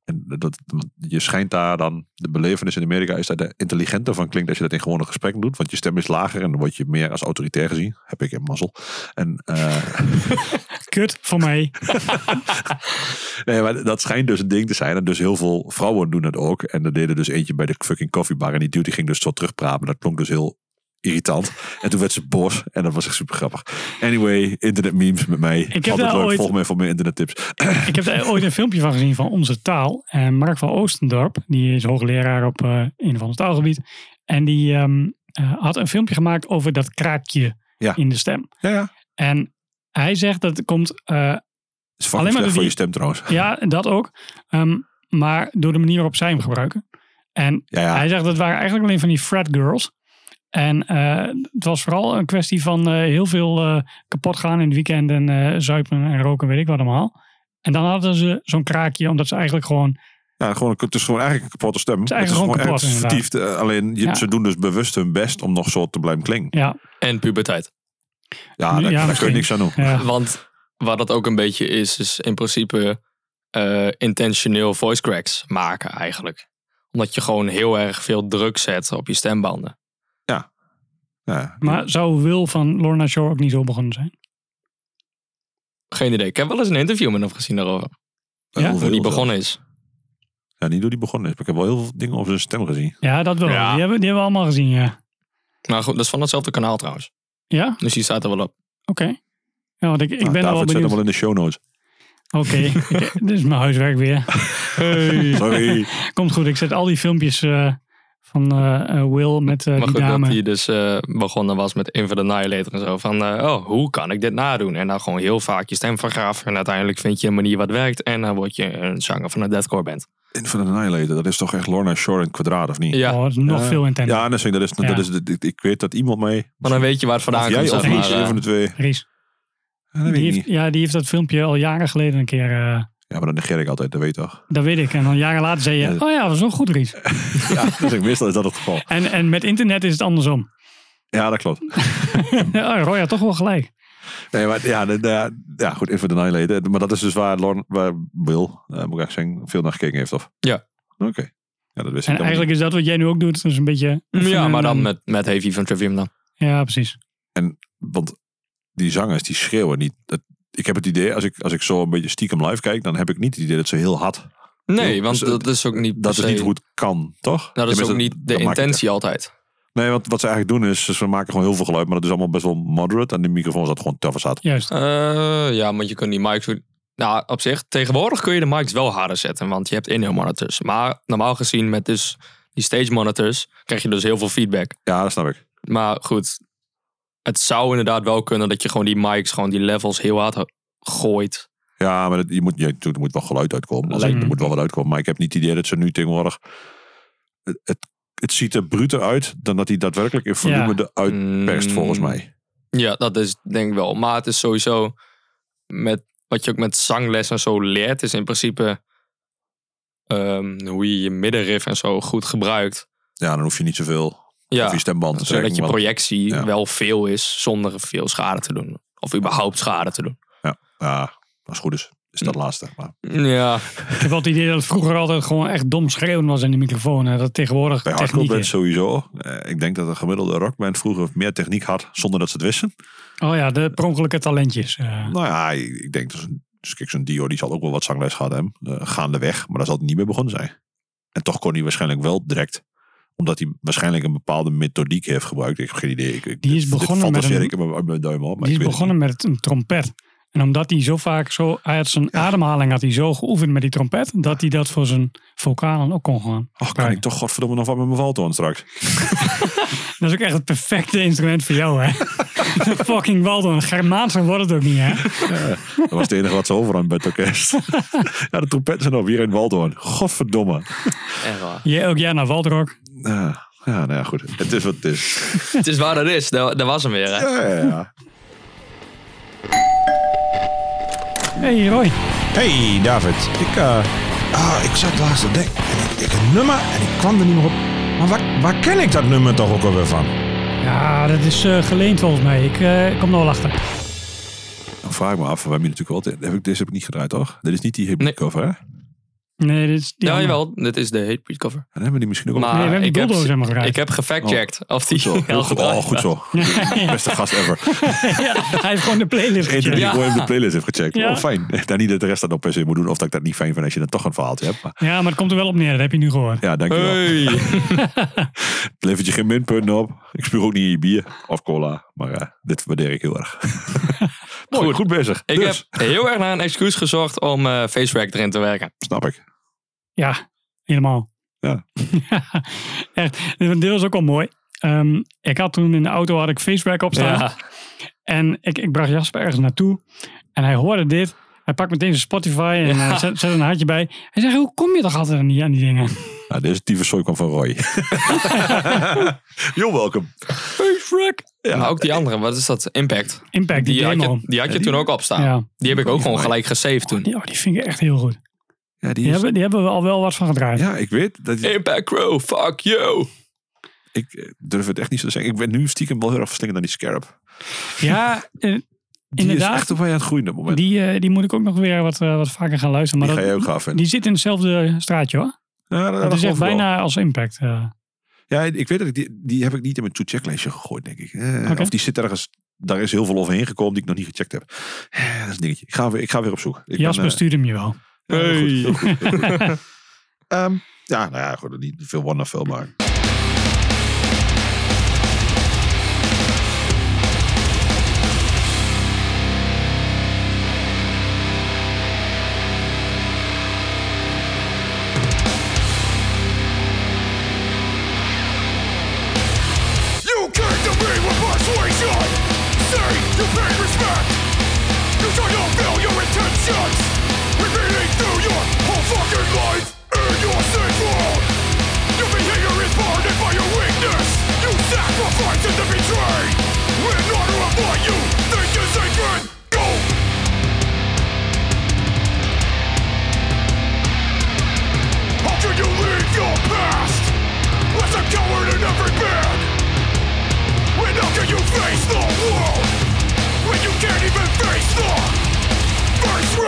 [SPEAKER 1] En dat, je schijnt daar dan, de belevenis in Amerika is dat er intelligenter van klinkt als je dat in gewone gesprekken doet. Want je stem is lager en dan word je meer als autoritair gezien. Heb ik in mazzel. En eh,
[SPEAKER 2] Kut voor mij.
[SPEAKER 1] Nee, maar dat schijnt dus een ding te zijn. En dus heel veel vrouwen doen dat ook. En er deden dus eentje bij de fucking koffiebar. En die dude die ging dus zo terugpraten. Dat klonk dus heel irritant. En toen werd ze boos. En dat was echt super grappig. Anyway, internet memes met mij.
[SPEAKER 2] heb
[SPEAKER 1] Altijd
[SPEAKER 2] daar
[SPEAKER 1] leuk.
[SPEAKER 2] ooit-
[SPEAKER 1] Volg mij voor meer internet tips.
[SPEAKER 2] Ik heb daar ooit een filmpje van gezien van Onze Taal. En Mark van Oostendorp, die is hoogleraar op eh, een van ons taalgebied. En die ehm, eh, had een filmpje gemaakt over dat kraakje
[SPEAKER 1] Ja.
[SPEAKER 2] in de stem.
[SPEAKER 1] Ja, ja.
[SPEAKER 2] En hij zegt dat het komt, eh,
[SPEAKER 1] Het is fucking
[SPEAKER 2] Alleen maar
[SPEAKER 1] slecht voor
[SPEAKER 2] dat die-
[SPEAKER 1] je stem trouwens.
[SPEAKER 2] ja, dat ook. Ehm, maar door de manier waarop zij hem gebruiken. En
[SPEAKER 1] Ja, ja.
[SPEAKER 2] hij zegt dat waren eigenlijk alleen van die frat girls. En eh, het was vooral een kwestie van eh, heel veel eh, kapot gaan in het weekend en eh, zuipen en roken, weet ik wat allemaal. En dan hadden ze zo'n kraakje, omdat ze eigenlijk gewoon
[SPEAKER 1] ja gewoon, het is gewoon eigenlijk een kapotte stem. Het
[SPEAKER 2] is eigenlijk gewoon
[SPEAKER 1] echt
[SPEAKER 2] kapot,
[SPEAKER 1] vertiefd. Eh, Alleen je-
[SPEAKER 2] Ja.
[SPEAKER 1] ze doen dus bewust hun best om nog zo te blijven klinken.
[SPEAKER 2] Ja,
[SPEAKER 3] En puberteit.
[SPEAKER 1] Ja, daar,
[SPEAKER 2] Ja,
[SPEAKER 1] daar kun
[SPEAKER 2] misschien.
[SPEAKER 1] je niks aan doen.
[SPEAKER 2] ja,
[SPEAKER 3] Want waar dat ook een beetje is, is in principe eh, intentioneel voice cracks maken eigenlijk. Omdat je gewoon heel erg veel druk zet op je stembanden.
[SPEAKER 1] Ja.
[SPEAKER 2] maar zou Wil van Lorna Shore ook niet zo begonnen zijn?
[SPEAKER 3] Geen idee. Ik heb wel eens een interview met hem gezien daarover.
[SPEAKER 2] Ja?
[SPEAKER 1] Heel
[SPEAKER 3] Hoe die
[SPEAKER 1] veel
[SPEAKER 3] begonnen is.
[SPEAKER 1] zelfs. Ja, niet door die begonnen is. Maar ik heb wel heel veel dingen over zijn stem gezien.
[SPEAKER 2] Ja, dat wel.
[SPEAKER 3] Ja.
[SPEAKER 2] Die, hebben, die hebben we allemaal gezien, ja.
[SPEAKER 3] Maar goed, dat is van hetzelfde kanaal trouwens.
[SPEAKER 2] Ja? Oké.
[SPEAKER 3] Dus die staat er wel op.
[SPEAKER 2] Ja, want ik, ik
[SPEAKER 1] Nou, David
[SPEAKER 2] ben er wel
[SPEAKER 1] zet hem
[SPEAKER 2] benieuwd.
[SPEAKER 1] wel in de show notes.
[SPEAKER 2] Oké, ik- dit is mijn huiswerk weer.
[SPEAKER 1] Sorry.
[SPEAKER 2] Komt goed, ik zet al die filmpjes eh, van eh, eh, Will met eh,
[SPEAKER 3] Maar
[SPEAKER 2] die
[SPEAKER 3] goed, dat
[SPEAKER 2] dame.
[SPEAKER 3] hij dus eh, begonnen was met Inver the Annihilator en zo. Van, eh, oh, hoe kan ik dit nadoen? En dan gewoon heel vaak je stem vergraven. En uiteindelijk vind je een manier wat werkt. En dan word je een zanger van een deathcore band.
[SPEAKER 1] Infinite Annihilator, dat is toch echt Lorna Shore in het kwadraat, of niet?
[SPEAKER 3] Ja,
[SPEAKER 2] Oh, dat is nog
[SPEAKER 1] Ja.
[SPEAKER 2] veel intenser.
[SPEAKER 1] Ja, en dat is, dat is,
[SPEAKER 2] Ja.
[SPEAKER 1] dat is, dat- ik, ik weet dat iemand mee.
[SPEAKER 3] maar dan weet je waar het
[SPEAKER 1] Of
[SPEAKER 3] vandaan
[SPEAKER 1] jij
[SPEAKER 3] komt.
[SPEAKER 1] of
[SPEAKER 3] Zeg
[SPEAKER 2] niet,
[SPEAKER 1] niet,
[SPEAKER 3] maar,
[SPEAKER 1] een
[SPEAKER 3] eh,
[SPEAKER 1] van de twee.
[SPEAKER 2] Ries.
[SPEAKER 1] Ja, dat
[SPEAKER 2] Die
[SPEAKER 1] weet ik
[SPEAKER 2] heeft,
[SPEAKER 1] niet.
[SPEAKER 2] ja, die heeft dat filmpje al jaren geleden een keer. eh,
[SPEAKER 1] Ja, maar dat negeer ik altijd, dat weet je toch.
[SPEAKER 2] dat weet ik. En dan jaren later zei je:
[SPEAKER 1] Ja.
[SPEAKER 2] Oh ja, dat was wel goed, Ries.
[SPEAKER 1] Ja, dus ik, meestal is dat het geval.
[SPEAKER 2] En, en met internet is het andersom.
[SPEAKER 1] Ja, dat klopt.
[SPEAKER 2] Ja, oh, Roy had toch wel gelijk.
[SPEAKER 1] Nee, maar ja, de, de- ja goed, Infinite Annihilator. Maar dat is dus waar, Lorn, waar Will, eh, moet ik echt zeggen, veel naar gekeken heeft, of?
[SPEAKER 3] Ja.
[SPEAKER 1] Oké. Ja, dat wist
[SPEAKER 2] En
[SPEAKER 1] ik dan niet.
[SPEAKER 2] eigenlijk is dat wat jij nu ook doet. Dus een beetje.
[SPEAKER 3] Ja,
[SPEAKER 2] een-
[SPEAKER 3] maar dan
[SPEAKER 2] een-
[SPEAKER 3] met, met Heavy van Trivium dan.
[SPEAKER 2] Ja, precies.
[SPEAKER 1] Want die zangers, die schreeuwen niet. Dat, ik heb het idee, als ik, als ik zo een beetje stiekem live kijk, dan heb ik niet het idee dat ze heel hard
[SPEAKER 3] Nee,
[SPEAKER 1] Ja,
[SPEAKER 3] want
[SPEAKER 1] dus,
[SPEAKER 3] dat is ook niet per
[SPEAKER 1] Dat is
[SPEAKER 3] se-
[SPEAKER 1] niet hoe het kan, toch?
[SPEAKER 3] Nou, dat is
[SPEAKER 1] Tenminste,
[SPEAKER 3] ook niet de
[SPEAKER 1] dat maakt
[SPEAKER 3] intentie altijd.
[SPEAKER 1] niet uit. Nee, want wat ze eigenlijk doen is, ze maken gewoon heel veel geluid, maar dat is allemaal best wel moderate. En die microfoon zat gewoon tough zat.
[SPEAKER 2] Juist.
[SPEAKER 3] Eh, ja, want je kunt die mic Nou, op zich, tegenwoordig kun je de mics wel harder zetten, want je hebt in-ear monitors. Maar normaal gezien met dus die stage monitors krijg je dus heel veel feedback.
[SPEAKER 1] Ja, dat snap ik.
[SPEAKER 3] Maar goed, het zou inderdaad wel kunnen dat je gewoon die mics, gewoon die levels heel hard ho- gooit.
[SPEAKER 1] Ja, maar dat, je moet, je, natuurlijk, er moet wel geluid uitkomen. Als in, er
[SPEAKER 2] Lijkt-
[SPEAKER 1] moet wel wat uitkomen. Maar ik heb niet het idee dat ze nu tegenwoordig... Het, het, het ziet er bruter uit dan dat hij daadwerkelijk in volume
[SPEAKER 2] Ja.
[SPEAKER 1] eruit perst,
[SPEAKER 3] Mm,
[SPEAKER 1] volgens mij.
[SPEAKER 3] Ja, dat is denk ik wel. Maar het is sowieso met wat je ook met zangles en zo leert, is in principe ehm, hoe je je middenriff en zo goed gebruikt.
[SPEAKER 1] Ja, dan hoef je niet zoveel
[SPEAKER 3] Ja,
[SPEAKER 1] of je stemband te
[SPEAKER 3] zodat
[SPEAKER 1] zeggen.
[SPEAKER 3] je
[SPEAKER 1] want-
[SPEAKER 3] projectie
[SPEAKER 1] ja.
[SPEAKER 3] wel veel is zonder veel schade te doen. Of überhaupt schade te doen.
[SPEAKER 1] Ja, als het goed is, is
[SPEAKER 3] Mm.
[SPEAKER 1] dat laatste. Maar
[SPEAKER 3] Ja,
[SPEAKER 2] Ik heb wel het idee dat het vroeger altijd gewoon echt dom schreeuwen was in de microfoon. En dat tegenwoordig
[SPEAKER 1] bij
[SPEAKER 2] techniek
[SPEAKER 1] hardcore band
[SPEAKER 2] is.
[SPEAKER 1] sowieso. Eh, ik denk dat een gemiddelde rockband vroeger meer techniek had zonder dat ze het wisten.
[SPEAKER 2] Oh ja, de pronkelijke talentjes. eh.
[SPEAKER 1] Nou ja, ik, ik denk dus, dus kijk, zo'n Dio die zal ook wel wat zangles gehad hebben. eh, gaandeweg, maar daar zal het niet mee begonnen zijn. En toch kon hij waarschijnlijk wel direct omdat hij waarschijnlijk een bepaalde methodiek heeft gebruikt. Ik heb geen idee. Ik, ik-
[SPEAKER 2] Die is
[SPEAKER 1] dit
[SPEAKER 2] begonnen met
[SPEAKER 1] fantaseer
[SPEAKER 2] een-
[SPEAKER 1] ik in mijn- uit mijn duim op. Maar ik
[SPEAKER 2] die is
[SPEAKER 1] weet het
[SPEAKER 2] begonnen met een trompet. En omdat hij zo vaak zo, hij had zijn ademhaling had hij zo geoefend met die trompet, dat hij dat voor zijn vocalen ook kon gaan.
[SPEAKER 1] niet. Och, kan ik toch godverdomme nog wat met mijn valtoon straks.
[SPEAKER 2] Dat is ook echt het perfecte instrument voor jou, hè? Fucking Waldon. Germaanse wordt het ook niet, hè?
[SPEAKER 1] Dat was het enige wat ze over aan bij het orkest. ja, de trompetten zijn op. Hier in Waldhoorn. Godverdomme.
[SPEAKER 3] echt waar.
[SPEAKER 2] Je, ook jij naar Waldrock.
[SPEAKER 1] Ja, ja, nou ja, goed. Het is wat het is.
[SPEAKER 3] het is waar dat is. Daar, daar was hem weer. Hè?
[SPEAKER 1] Ja, ja, ja.
[SPEAKER 2] hey, Roy.
[SPEAKER 5] Hey David, ik, eh, ah, ik zat laatst te denken en ik, ik een nummer en ik kwam er niet meer op. Maar waar, waar ken ik dat nummer toch ook alweer van?
[SPEAKER 2] Ja, dat is eh, geleend volgens mij. Ik eh, kom er wel achter.
[SPEAKER 1] Dan vraag ik me af, we hebben hier natuurlijk altijd... Heb ik, deze heb ik niet gedraaid, toch? Dit is niet die hip
[SPEAKER 3] Nee.
[SPEAKER 1] cover, hè?
[SPEAKER 2] Nee, dit is die
[SPEAKER 3] Ja,
[SPEAKER 2] andere.
[SPEAKER 3] Nou, jawel. Dit is de Hatebreed cover.
[SPEAKER 1] Dan hebben we die misschien ook al
[SPEAKER 3] Maar
[SPEAKER 2] Nee, we hebben
[SPEAKER 3] ik
[SPEAKER 2] die
[SPEAKER 3] heb,
[SPEAKER 2] Bulldozer helemaal gedraaid.
[SPEAKER 3] ik heb gefactcheckt of die
[SPEAKER 1] Zo, heel
[SPEAKER 3] wel
[SPEAKER 1] Oh, goed,
[SPEAKER 3] gedraaid
[SPEAKER 1] oh, goed zo. Beste gast ever.
[SPEAKER 2] Ja, hij heeft gewoon de playlist
[SPEAKER 1] Eentje
[SPEAKER 2] gecheckt.
[SPEAKER 1] die
[SPEAKER 2] Ja.
[SPEAKER 1] ik gewoon in de playlist heb gecheckt.
[SPEAKER 2] Ja.
[SPEAKER 1] Oh, fijn. Nou, niet dat de rest dat nog per se moet doen. Of dat ik dat niet fijn vind als je dan toch een verhaaltje hebt. Maar
[SPEAKER 2] maar het komt er wel op neer. Dat heb je nu gehoord.
[SPEAKER 1] ja, dankjewel.
[SPEAKER 3] Hey.
[SPEAKER 1] Het levert je geen minpunten op. Ik spuur ook niet in je bier of cola. Maar eh, dit waardeer ik heel erg. Mooi, goed,
[SPEAKER 3] Goed.
[SPEAKER 1] bezig.
[SPEAKER 3] Ik
[SPEAKER 1] dus,
[SPEAKER 3] heb heel erg naar een excuus gezocht om eh FaceRack erin te werken.
[SPEAKER 1] snap ik.
[SPEAKER 2] Ja, helemaal.
[SPEAKER 1] Ja.
[SPEAKER 2] Echt, want dit was ook wel mooi. Ehm, ik had toen in de auto had ik Facebook op staan. En ik, ik bracht Jasper ergens naartoe. En hij hoorde dit. Hij pakt meteen zijn Spotify en
[SPEAKER 3] Ja.
[SPEAKER 2] eh, zet, zet er een hartje bij. Hij zegt, hoe kom je toch altijd aan die, aan die dingen?
[SPEAKER 1] Nou, deze tyfuszooi kwam van Roy. You're welcome.
[SPEAKER 2] Facebook.
[SPEAKER 3] Maar ook die andere, wat is dat? Impact.
[SPEAKER 2] Impact, die,
[SPEAKER 3] Die had
[SPEAKER 2] demo.
[SPEAKER 3] je, Ah. die had je
[SPEAKER 1] Ja, die-
[SPEAKER 3] toen ook op staan.
[SPEAKER 2] ja,
[SPEAKER 3] Die heb ik ook gewoon
[SPEAKER 1] Maar-
[SPEAKER 3] gelijk gesaved toen.
[SPEAKER 2] die, oh, die vind ik echt heel goed.
[SPEAKER 1] Ja, die
[SPEAKER 2] Die
[SPEAKER 1] is-
[SPEAKER 2] hebben, die hebben we al wel wat van gedraaid.
[SPEAKER 1] ja, ik weet. Dat,
[SPEAKER 3] Impact Crow, fuck you.
[SPEAKER 1] ik eh, durf het echt niet zo te zeggen. Ik ben nu stiekem wel heel erg verslingerd aan die Scarab.
[SPEAKER 2] Ja, eh,
[SPEAKER 1] Die
[SPEAKER 2] Inderdaad.
[SPEAKER 1] is echt op mij aan het groeien op het moment. Die,
[SPEAKER 2] die, eh, die moet ik ook nog weer wat, eh, wat vaker gaan luisteren. Maar
[SPEAKER 1] ga
[SPEAKER 2] dat-
[SPEAKER 1] jij ook gaaf vinden.
[SPEAKER 2] die zit in hetzelfde straatje hoor.
[SPEAKER 1] Ja, dat,
[SPEAKER 2] Dat is
[SPEAKER 1] geloof
[SPEAKER 2] echt
[SPEAKER 1] ik wel.
[SPEAKER 2] bijna als impact. eh.
[SPEAKER 1] Ja, ik weet dat ik die, die heb ik niet in mijn to-checklistje gegooid, denk ik. Eh,
[SPEAKER 2] Oké.
[SPEAKER 1] Of die zit ergens, daar is heel veel overheen gekomen die ik nog niet gecheckt heb. Eh, dat is een dingetje. Ik ga weer, ik ga weer op zoek. Ik
[SPEAKER 2] Jasper
[SPEAKER 1] ben,
[SPEAKER 2] stuurde hem je wel.
[SPEAKER 1] eh, ja,
[SPEAKER 3] Hey.
[SPEAKER 1] heel goed, heel goed, heel goed. Ehm, ja, nou ja, goed, niet veel one of veel, maar...
[SPEAKER 7] You came to me with persuasion Say you paid respect You try to fill your intentions Repeating through your whole fucking life In your sinful Your behavior is burdened by your weakness You sacrifice and then betray In order of what you think is sacred Go How can you leave your past? As a coward in every band When how can you face the world? When you can't even face the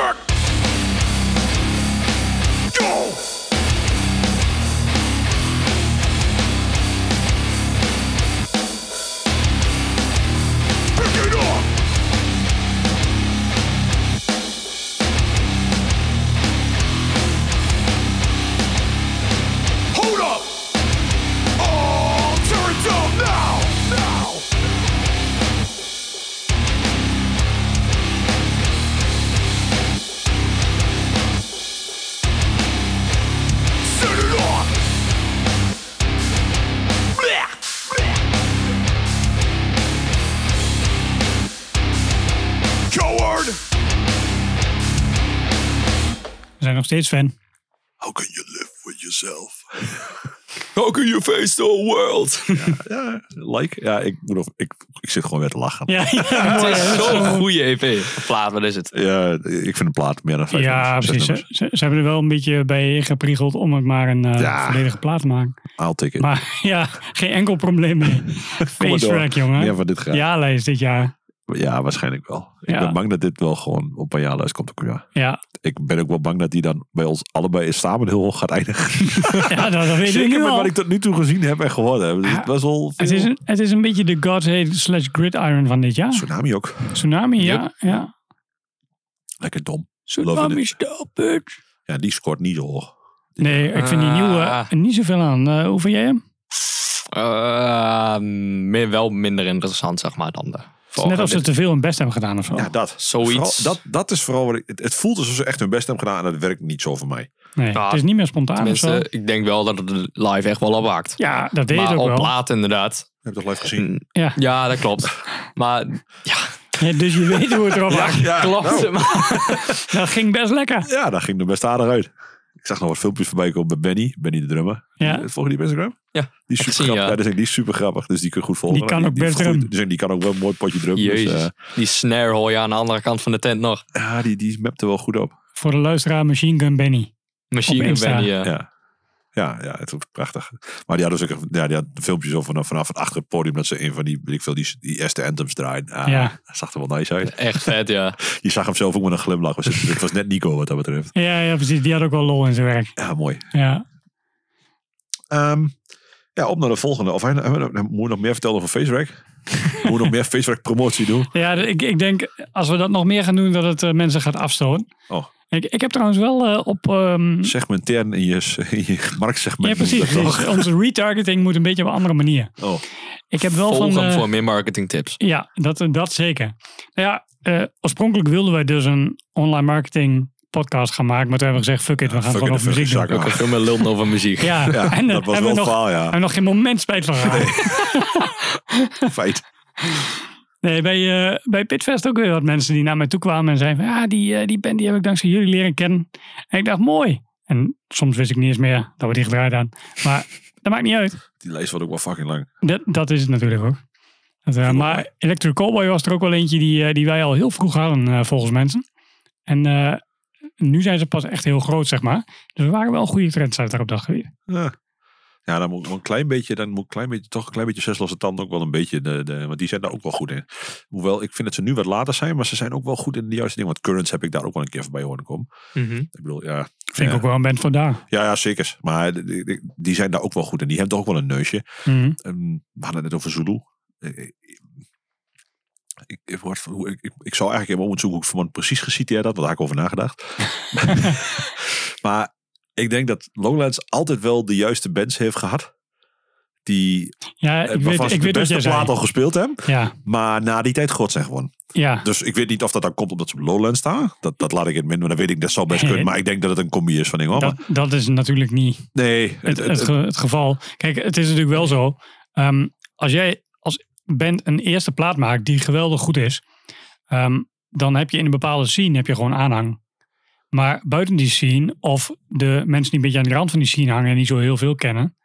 [SPEAKER 2] zijn nog steeds fan.
[SPEAKER 1] How can you live with yourself?
[SPEAKER 3] How can you face the whole world?
[SPEAKER 1] Ja, like. Ja, ik, moet nog, ik, ik zit gewoon weer te lachen.
[SPEAKER 2] Ja, ja, mooi,
[SPEAKER 3] Het
[SPEAKER 2] hè?
[SPEAKER 3] is zo'n goede EP. Plaat, wat is het?
[SPEAKER 1] Ja, ik vind de plaat meer dan vijf
[SPEAKER 2] Ja,
[SPEAKER 1] nummers, zes
[SPEAKER 2] precies. Ze,
[SPEAKER 1] nummers.
[SPEAKER 2] ze- ze hebben er wel een beetje bij gepriegeld om het maar een eh,
[SPEAKER 1] Ja.
[SPEAKER 2] volledige plaat te maken.
[SPEAKER 1] I'll take it.
[SPEAKER 2] Maar ja, geen enkel probleem meer.
[SPEAKER 1] Kom maar door.
[SPEAKER 2] Facerack, jongen.
[SPEAKER 1] Meer
[SPEAKER 2] Ja,
[SPEAKER 1] van dit graag. Ja.
[SPEAKER 2] lijst dit jaar.
[SPEAKER 1] waarschijnlijk wel. Ik
[SPEAKER 2] Ja.
[SPEAKER 1] ben bang dat dit wel gewoon op een jaarlijst komt. Ook, ja.
[SPEAKER 2] Ja,
[SPEAKER 1] Ik ben ook wel bang dat die dan bij ons allebei samen heel hoog gaat eindigen.
[SPEAKER 2] ja dat, dat weet ik
[SPEAKER 1] Zeker
[SPEAKER 2] nu
[SPEAKER 1] met
[SPEAKER 2] al.
[SPEAKER 1] wat ik tot nu toe gezien heb en gehoord heb. Dus Het was al
[SPEAKER 2] Het
[SPEAKER 1] veel-
[SPEAKER 2] is, een, het is een beetje de Godhead slash Gridiron van dit jaar.
[SPEAKER 1] Tsunami ook.
[SPEAKER 2] Tsunami, ja. ja.
[SPEAKER 1] Lekker dom. Loving
[SPEAKER 2] Tsunami,
[SPEAKER 1] it.
[SPEAKER 2] stop it.
[SPEAKER 1] Ja, die scoort niet zo hoog.
[SPEAKER 2] Nee, ik vind die
[SPEAKER 3] Ah.
[SPEAKER 2] nieuwe er niet zoveel aan. Eh, hoe vind jij hem?
[SPEAKER 3] Eh, meer, wel minder interessant, zeg maar, dan de
[SPEAKER 2] Het is net of ze te veel hun best hebben gedaan of zo.
[SPEAKER 1] Ja, dat.
[SPEAKER 3] Zoiets.
[SPEAKER 1] Vooral- dat, dat is vooral wat ik... Het, het voelt alsof ze echt hun best hebben gedaan en dat werkt niet zo voor mij.
[SPEAKER 2] nee,
[SPEAKER 3] ja,
[SPEAKER 2] het is niet meer spontaan of zo.
[SPEAKER 3] Tenminste, ik denk wel dat het live echt wel opwaakt.
[SPEAKER 2] Ja, dat deed
[SPEAKER 3] maar
[SPEAKER 2] het
[SPEAKER 3] op
[SPEAKER 2] ook wel.
[SPEAKER 3] plaat inderdaad.
[SPEAKER 1] Heb je dat live gezien?
[SPEAKER 2] Ja.
[SPEAKER 3] Ja, dat klopt. Maar
[SPEAKER 2] Ja, dus je weet hoe het erop was.
[SPEAKER 1] Ja,
[SPEAKER 3] klopt.
[SPEAKER 1] nou.
[SPEAKER 3] Maar,
[SPEAKER 2] Dat ging best lekker.
[SPEAKER 1] Ja, dat ging er best aardig uit. Ik zag nog wat filmpjes voorbij komen bij Benny. Benny de drummer.
[SPEAKER 2] Ja.
[SPEAKER 1] Volg je die op Instagram?
[SPEAKER 3] Ja,
[SPEAKER 1] Die is super
[SPEAKER 3] ik zie,
[SPEAKER 1] grappig.
[SPEAKER 3] ja.
[SPEAKER 1] Ja, die is- die is super grappig. Dus die kun je goed volgen.
[SPEAKER 2] Die kan ook best
[SPEAKER 1] vergroeit-
[SPEAKER 2] drummen.
[SPEAKER 1] Dus die kan ook wel een mooi potje drummen. Dus,
[SPEAKER 3] jezus,
[SPEAKER 1] eh,
[SPEAKER 3] die snare hoor je aan de andere kant van de tent nog.
[SPEAKER 1] ja, die, die mapt er wel goed op.
[SPEAKER 2] Voor de luisteraar Machine Gun Benny. Op
[SPEAKER 3] Machine
[SPEAKER 2] Insta.
[SPEAKER 3] ben je.
[SPEAKER 1] Ja. Ja, ja, het is prachtig. Maar die had dus ook een- ja, die had filmpjes over vanaf, vanaf het achter het podium dat ze een van die, weet ik veel, die, die eerste anthems draaien. Ah,
[SPEAKER 2] Ja.
[SPEAKER 1] dat zag er wel nice uit.
[SPEAKER 3] Echt vet, ja.
[SPEAKER 1] Je zag hem zelf ook met een glimlach. Dus het het was net Nico wat dat betreft.
[SPEAKER 2] Ja, ja, precies. Die had ook wel lol in zijn werk.
[SPEAKER 1] Ja, mooi.
[SPEAKER 2] Ja.
[SPEAKER 1] Ehm, ja, op naar de volgende. Of hij, hij- hij- moet je nog meer vertellen over FaceRack? moet je nog meer FaceRack promotie doen?
[SPEAKER 2] Ja, d- ik, ik denk als we dat nog meer gaan doen, dat het eh, mensen gaat afstoten.
[SPEAKER 1] Oh.
[SPEAKER 2] Ik, ik heb trouwens wel eh, op... ehm,
[SPEAKER 1] Segmenteren in je, in je marktsegment.
[SPEAKER 2] ja, precies.
[SPEAKER 1] noem je dat
[SPEAKER 2] Dus onze retargeting moet een beetje op een andere manier.
[SPEAKER 1] toch? Oh,
[SPEAKER 2] Ik heb wel
[SPEAKER 3] Volg
[SPEAKER 2] van...
[SPEAKER 3] hem
[SPEAKER 2] eh,
[SPEAKER 3] voor meer marketing tips.
[SPEAKER 2] Ja, dat, dat zeker. Nou ja, eh, oorspronkelijk wilden wij dus een online marketing podcast gaan maken. Maar toen hebben we gezegd, fuck it, we gaan
[SPEAKER 1] fuck
[SPEAKER 2] gewoon
[SPEAKER 1] it,
[SPEAKER 2] over
[SPEAKER 1] fuck
[SPEAKER 2] muziek
[SPEAKER 1] it,
[SPEAKER 2] doen.
[SPEAKER 1] zak.
[SPEAKER 3] Ook een film met lullen over muziek.
[SPEAKER 1] ja,
[SPEAKER 2] Ja, en daar
[SPEAKER 1] dat was
[SPEAKER 2] hebben
[SPEAKER 1] wel
[SPEAKER 2] we nog,
[SPEAKER 1] faal,
[SPEAKER 2] hebben
[SPEAKER 1] ja.
[SPEAKER 2] we nog geen moment spijt van gehad.
[SPEAKER 1] Feit.
[SPEAKER 2] Nee, bij, eh, bij Pitfest ook weer wat mensen die naar mij toe kwamen en zeiden van, ja, die, eh, die band die heb ik dankzij jullie leren kennen. En ik dacht, mooi. En soms wist ik niet eens meer dat we die gedraaid hadden. Maar dat maakt niet uit.
[SPEAKER 1] Die lijst wordt ook wel fucking lang.
[SPEAKER 2] Dat, dat is het natuurlijk ook. Dat, eh, maar Electric Cowboy was er ook wel eentje die, eh, die wij al heel vroeg hadden, eh, volgens mensen. En eh, nu zijn ze pas echt heel groot, zeg maar. Dus we waren wel goede trendsetter op dat gebied.
[SPEAKER 1] Ja. Ja, dan moet ik wel een klein beetje, dan moet ik een klein beetje, toch een klein beetje zes losse tanden ook wel een beetje, de, de, want die zijn daar ook wel goed in. Hoewel, ik vind dat ze nu wat later zijn, maar ze zijn ook wel goed in de juiste dingen. Want Currents heb ik daar ook wel een keer voorbij horen komen. Ik bedoel, ja,
[SPEAKER 2] Vind
[SPEAKER 1] Ja.
[SPEAKER 2] ik ook wel een band voor daar.
[SPEAKER 1] ja, ja zeker. Maar eh, die- die- die zijn daar ook wel goed in. Die hebben toch ook wel een neusje.
[SPEAKER 2] Mhm.
[SPEAKER 1] Ehm, we hadden het net over Zulu. Eh, eh, Ik, ik, word van- hoe- ik, ik, ik zou eigenlijk even moeten zoeken hoe ik Vermont precies geciteerd had, want daar heb ik over nagedacht. maar ik denk dat Lowlands altijd wel de juiste bands heeft gehad. Die,
[SPEAKER 2] Ja,
[SPEAKER 1] eh,
[SPEAKER 2] ik
[SPEAKER 1] waarvan
[SPEAKER 2] weet,
[SPEAKER 1] ze
[SPEAKER 2] ik
[SPEAKER 1] de
[SPEAKER 2] weet wat
[SPEAKER 1] beste
[SPEAKER 2] jij
[SPEAKER 1] plaat al
[SPEAKER 2] zei.
[SPEAKER 1] gespeeld hebben.
[SPEAKER 2] Ja,
[SPEAKER 1] Maar na die tijd god zijn gewoon.
[SPEAKER 2] ja.
[SPEAKER 1] Dus ik weet niet of dat dan komt omdat ze op Lowlands staan. Dat, dat laat ik in het min, maar dat weet ik, dat zou best kunnen. Maar ik denk dat het een combi is van dingen. hoor.
[SPEAKER 2] Dat, dat is natuurlijk niet
[SPEAKER 1] Maar nee, het-
[SPEAKER 2] het,
[SPEAKER 1] het-
[SPEAKER 2] het, ge- het geval. Kijk, het is natuurlijk wel zo. ehm, als jij als band een eerste plaat maakt die geweldig goed is, ehm, dan heb je in een bepaalde scene heb je gewoon aanhang. Maar buiten die scene, of de mensen die een beetje aan de rand van die scene hangen en niet zo heel veel kennen,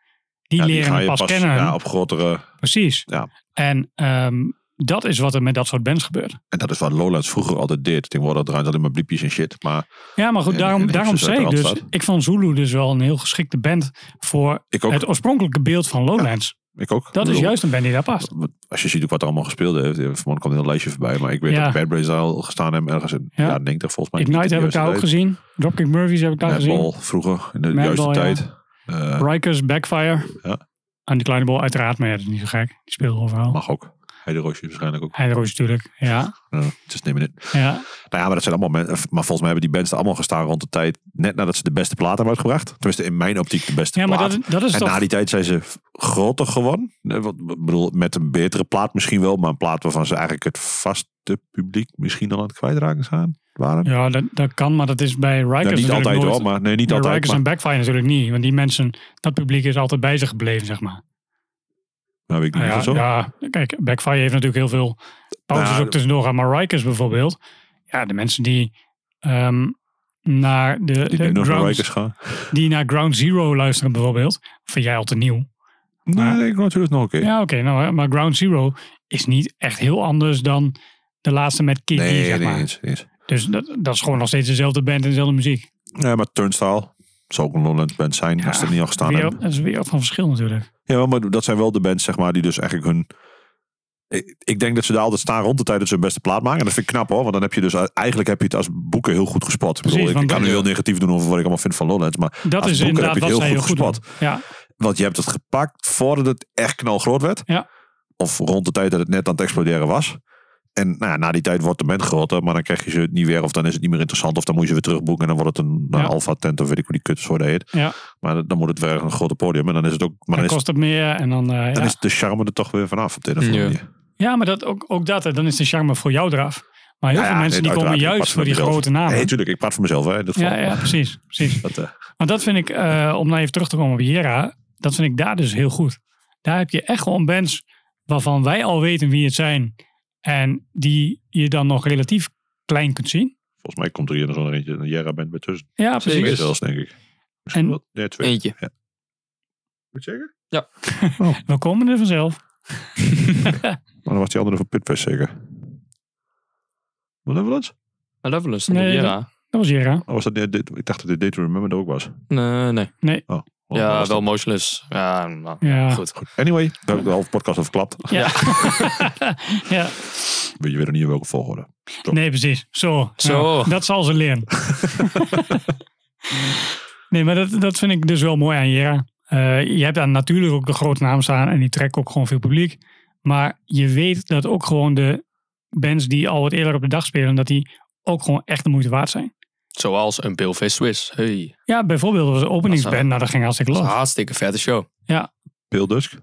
[SPEAKER 2] die
[SPEAKER 1] ja, die
[SPEAKER 2] leren
[SPEAKER 1] ga
[SPEAKER 2] het
[SPEAKER 1] je
[SPEAKER 2] pas, kennen.
[SPEAKER 1] Ja, op grotere...
[SPEAKER 2] Precies.
[SPEAKER 1] Ja.
[SPEAKER 2] En ehm, dat is wat er met dat soort bands gebeurt.
[SPEAKER 1] En dat is wat Lowlands vroeger altijd deed. Tegenwoordig draaien ze alleen maar bliepjes en shit. Maar
[SPEAKER 2] Ja, maar goed,
[SPEAKER 1] En-
[SPEAKER 2] daarom,
[SPEAKER 1] en hipsters uit
[SPEAKER 2] daarom zei
[SPEAKER 1] de
[SPEAKER 2] ik dus,
[SPEAKER 1] Randstad.
[SPEAKER 2] ik vond Zulu dus wel een heel geschikte band voor
[SPEAKER 1] Ik ook.
[SPEAKER 2] het oorspronkelijke beeld van Lowlands.
[SPEAKER 1] ik ook.
[SPEAKER 2] Dat
[SPEAKER 1] Ik
[SPEAKER 2] is
[SPEAKER 1] bedoel,
[SPEAKER 2] juist een band die daar past.
[SPEAKER 1] wat- Als je ziet ook wat er allemaal gespeeld heeft. eh, Vanmorgen kwam een heel lijstje voorbij. Maar ik weet
[SPEAKER 2] Ja.
[SPEAKER 1] dat Bad Brains daar al gestaan hebben. Ergens in
[SPEAKER 2] Ja.
[SPEAKER 1] ja. jaren 90 volgens mij.
[SPEAKER 2] Ignite heb ik daar ook gezien. Dropkick Murphys heb ik daar gezien.
[SPEAKER 1] Madball vroeger. In de
[SPEAKER 2] Madball,
[SPEAKER 1] juiste
[SPEAKER 2] ja.
[SPEAKER 1] tijd. Eh,
[SPEAKER 2] Rikers, Backfire.
[SPEAKER 1] Ja.
[SPEAKER 2] En die kleine bol uiteraard, maar ja, dat is niet zo gek. Die speelde overal.
[SPEAKER 1] mag ook. Heide Roosje waarschijnlijk ook.
[SPEAKER 2] Heideroos natuurlijk, ja.
[SPEAKER 1] Ja, just name it.
[SPEAKER 2] ja.
[SPEAKER 1] Nou ja, maar dat zijn allemaal mensen. Maar volgens mij hebben die bands er allemaal gestaan rond de tijd. Net nadat ze de beste plaat hebben uitgebracht. Tenminste, in mijn optiek de beste
[SPEAKER 2] Ja, maar
[SPEAKER 1] plaat.
[SPEAKER 2] dat, dat is
[SPEAKER 1] en
[SPEAKER 2] toch...
[SPEAKER 1] na die tijd zijn ze groter geworden. Eh, wat- wat- Ik bedoel, met een betere plaat misschien wel, maar een plaat waarvan ze eigenlijk het vaste publiek misschien al aan het kwijtraken zijn. Waren.
[SPEAKER 2] Ja, dat, dat kan, maar dat is bij Rikers
[SPEAKER 1] Ja, niet
[SPEAKER 2] natuurlijk
[SPEAKER 1] altijd
[SPEAKER 2] nooit.
[SPEAKER 1] hoor, maar nee, niet
[SPEAKER 2] bij
[SPEAKER 1] altijd.
[SPEAKER 2] Rikers
[SPEAKER 1] Maar,
[SPEAKER 2] en Backfire natuurlijk niet. Want die mensen, dat publiek is altijd bij ze gebleven, zeg maar.
[SPEAKER 1] nou, weet ik
[SPEAKER 2] Nou
[SPEAKER 1] niet
[SPEAKER 2] ja,
[SPEAKER 1] of zo.
[SPEAKER 2] ja, kijk, Backfire heeft natuurlijk heel veel pauzes
[SPEAKER 1] Nou ja,
[SPEAKER 2] ook tussendoor. gehad, Maar Rikers bijvoorbeeld. Ja, de mensen die ehm, naar de,
[SPEAKER 1] Die
[SPEAKER 2] de
[SPEAKER 1] nu nog naar
[SPEAKER 2] grounds-
[SPEAKER 1] Rikers gaan.
[SPEAKER 2] die naar Ground Zero luisteren bijvoorbeeld, vind jij al te nieuw.
[SPEAKER 1] Nee, ik hoor natuurlijk nog een keer.
[SPEAKER 2] Ja, oké, nou, maar Ground Zero is niet echt heel anders dan de laatste met Kiki,
[SPEAKER 1] nee,
[SPEAKER 2] zeg
[SPEAKER 1] nee,
[SPEAKER 2] maar.
[SPEAKER 1] eens, eens.
[SPEAKER 2] Dus dat, dat is gewoon nog steeds dezelfde band en dezelfde muziek.
[SPEAKER 1] Ja, maar Turnstile zou ook een Lowlands band zijn als ze er niet al gestaan
[SPEAKER 2] Weer,
[SPEAKER 1] hebben.
[SPEAKER 2] dat is weer van verschil natuurlijk.
[SPEAKER 1] Ja, maar dat zijn wel de bands, zeg maar, die dus eigenlijk hun... Ik, ik denk dat ze daar altijd staan rond de tijd dat ze hun beste plaat maken. En dat vind ik knap hoor, want dan heb je dus... Eigenlijk heb je het als boeken heel goed gespot. Ik, bedoel,
[SPEAKER 2] Precies,
[SPEAKER 1] ik, ik
[SPEAKER 2] want
[SPEAKER 1] kan nu
[SPEAKER 2] dat-
[SPEAKER 1] heel negatief doen over wat ik allemaal vind van Lowlands. Maar
[SPEAKER 2] Dat
[SPEAKER 1] als
[SPEAKER 2] is
[SPEAKER 1] boeken heb
[SPEAKER 2] inderdaad
[SPEAKER 1] je
[SPEAKER 2] wat
[SPEAKER 1] het
[SPEAKER 2] zij
[SPEAKER 1] heel
[SPEAKER 2] heel
[SPEAKER 1] goed
[SPEAKER 2] goed
[SPEAKER 1] gespot.
[SPEAKER 2] doen. Ja,
[SPEAKER 1] Want je hebt het gepakt voordat het echt knalgroot werd.
[SPEAKER 2] Ja.
[SPEAKER 1] Of rond de tijd dat het net aan het exploderen was. En nou ja, na die tijd wordt de band groter, maar dan krijg je ze niet weer. Of dan is het niet meer interessant. Of dan moet je ze weer terugboeken. En dan wordt het een, een
[SPEAKER 2] Ja.
[SPEAKER 1] alpha tent of weet ik hoe die kutsoort heet.
[SPEAKER 2] ja.
[SPEAKER 1] Maar dan moet het weer een grote podium. En dan is het ook... Maar
[SPEAKER 2] dan
[SPEAKER 1] dan is,
[SPEAKER 2] kost het meer en dan...
[SPEAKER 1] dan
[SPEAKER 2] eh, ja.
[SPEAKER 1] is de charme er toch weer vanaf op de een of andere
[SPEAKER 3] Ja.
[SPEAKER 1] manier.
[SPEAKER 2] ja, maar dat, ook, ook dat, hè, dan is de charme voor jou eraf. Maar heel
[SPEAKER 1] Nou Ja,
[SPEAKER 2] veel
[SPEAKER 1] ja,
[SPEAKER 2] mensen
[SPEAKER 1] nee,
[SPEAKER 2] die komen
[SPEAKER 1] uiteraard, ik
[SPEAKER 2] juist
[SPEAKER 1] praat
[SPEAKER 2] voor die
[SPEAKER 1] mezelf.
[SPEAKER 2] grote namen.
[SPEAKER 1] Nee, natuurlijk. Ik praat voor mezelf. Hè, in dit
[SPEAKER 2] ja,
[SPEAKER 1] geval.
[SPEAKER 2] ja, precies. precies.
[SPEAKER 1] Dat, eh,
[SPEAKER 2] Maar dat vind ik, eh, om nou even terug te komen op Jera, dat vind ik daar dus heel goed. Daar heb je echt gewoon bands waarvan wij al weten wie het zijn. En die je dan nog relatief klein kunt zien.
[SPEAKER 1] volgens mij komt er hier nog zo'n eentje. Een Jera band bij tussen.
[SPEAKER 2] Ja,
[SPEAKER 3] Zeker.
[SPEAKER 1] Twee
[SPEAKER 2] precies.
[SPEAKER 1] zelfs, denk ik. Misschien
[SPEAKER 2] En-
[SPEAKER 1] wel. Nee, twee.
[SPEAKER 3] Eentje.
[SPEAKER 1] Moet je zeggen?
[SPEAKER 2] We komen er vanzelf.
[SPEAKER 1] Maar dan was die andere van Pitfest zeker. Wat hebben we dat?
[SPEAKER 3] Maar dat was een
[SPEAKER 2] Nee,
[SPEAKER 3] Jera.
[SPEAKER 2] Dat was Jera.
[SPEAKER 1] Oh, was dat, dit- dit- ik dacht dat dit Day to Remember er ook was.
[SPEAKER 3] Nee, nee.
[SPEAKER 1] Oh,
[SPEAKER 3] ja,
[SPEAKER 1] was
[SPEAKER 3] wel
[SPEAKER 1] dat-
[SPEAKER 3] motionless. Ja, nou,
[SPEAKER 2] Ja.
[SPEAKER 3] goed.
[SPEAKER 1] Goed. Anyway, daar heb ik de halve podcast over verklapt.
[SPEAKER 2] Ja. ja.
[SPEAKER 1] Weet je weer niet in welke volgorde. Top.
[SPEAKER 2] Nee, precies. Zo.
[SPEAKER 3] Zo.
[SPEAKER 2] Ja, dat zal ze leren. nee, maar dat, dat vind ik dus wel mooi aan Jera. Eh, je hebt daar natuurlijk ook de grote naam staan en die trekken ook gewoon veel publiek. Maar je weet dat ook gewoon de bands die al wat eerder op de dag spelen, dat die ook gewoon echt de moeite waard zijn.
[SPEAKER 3] Zoals een Paleface Swiss. Hey.
[SPEAKER 2] Ja, bijvoorbeeld was een openingsband, nou dat ging hartstikke
[SPEAKER 3] Dat is een
[SPEAKER 2] los.
[SPEAKER 3] hartstikke vette show.
[SPEAKER 1] Pale
[SPEAKER 2] Ah,
[SPEAKER 1] Dusk?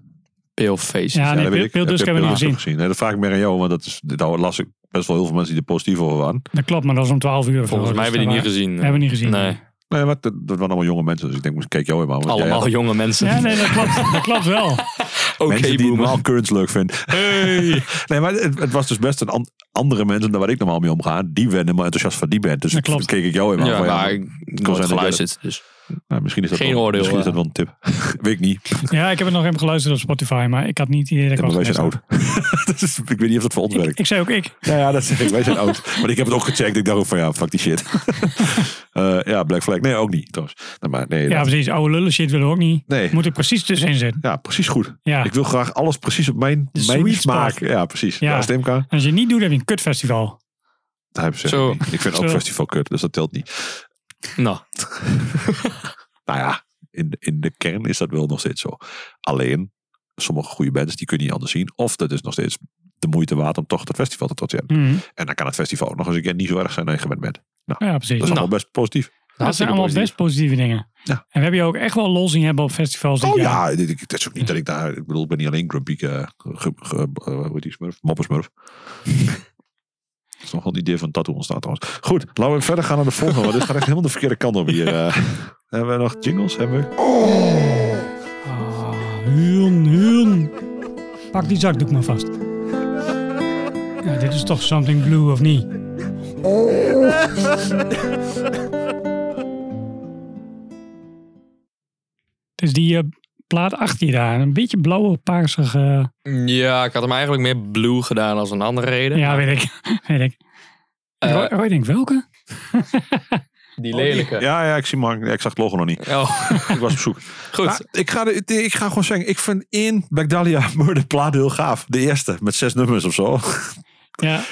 [SPEAKER 3] Paleface.
[SPEAKER 2] Ja,
[SPEAKER 3] Ja,
[SPEAKER 2] nee,
[SPEAKER 1] dat weet ik.
[SPEAKER 2] Pale
[SPEAKER 1] Heb
[SPEAKER 2] Dusk
[SPEAKER 1] je
[SPEAKER 2] hebben we niet
[SPEAKER 1] Pale Dusk
[SPEAKER 2] gezien.
[SPEAKER 1] gezien. Nee, dat vraag ik meer aan jou, want dat is, daar las ik best wel heel veel mensen die er positief over waren.
[SPEAKER 2] Dat klopt, maar dat was om 12 uur. of zo,
[SPEAKER 3] Volgens mij
[SPEAKER 2] dus
[SPEAKER 3] hebben we die niet
[SPEAKER 2] dat
[SPEAKER 3] gezien. eh.
[SPEAKER 2] waren- Hebben we niet gezien.
[SPEAKER 3] Nee,
[SPEAKER 1] Nee, maar dat, dat waren allemaal jonge mensen, dus ik denk, kijk jou helemaal.
[SPEAKER 3] allemaal jonge mensen.
[SPEAKER 2] Ja, nee, dat klopt, dat klopt wel.
[SPEAKER 3] Oké,
[SPEAKER 1] mensen die
[SPEAKER 3] boomer.
[SPEAKER 1] normaal Currents leuk vinden. nee, maar het, het was dus best een an- andere mensen dan waar ik normaal mee omga. Die werden helemaal enthousiast van die band. Dus
[SPEAKER 2] Dat
[SPEAKER 1] toen
[SPEAKER 2] klopt.
[SPEAKER 1] keek ik jou helemaal
[SPEAKER 3] Ja,
[SPEAKER 1] van, ja,
[SPEAKER 3] maar ik
[SPEAKER 1] kon
[SPEAKER 3] nooit
[SPEAKER 1] zijn dat
[SPEAKER 3] geluisterd. Dus.
[SPEAKER 1] nou, misschien is dat
[SPEAKER 3] geen
[SPEAKER 1] wel,
[SPEAKER 3] oordeel,
[SPEAKER 1] Misschien is dat
[SPEAKER 3] ja.
[SPEAKER 1] wel
[SPEAKER 2] eh.
[SPEAKER 1] een tip. Weet ik niet.
[SPEAKER 2] Ja, ik heb het nog even geluisterd op Spotify, maar ik had niet het idee dat ik
[SPEAKER 1] maar wij
[SPEAKER 2] was
[SPEAKER 1] zijn
[SPEAKER 2] geweest.
[SPEAKER 1] oud. Dat is- ik weet niet of dat voor ons werkt.
[SPEAKER 2] Ik, ik zei ook ik.
[SPEAKER 1] Ja, ja, dat zeg ik. Wij zijn oud. Maar ik heb het ook gecheckt. Ik dacht ook van ja, fuck die shit. Eh, ja, Black Flag. Nee, ook niet trouwens. Nou, maar nee,
[SPEAKER 2] Ja,
[SPEAKER 1] dat-
[SPEAKER 2] precies. Oude lullen shit willen we ook niet.
[SPEAKER 1] nee.
[SPEAKER 2] Moet er precies tussenin zitten.
[SPEAKER 1] ja, precies goed.
[SPEAKER 2] Ja.
[SPEAKER 1] Ik wil graag alles precies op mijn,
[SPEAKER 2] De
[SPEAKER 1] mijn
[SPEAKER 2] sweet
[SPEAKER 1] smaak.
[SPEAKER 2] spot.
[SPEAKER 1] Ja, precies.
[SPEAKER 2] Ja.
[SPEAKER 1] Ja, Stemka.
[SPEAKER 2] En als je het niet doet, heb je een kutfestival.
[SPEAKER 1] Dat heb ik ze
[SPEAKER 3] Zo.
[SPEAKER 1] niet. Ik vind ook
[SPEAKER 2] Zo.
[SPEAKER 1] festival kut, dus dat telt niet.
[SPEAKER 3] Nou,
[SPEAKER 1] Nou ja, in, de- in de kern is dat wel nog steeds zo. Alleen, sommige goede bands, die kun je niet anders zien. Of dat is nog steeds de moeite waard om toch dat festival te trotseren.
[SPEAKER 2] Mhm.
[SPEAKER 1] En dan kan het festival ook nog eens een keer niet zo erg zijn dat je gewend bent.
[SPEAKER 2] Ja,
[SPEAKER 1] Dat
[SPEAKER 2] precies.
[SPEAKER 1] is
[SPEAKER 2] Nou,
[SPEAKER 1] allemaal best positief.
[SPEAKER 2] dat zijn allemaal best positieve dingen.
[SPEAKER 1] Ja.
[SPEAKER 2] En we hebben je ook echt wel lol zien hebben op festivals. dit
[SPEAKER 1] Oh
[SPEAKER 2] jaar.
[SPEAKER 1] ja, dit- ik- het is ook niet dat ik daar... Ik bedoel, ik ben niet alleen grumpy... eh, ge- ge- eh, hoe heet die smurf? Moppersmurf. Dat is nog wel een idee van tattoo ontstaat trouwens. Goed, laten we verder gaan naar de volgende. Want dit gaat echt helemaal de verkeerde kant op hier. eh. hebben we nog jingles? Hebben we?
[SPEAKER 2] Ah, huun, huun. Pak die zakdoek maar vast. Ja, dit is toch something blue of niet? Het is die eh, plaat achter je daar. Een beetje blauwe, paarsige...
[SPEAKER 3] Ja, ik had hem eigenlijk meer blue gedaan als een andere reden.
[SPEAKER 2] Ja, weet ik. weet ik.
[SPEAKER 3] Eh,
[SPEAKER 2] Roy, Roy denkt, welke?
[SPEAKER 3] die lelijke.
[SPEAKER 1] Oh, Ja, ja, ik, zie Mark, ja, ik zag het logo nog niet.
[SPEAKER 3] Oh,
[SPEAKER 1] Ik was op zoek.
[SPEAKER 3] goed.
[SPEAKER 1] Maar ik, ga de, ik ga gewoon zeggen, ik vind één Black Dahlia Murder plaat heel gaaf. De eerste, met zes nummers of zo.
[SPEAKER 2] Ja,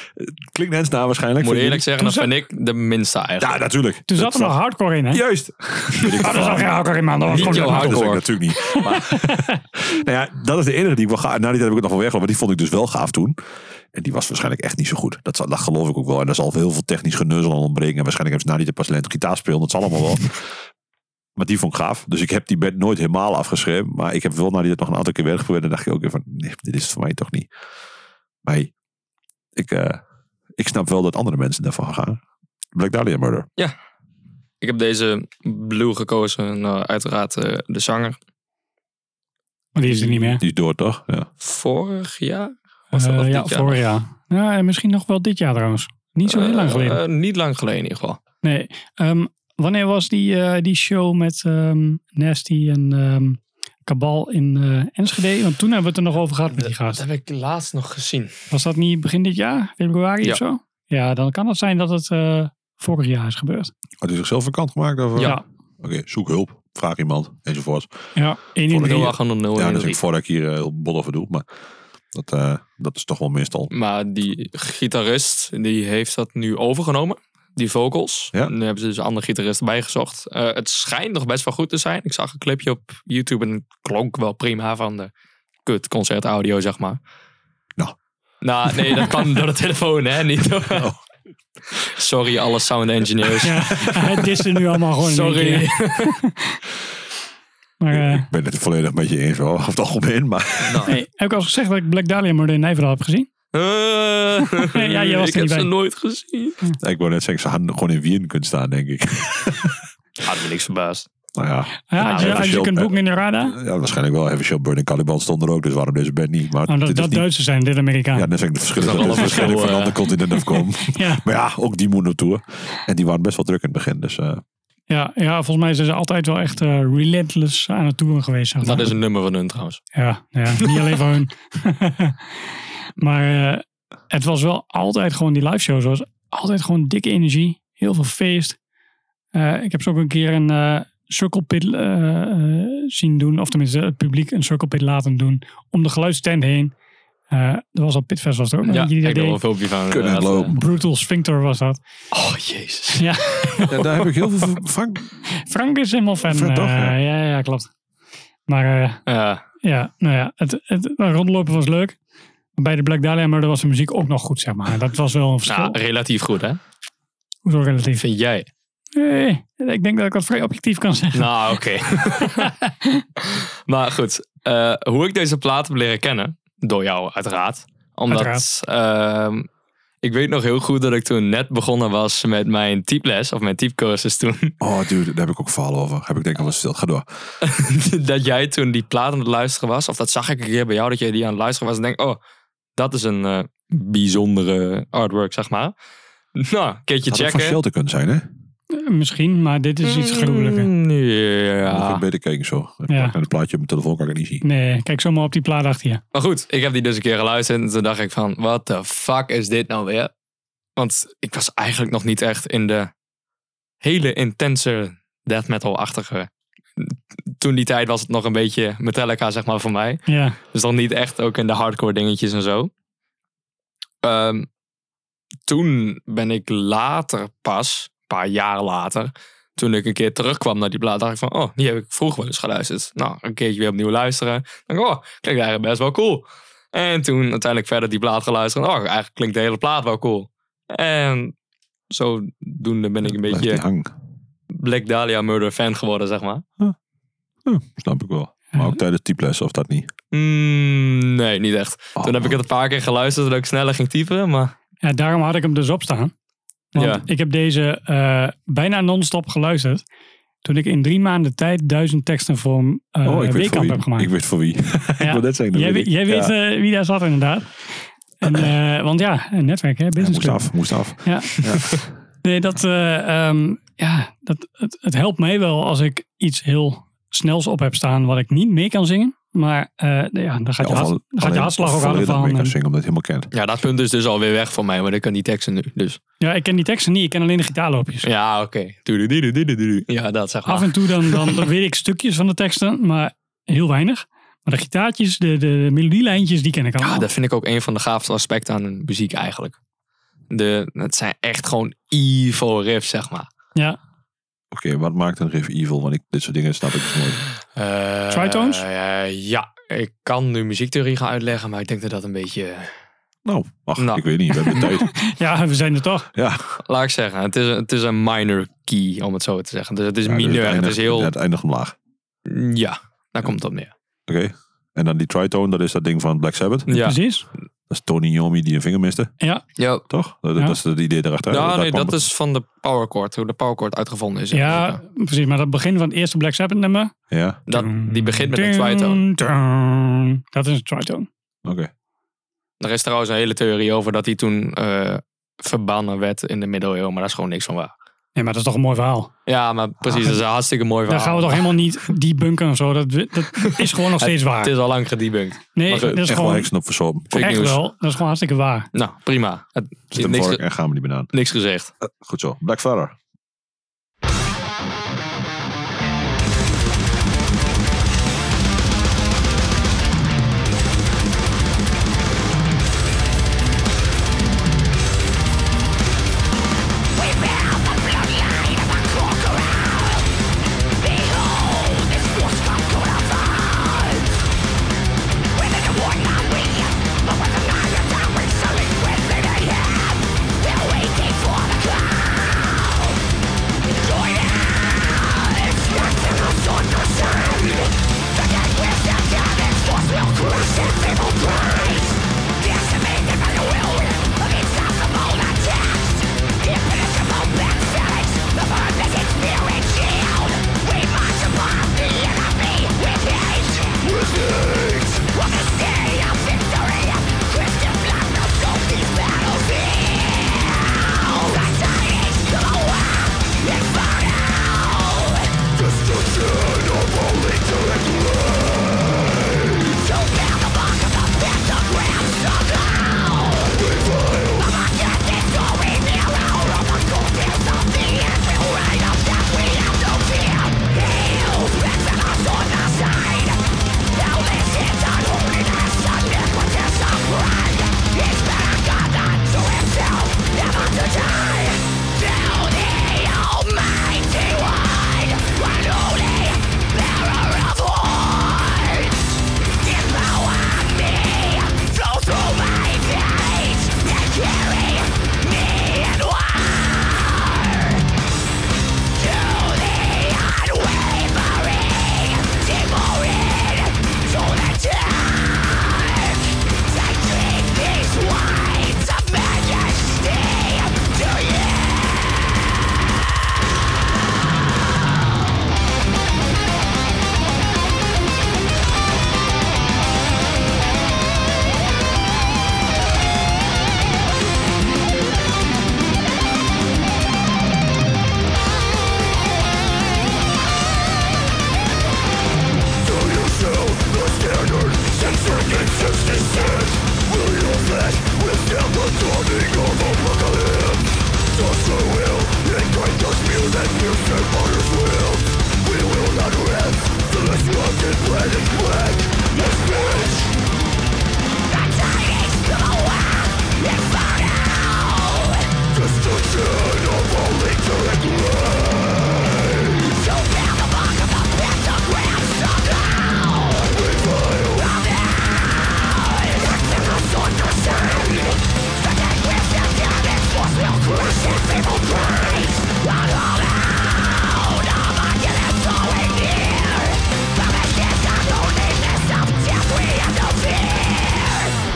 [SPEAKER 1] Klinkt net na waarschijnlijk.
[SPEAKER 3] Ik moet
[SPEAKER 1] Vind
[SPEAKER 3] eerlijk
[SPEAKER 1] je
[SPEAKER 3] zeggen, dat
[SPEAKER 2] Toen
[SPEAKER 3] vind ik de minste eigenlijk.
[SPEAKER 1] niet? Ja, natuurlijk.
[SPEAKER 2] toen
[SPEAKER 1] Dat
[SPEAKER 2] zat er nog
[SPEAKER 1] was-
[SPEAKER 2] hardcore in, hè?
[SPEAKER 1] Juist. Weet ik
[SPEAKER 2] Oh, dat is
[SPEAKER 1] wel.
[SPEAKER 2] nog geen hardcore in, man. Dat was
[SPEAKER 3] Niet
[SPEAKER 2] gewoon de-
[SPEAKER 3] jouw
[SPEAKER 1] Nou, dat zeg ik
[SPEAKER 3] hardcore.
[SPEAKER 1] natuurlijk niet. Maar, nou ja, dat is de enige die ik wel gaaf. Na die tijd heb ik het nog wel weggelopen. Maar die vond ik dus wel gaaf toen. En die was waarschijnlijk echt niet zo goed. Dat, zal- dat geloof ik ook wel. En daar zal heel veel technisch geneuzel aan ontbreken. En waarschijnlijk hebben ze na die tijd pas alleen gitaar spelen. Dat zal allemaal wel. Maar die vond ik gaaf. Dus ik heb die band nooit helemaal afgeschreven. Maar ik heb wel na die tijd nog een aantal keer weggeprobeerd. En dacht ik ook weer van, nee, dit is het voor mij toch niet. Maar hey, ik, eh, ik snap wel dat andere mensen daarvan gaan. Black Dahlia Murder.
[SPEAKER 3] Ik heb deze blue gekozen. Nou, uiteraard eh, de zanger.
[SPEAKER 2] Maar die is er niet meer.
[SPEAKER 1] Die is door toch? Ja.
[SPEAKER 3] Vorig jaar?
[SPEAKER 2] Eh, ja, vorig jaar. Ja, en misschien nog wel dit jaar trouwens. Niet zo heel lang geleden.
[SPEAKER 3] Eh, niet Eh, lang geleden in ieder geval.
[SPEAKER 2] Nee. ehm, wanneer was die, eh, die show met ehm, Nasty en ehm, Cabal in eh, Enschede? Want toen hebben we het er nog over gehad met die
[SPEAKER 3] Dat
[SPEAKER 2] gast.
[SPEAKER 3] heb ik laatst nog gezien.
[SPEAKER 2] Was dat niet begin dit jaar? Februari
[SPEAKER 3] Ja.
[SPEAKER 2] of zo? Ja, dan kan het zijn dat het eh, vorig jaar is gebeurd.
[SPEAKER 1] Had hij zichzelf vakant gemaakt? Of, eh?
[SPEAKER 3] Ja.
[SPEAKER 1] Oké, zoek hulp. Vraag iemand. Enzovoort.
[SPEAKER 2] Ja, één in
[SPEAKER 1] Vorig
[SPEAKER 2] drie.
[SPEAKER 1] jaar.
[SPEAKER 3] 08 en 0
[SPEAKER 1] ja, dus ik voordat ik hier eh, heel bot over doe. Maar dat, eh, dat is toch wel meestal.
[SPEAKER 3] Maar die gitarist, die heeft dat nu overgenomen. Die vocals.
[SPEAKER 1] Ja.
[SPEAKER 3] Nu hebben ze dus een andere gitarist erbij gezocht. Eh, het schijnt nog best wel goed te zijn. Ik zag een clipje op YouTube en het klonk wel prima van de kut concert audio, zeg maar.
[SPEAKER 1] Nou.
[SPEAKER 3] Nou, nee, dat kan door de telefoon, hè? Niet door...
[SPEAKER 1] Oh.
[SPEAKER 3] Sorry, alle sound engineers.
[SPEAKER 2] Ja, het is er nu allemaal gewoon in één
[SPEAKER 3] Sorry.
[SPEAKER 2] keer. Maar eh,
[SPEAKER 1] Ik ben het volledig met je eens, hoor, over het algemeen. Maar
[SPEAKER 3] Nou.
[SPEAKER 2] hey, heb ik al gezegd dat ik Black Dahlia Murder in Nijverdal heb gezien?
[SPEAKER 3] Eh,
[SPEAKER 2] Nee, ja, jij was
[SPEAKER 3] ik
[SPEAKER 2] er
[SPEAKER 3] heb
[SPEAKER 2] niet
[SPEAKER 3] ze
[SPEAKER 2] bij.
[SPEAKER 3] nooit gezien.
[SPEAKER 1] ik wou net zeggen, ze hadden gewoon in Wien kunnen staan, denk ik.
[SPEAKER 3] Had me niks verbaasd.
[SPEAKER 1] Nou ja,
[SPEAKER 2] Ja, als
[SPEAKER 1] even
[SPEAKER 2] je, als je
[SPEAKER 1] chill,
[SPEAKER 2] kunt
[SPEAKER 1] hè.
[SPEAKER 2] boeken in de radar.
[SPEAKER 1] ja waarschijnlijk wel. Even Burning Caliban stond er ook, dus waarom deze band niet? Maar
[SPEAKER 2] Nou, dat
[SPEAKER 1] dit is
[SPEAKER 2] dat
[SPEAKER 1] niet-
[SPEAKER 2] Duitsers zijn, dit Amerikaan.
[SPEAKER 1] Ja,
[SPEAKER 2] Ja,
[SPEAKER 1] dan vind ik het verschil
[SPEAKER 3] Dat
[SPEAKER 1] dat
[SPEAKER 3] is
[SPEAKER 1] het
[SPEAKER 3] wel een
[SPEAKER 1] waarschijnlijk van
[SPEAKER 3] verschil,
[SPEAKER 1] een ander continent afkomen.
[SPEAKER 2] ja.
[SPEAKER 1] maar ja, ook die moet naartoe. En die waren best wel druk in het begin. Dus eh,
[SPEAKER 2] ja, volgens mij zijn ze altijd wel echt eh, relentless aan het toeren geweest. zeg maar.
[SPEAKER 3] Dat is een nummer van hun trouwens.
[SPEAKER 2] Ja, ja niet alleen van hun. maar eh, het was wel altijd gewoon die live show. was altijd gewoon dikke energie. Heel veel feest. Eh, ik heb ze ook een keer een eh circle pit eh, eh, zien doen. Of tenminste het publiek een circle pit laten doen. Om de geluidsstand heen. Eh er was al Pitfest was er ook. nog
[SPEAKER 3] Ja,
[SPEAKER 2] eentje die
[SPEAKER 3] ik
[SPEAKER 2] dat
[SPEAKER 3] heb er wel een
[SPEAKER 2] deed.
[SPEAKER 3] filmpje van. eh,
[SPEAKER 1] Kunnen
[SPEAKER 3] inderdaad.
[SPEAKER 1] lopen.
[SPEAKER 2] Brutal Sphincter was dat.
[SPEAKER 3] Oh, jezus.
[SPEAKER 2] Ja.
[SPEAKER 1] ja, daar heb ik heel veel Frank.
[SPEAKER 2] Frank is helemaal fan.
[SPEAKER 1] Fan, toch?
[SPEAKER 2] eh,
[SPEAKER 1] Ja.
[SPEAKER 2] ja, ja, klopt. Maar eh,
[SPEAKER 3] Ja,
[SPEAKER 2] ja, nou ja, het, het rondlopen was leuk. Maar Bij de Black Dahlia Murder was de muziek ook nog goed, zeg maar. Dat was wel een verschil.
[SPEAKER 3] nou, relatief goed, hè?
[SPEAKER 2] Hoezo relatief?
[SPEAKER 3] Vind jij?
[SPEAKER 2] Nee, ik denk dat ik dat vrij objectief kan zeggen.
[SPEAKER 3] Nou, oké. maar goed, eh, hoe ik deze plaat heb leren kennen, door jou uiteraard. Omdat ehm, ik weet nog heel goed dat ik toen net begonnen was met mijn typles, of mijn typcursus toen.
[SPEAKER 1] Oh, dude, daar heb ik ook verhaal over. Heb ik denk ik al eens stil. Ga door.
[SPEAKER 3] dat jij toen die plaat aan het luisteren was, of dat zag ik een keer bij jou, dat jij die aan het luisteren was. En denk, oh, dat is een eh, bijzondere artwork, zeg maar. Nou, een keertje
[SPEAKER 1] Had het van
[SPEAKER 3] checken.
[SPEAKER 1] Shelter kunnen zijn, hè? Nou.
[SPEAKER 2] Eh, Misschien, maar dit is iets gruwelijker.
[SPEAKER 3] Mm,
[SPEAKER 1] Ah.
[SPEAKER 3] Ja.
[SPEAKER 1] Ik beter kijken zo. Ik
[SPEAKER 2] Ja.
[SPEAKER 1] pak naar het plaatje op mijn telefoon kan ik het niet zien.
[SPEAKER 2] Nee, kijk zomaar op die plaat achter je.
[SPEAKER 3] Maar goed, ik heb die dus een keer geluisterd en toen dacht ik van, wat de fuck is dit nou weer? Want ik was eigenlijk nog niet echt in de hele intense death metal-achtige. Toen die tijd was het nog een beetje Metallica, zeg maar, voor mij.
[SPEAKER 2] Ja,
[SPEAKER 3] Dus dan niet echt ook in de hardcore dingetjes en zo. Ehm, toen ben ik later pas, een paar jaar later, toen ik een keer terugkwam naar die plaat, dacht ik van, oh, die heb ik vroeger wel eens geluisterd. Nou, een keertje weer opnieuw luisteren. Dan dacht ik, oh, klinkt eigenlijk best wel cool. En toen uiteindelijk verder die plaat geluisterd. Oh, eigenlijk klinkt de hele plaat wel cool. En zodoende ben ik een
[SPEAKER 1] Blijft die
[SPEAKER 3] beetje
[SPEAKER 1] hang.
[SPEAKER 3] Black Dahlia Murder fan geworden, zeg maar.
[SPEAKER 1] Hm, snap ik wel. Maar ook tijdens typlessen of dat niet.
[SPEAKER 3] Mm, nee, niet echt.
[SPEAKER 1] Oh.
[SPEAKER 3] Toen heb ik het een paar keer geluisterd, dat ik sneller ging typen, maar...
[SPEAKER 2] Ja, daarom had ik hem dus op staan. Want
[SPEAKER 3] Ja.
[SPEAKER 2] ik heb deze eh, bijna non-stop geluisterd. Toen ik in drie maanden tijd duizend teksten voor een eh,
[SPEAKER 1] oh, ik weet voor
[SPEAKER 2] weekkamp
[SPEAKER 1] wie.
[SPEAKER 2] heb gemaakt.
[SPEAKER 1] Ik weet voor wie. ik
[SPEAKER 2] Ja.
[SPEAKER 1] wil net zeggen. dat
[SPEAKER 2] jij
[SPEAKER 1] weet
[SPEAKER 2] weet,
[SPEAKER 1] ik.
[SPEAKER 2] jij weet
[SPEAKER 1] Ja.
[SPEAKER 2] eh, wie daar zat inderdaad. En, eh, want ja, een netwerk, hè,
[SPEAKER 1] Ja,
[SPEAKER 2] business
[SPEAKER 1] moest
[SPEAKER 2] club.
[SPEAKER 1] af, moest af.
[SPEAKER 2] Ja. Nee, dat, eh, ehm, ja, dat het, het helpt mij wel als ik iets heel snels op heb staan wat ik niet mee kan zingen. Maar eh, ja, dan gaat,
[SPEAKER 1] Ja,
[SPEAKER 2] je,
[SPEAKER 1] of
[SPEAKER 2] hart,
[SPEAKER 1] al-
[SPEAKER 2] dan gaat
[SPEAKER 1] alleen-
[SPEAKER 2] je hartslag
[SPEAKER 1] of
[SPEAKER 2] ook harder
[SPEAKER 1] volledig mee
[SPEAKER 2] van. eh?
[SPEAKER 1] kan
[SPEAKER 2] En-
[SPEAKER 1] zingen, omdat je het helemaal kent.
[SPEAKER 3] Ja, dat punt is dus alweer weg voor mij, want ik kan die teksten nu. Dus.
[SPEAKER 2] ja, ik ken die teksten niet, ik ken alleen de gitaarloopjes.
[SPEAKER 3] Ja, oké. Tududududududu. Ja, dat zeg
[SPEAKER 2] Af
[SPEAKER 3] maar.
[SPEAKER 2] en toe dan, dan, dan weet ik stukjes van de teksten, maar heel weinig. Maar de gitaartjes, de, de melodielijntjes, die ken ik allemaal.
[SPEAKER 3] Ja, dat vind ik ook een van de gaafste aspecten aan muziek eigenlijk. De, het zijn echt gewoon evil riffs, zeg maar.
[SPEAKER 2] Ja.
[SPEAKER 1] Oké, wat maakt een riff evil? Want ik, dit soort dingen snap ik dus nooit.
[SPEAKER 3] Eh,
[SPEAKER 2] Tritones?
[SPEAKER 3] eh, ja, ik kan nu muziektheorie gaan uitleggen, maar ik denk dat dat een beetje...
[SPEAKER 1] Nou, ach,
[SPEAKER 3] Nou.
[SPEAKER 1] ik weet niet. We hebben tijd.
[SPEAKER 2] ja, we zijn er toch.
[SPEAKER 1] Ja,
[SPEAKER 3] Laat ik zeggen, het is, een- het is een minor key, om het zo te zeggen. Dus het is
[SPEAKER 1] Ja, dus
[SPEAKER 3] mineur, het
[SPEAKER 1] eindigt-
[SPEAKER 3] is heel...
[SPEAKER 1] ja,
[SPEAKER 3] Ja,
[SPEAKER 1] Het eindigt omlaag.
[SPEAKER 3] daar komt het op neer.
[SPEAKER 1] Oké. En dan die tritone, dat is dat ding van Black Sabbath.
[SPEAKER 3] Ja,
[SPEAKER 2] Precies.
[SPEAKER 1] Dat is Tony Yomi die een vinger miste,
[SPEAKER 2] Ja,
[SPEAKER 3] ja.
[SPEAKER 1] toch? Dat, dat is het idee erachter.
[SPEAKER 3] ja
[SPEAKER 1] Daar
[SPEAKER 3] nee,
[SPEAKER 1] kwam
[SPEAKER 3] dat
[SPEAKER 1] het-
[SPEAKER 3] is van de powerchord, hoe de powerchord uitgevonden is.
[SPEAKER 2] ja, precies. Maar dat begin van het eerste Black Sabbath nummer.
[SPEAKER 1] Ja,
[SPEAKER 3] Dat, die begint met een tritone.
[SPEAKER 2] Dun, dun. Dat is een tritone.
[SPEAKER 1] oké.
[SPEAKER 3] Er is trouwens een hele theorie over dat hij toen eh, verbannen werd in de middeleeuwen, maar daar is gewoon niks van waar.
[SPEAKER 2] Nee, maar dat is toch een mooi verhaal.
[SPEAKER 3] Ja, maar precies. dat is een hartstikke mooi verhaal.
[SPEAKER 2] Daar Ah, gaan we toch helemaal niet debunken of zo. Dat, dat is gewoon nog steeds
[SPEAKER 3] Het
[SPEAKER 2] waar.
[SPEAKER 3] is al lang gedebunked.
[SPEAKER 2] Nee,
[SPEAKER 1] Maar
[SPEAKER 2] dat is
[SPEAKER 1] echt wel
[SPEAKER 2] gewoon
[SPEAKER 1] heksen op verzopen.
[SPEAKER 3] Fake
[SPEAKER 2] echt
[SPEAKER 3] news.
[SPEAKER 2] wel. Dat is gewoon hartstikke waar.
[SPEAKER 3] Nou, prima. Het,
[SPEAKER 1] Zit hem
[SPEAKER 3] niks,
[SPEAKER 1] vork
[SPEAKER 3] ge-
[SPEAKER 1] en gaan we niet meer aan.
[SPEAKER 3] niks gezegd.
[SPEAKER 1] Goed zo. Black Father.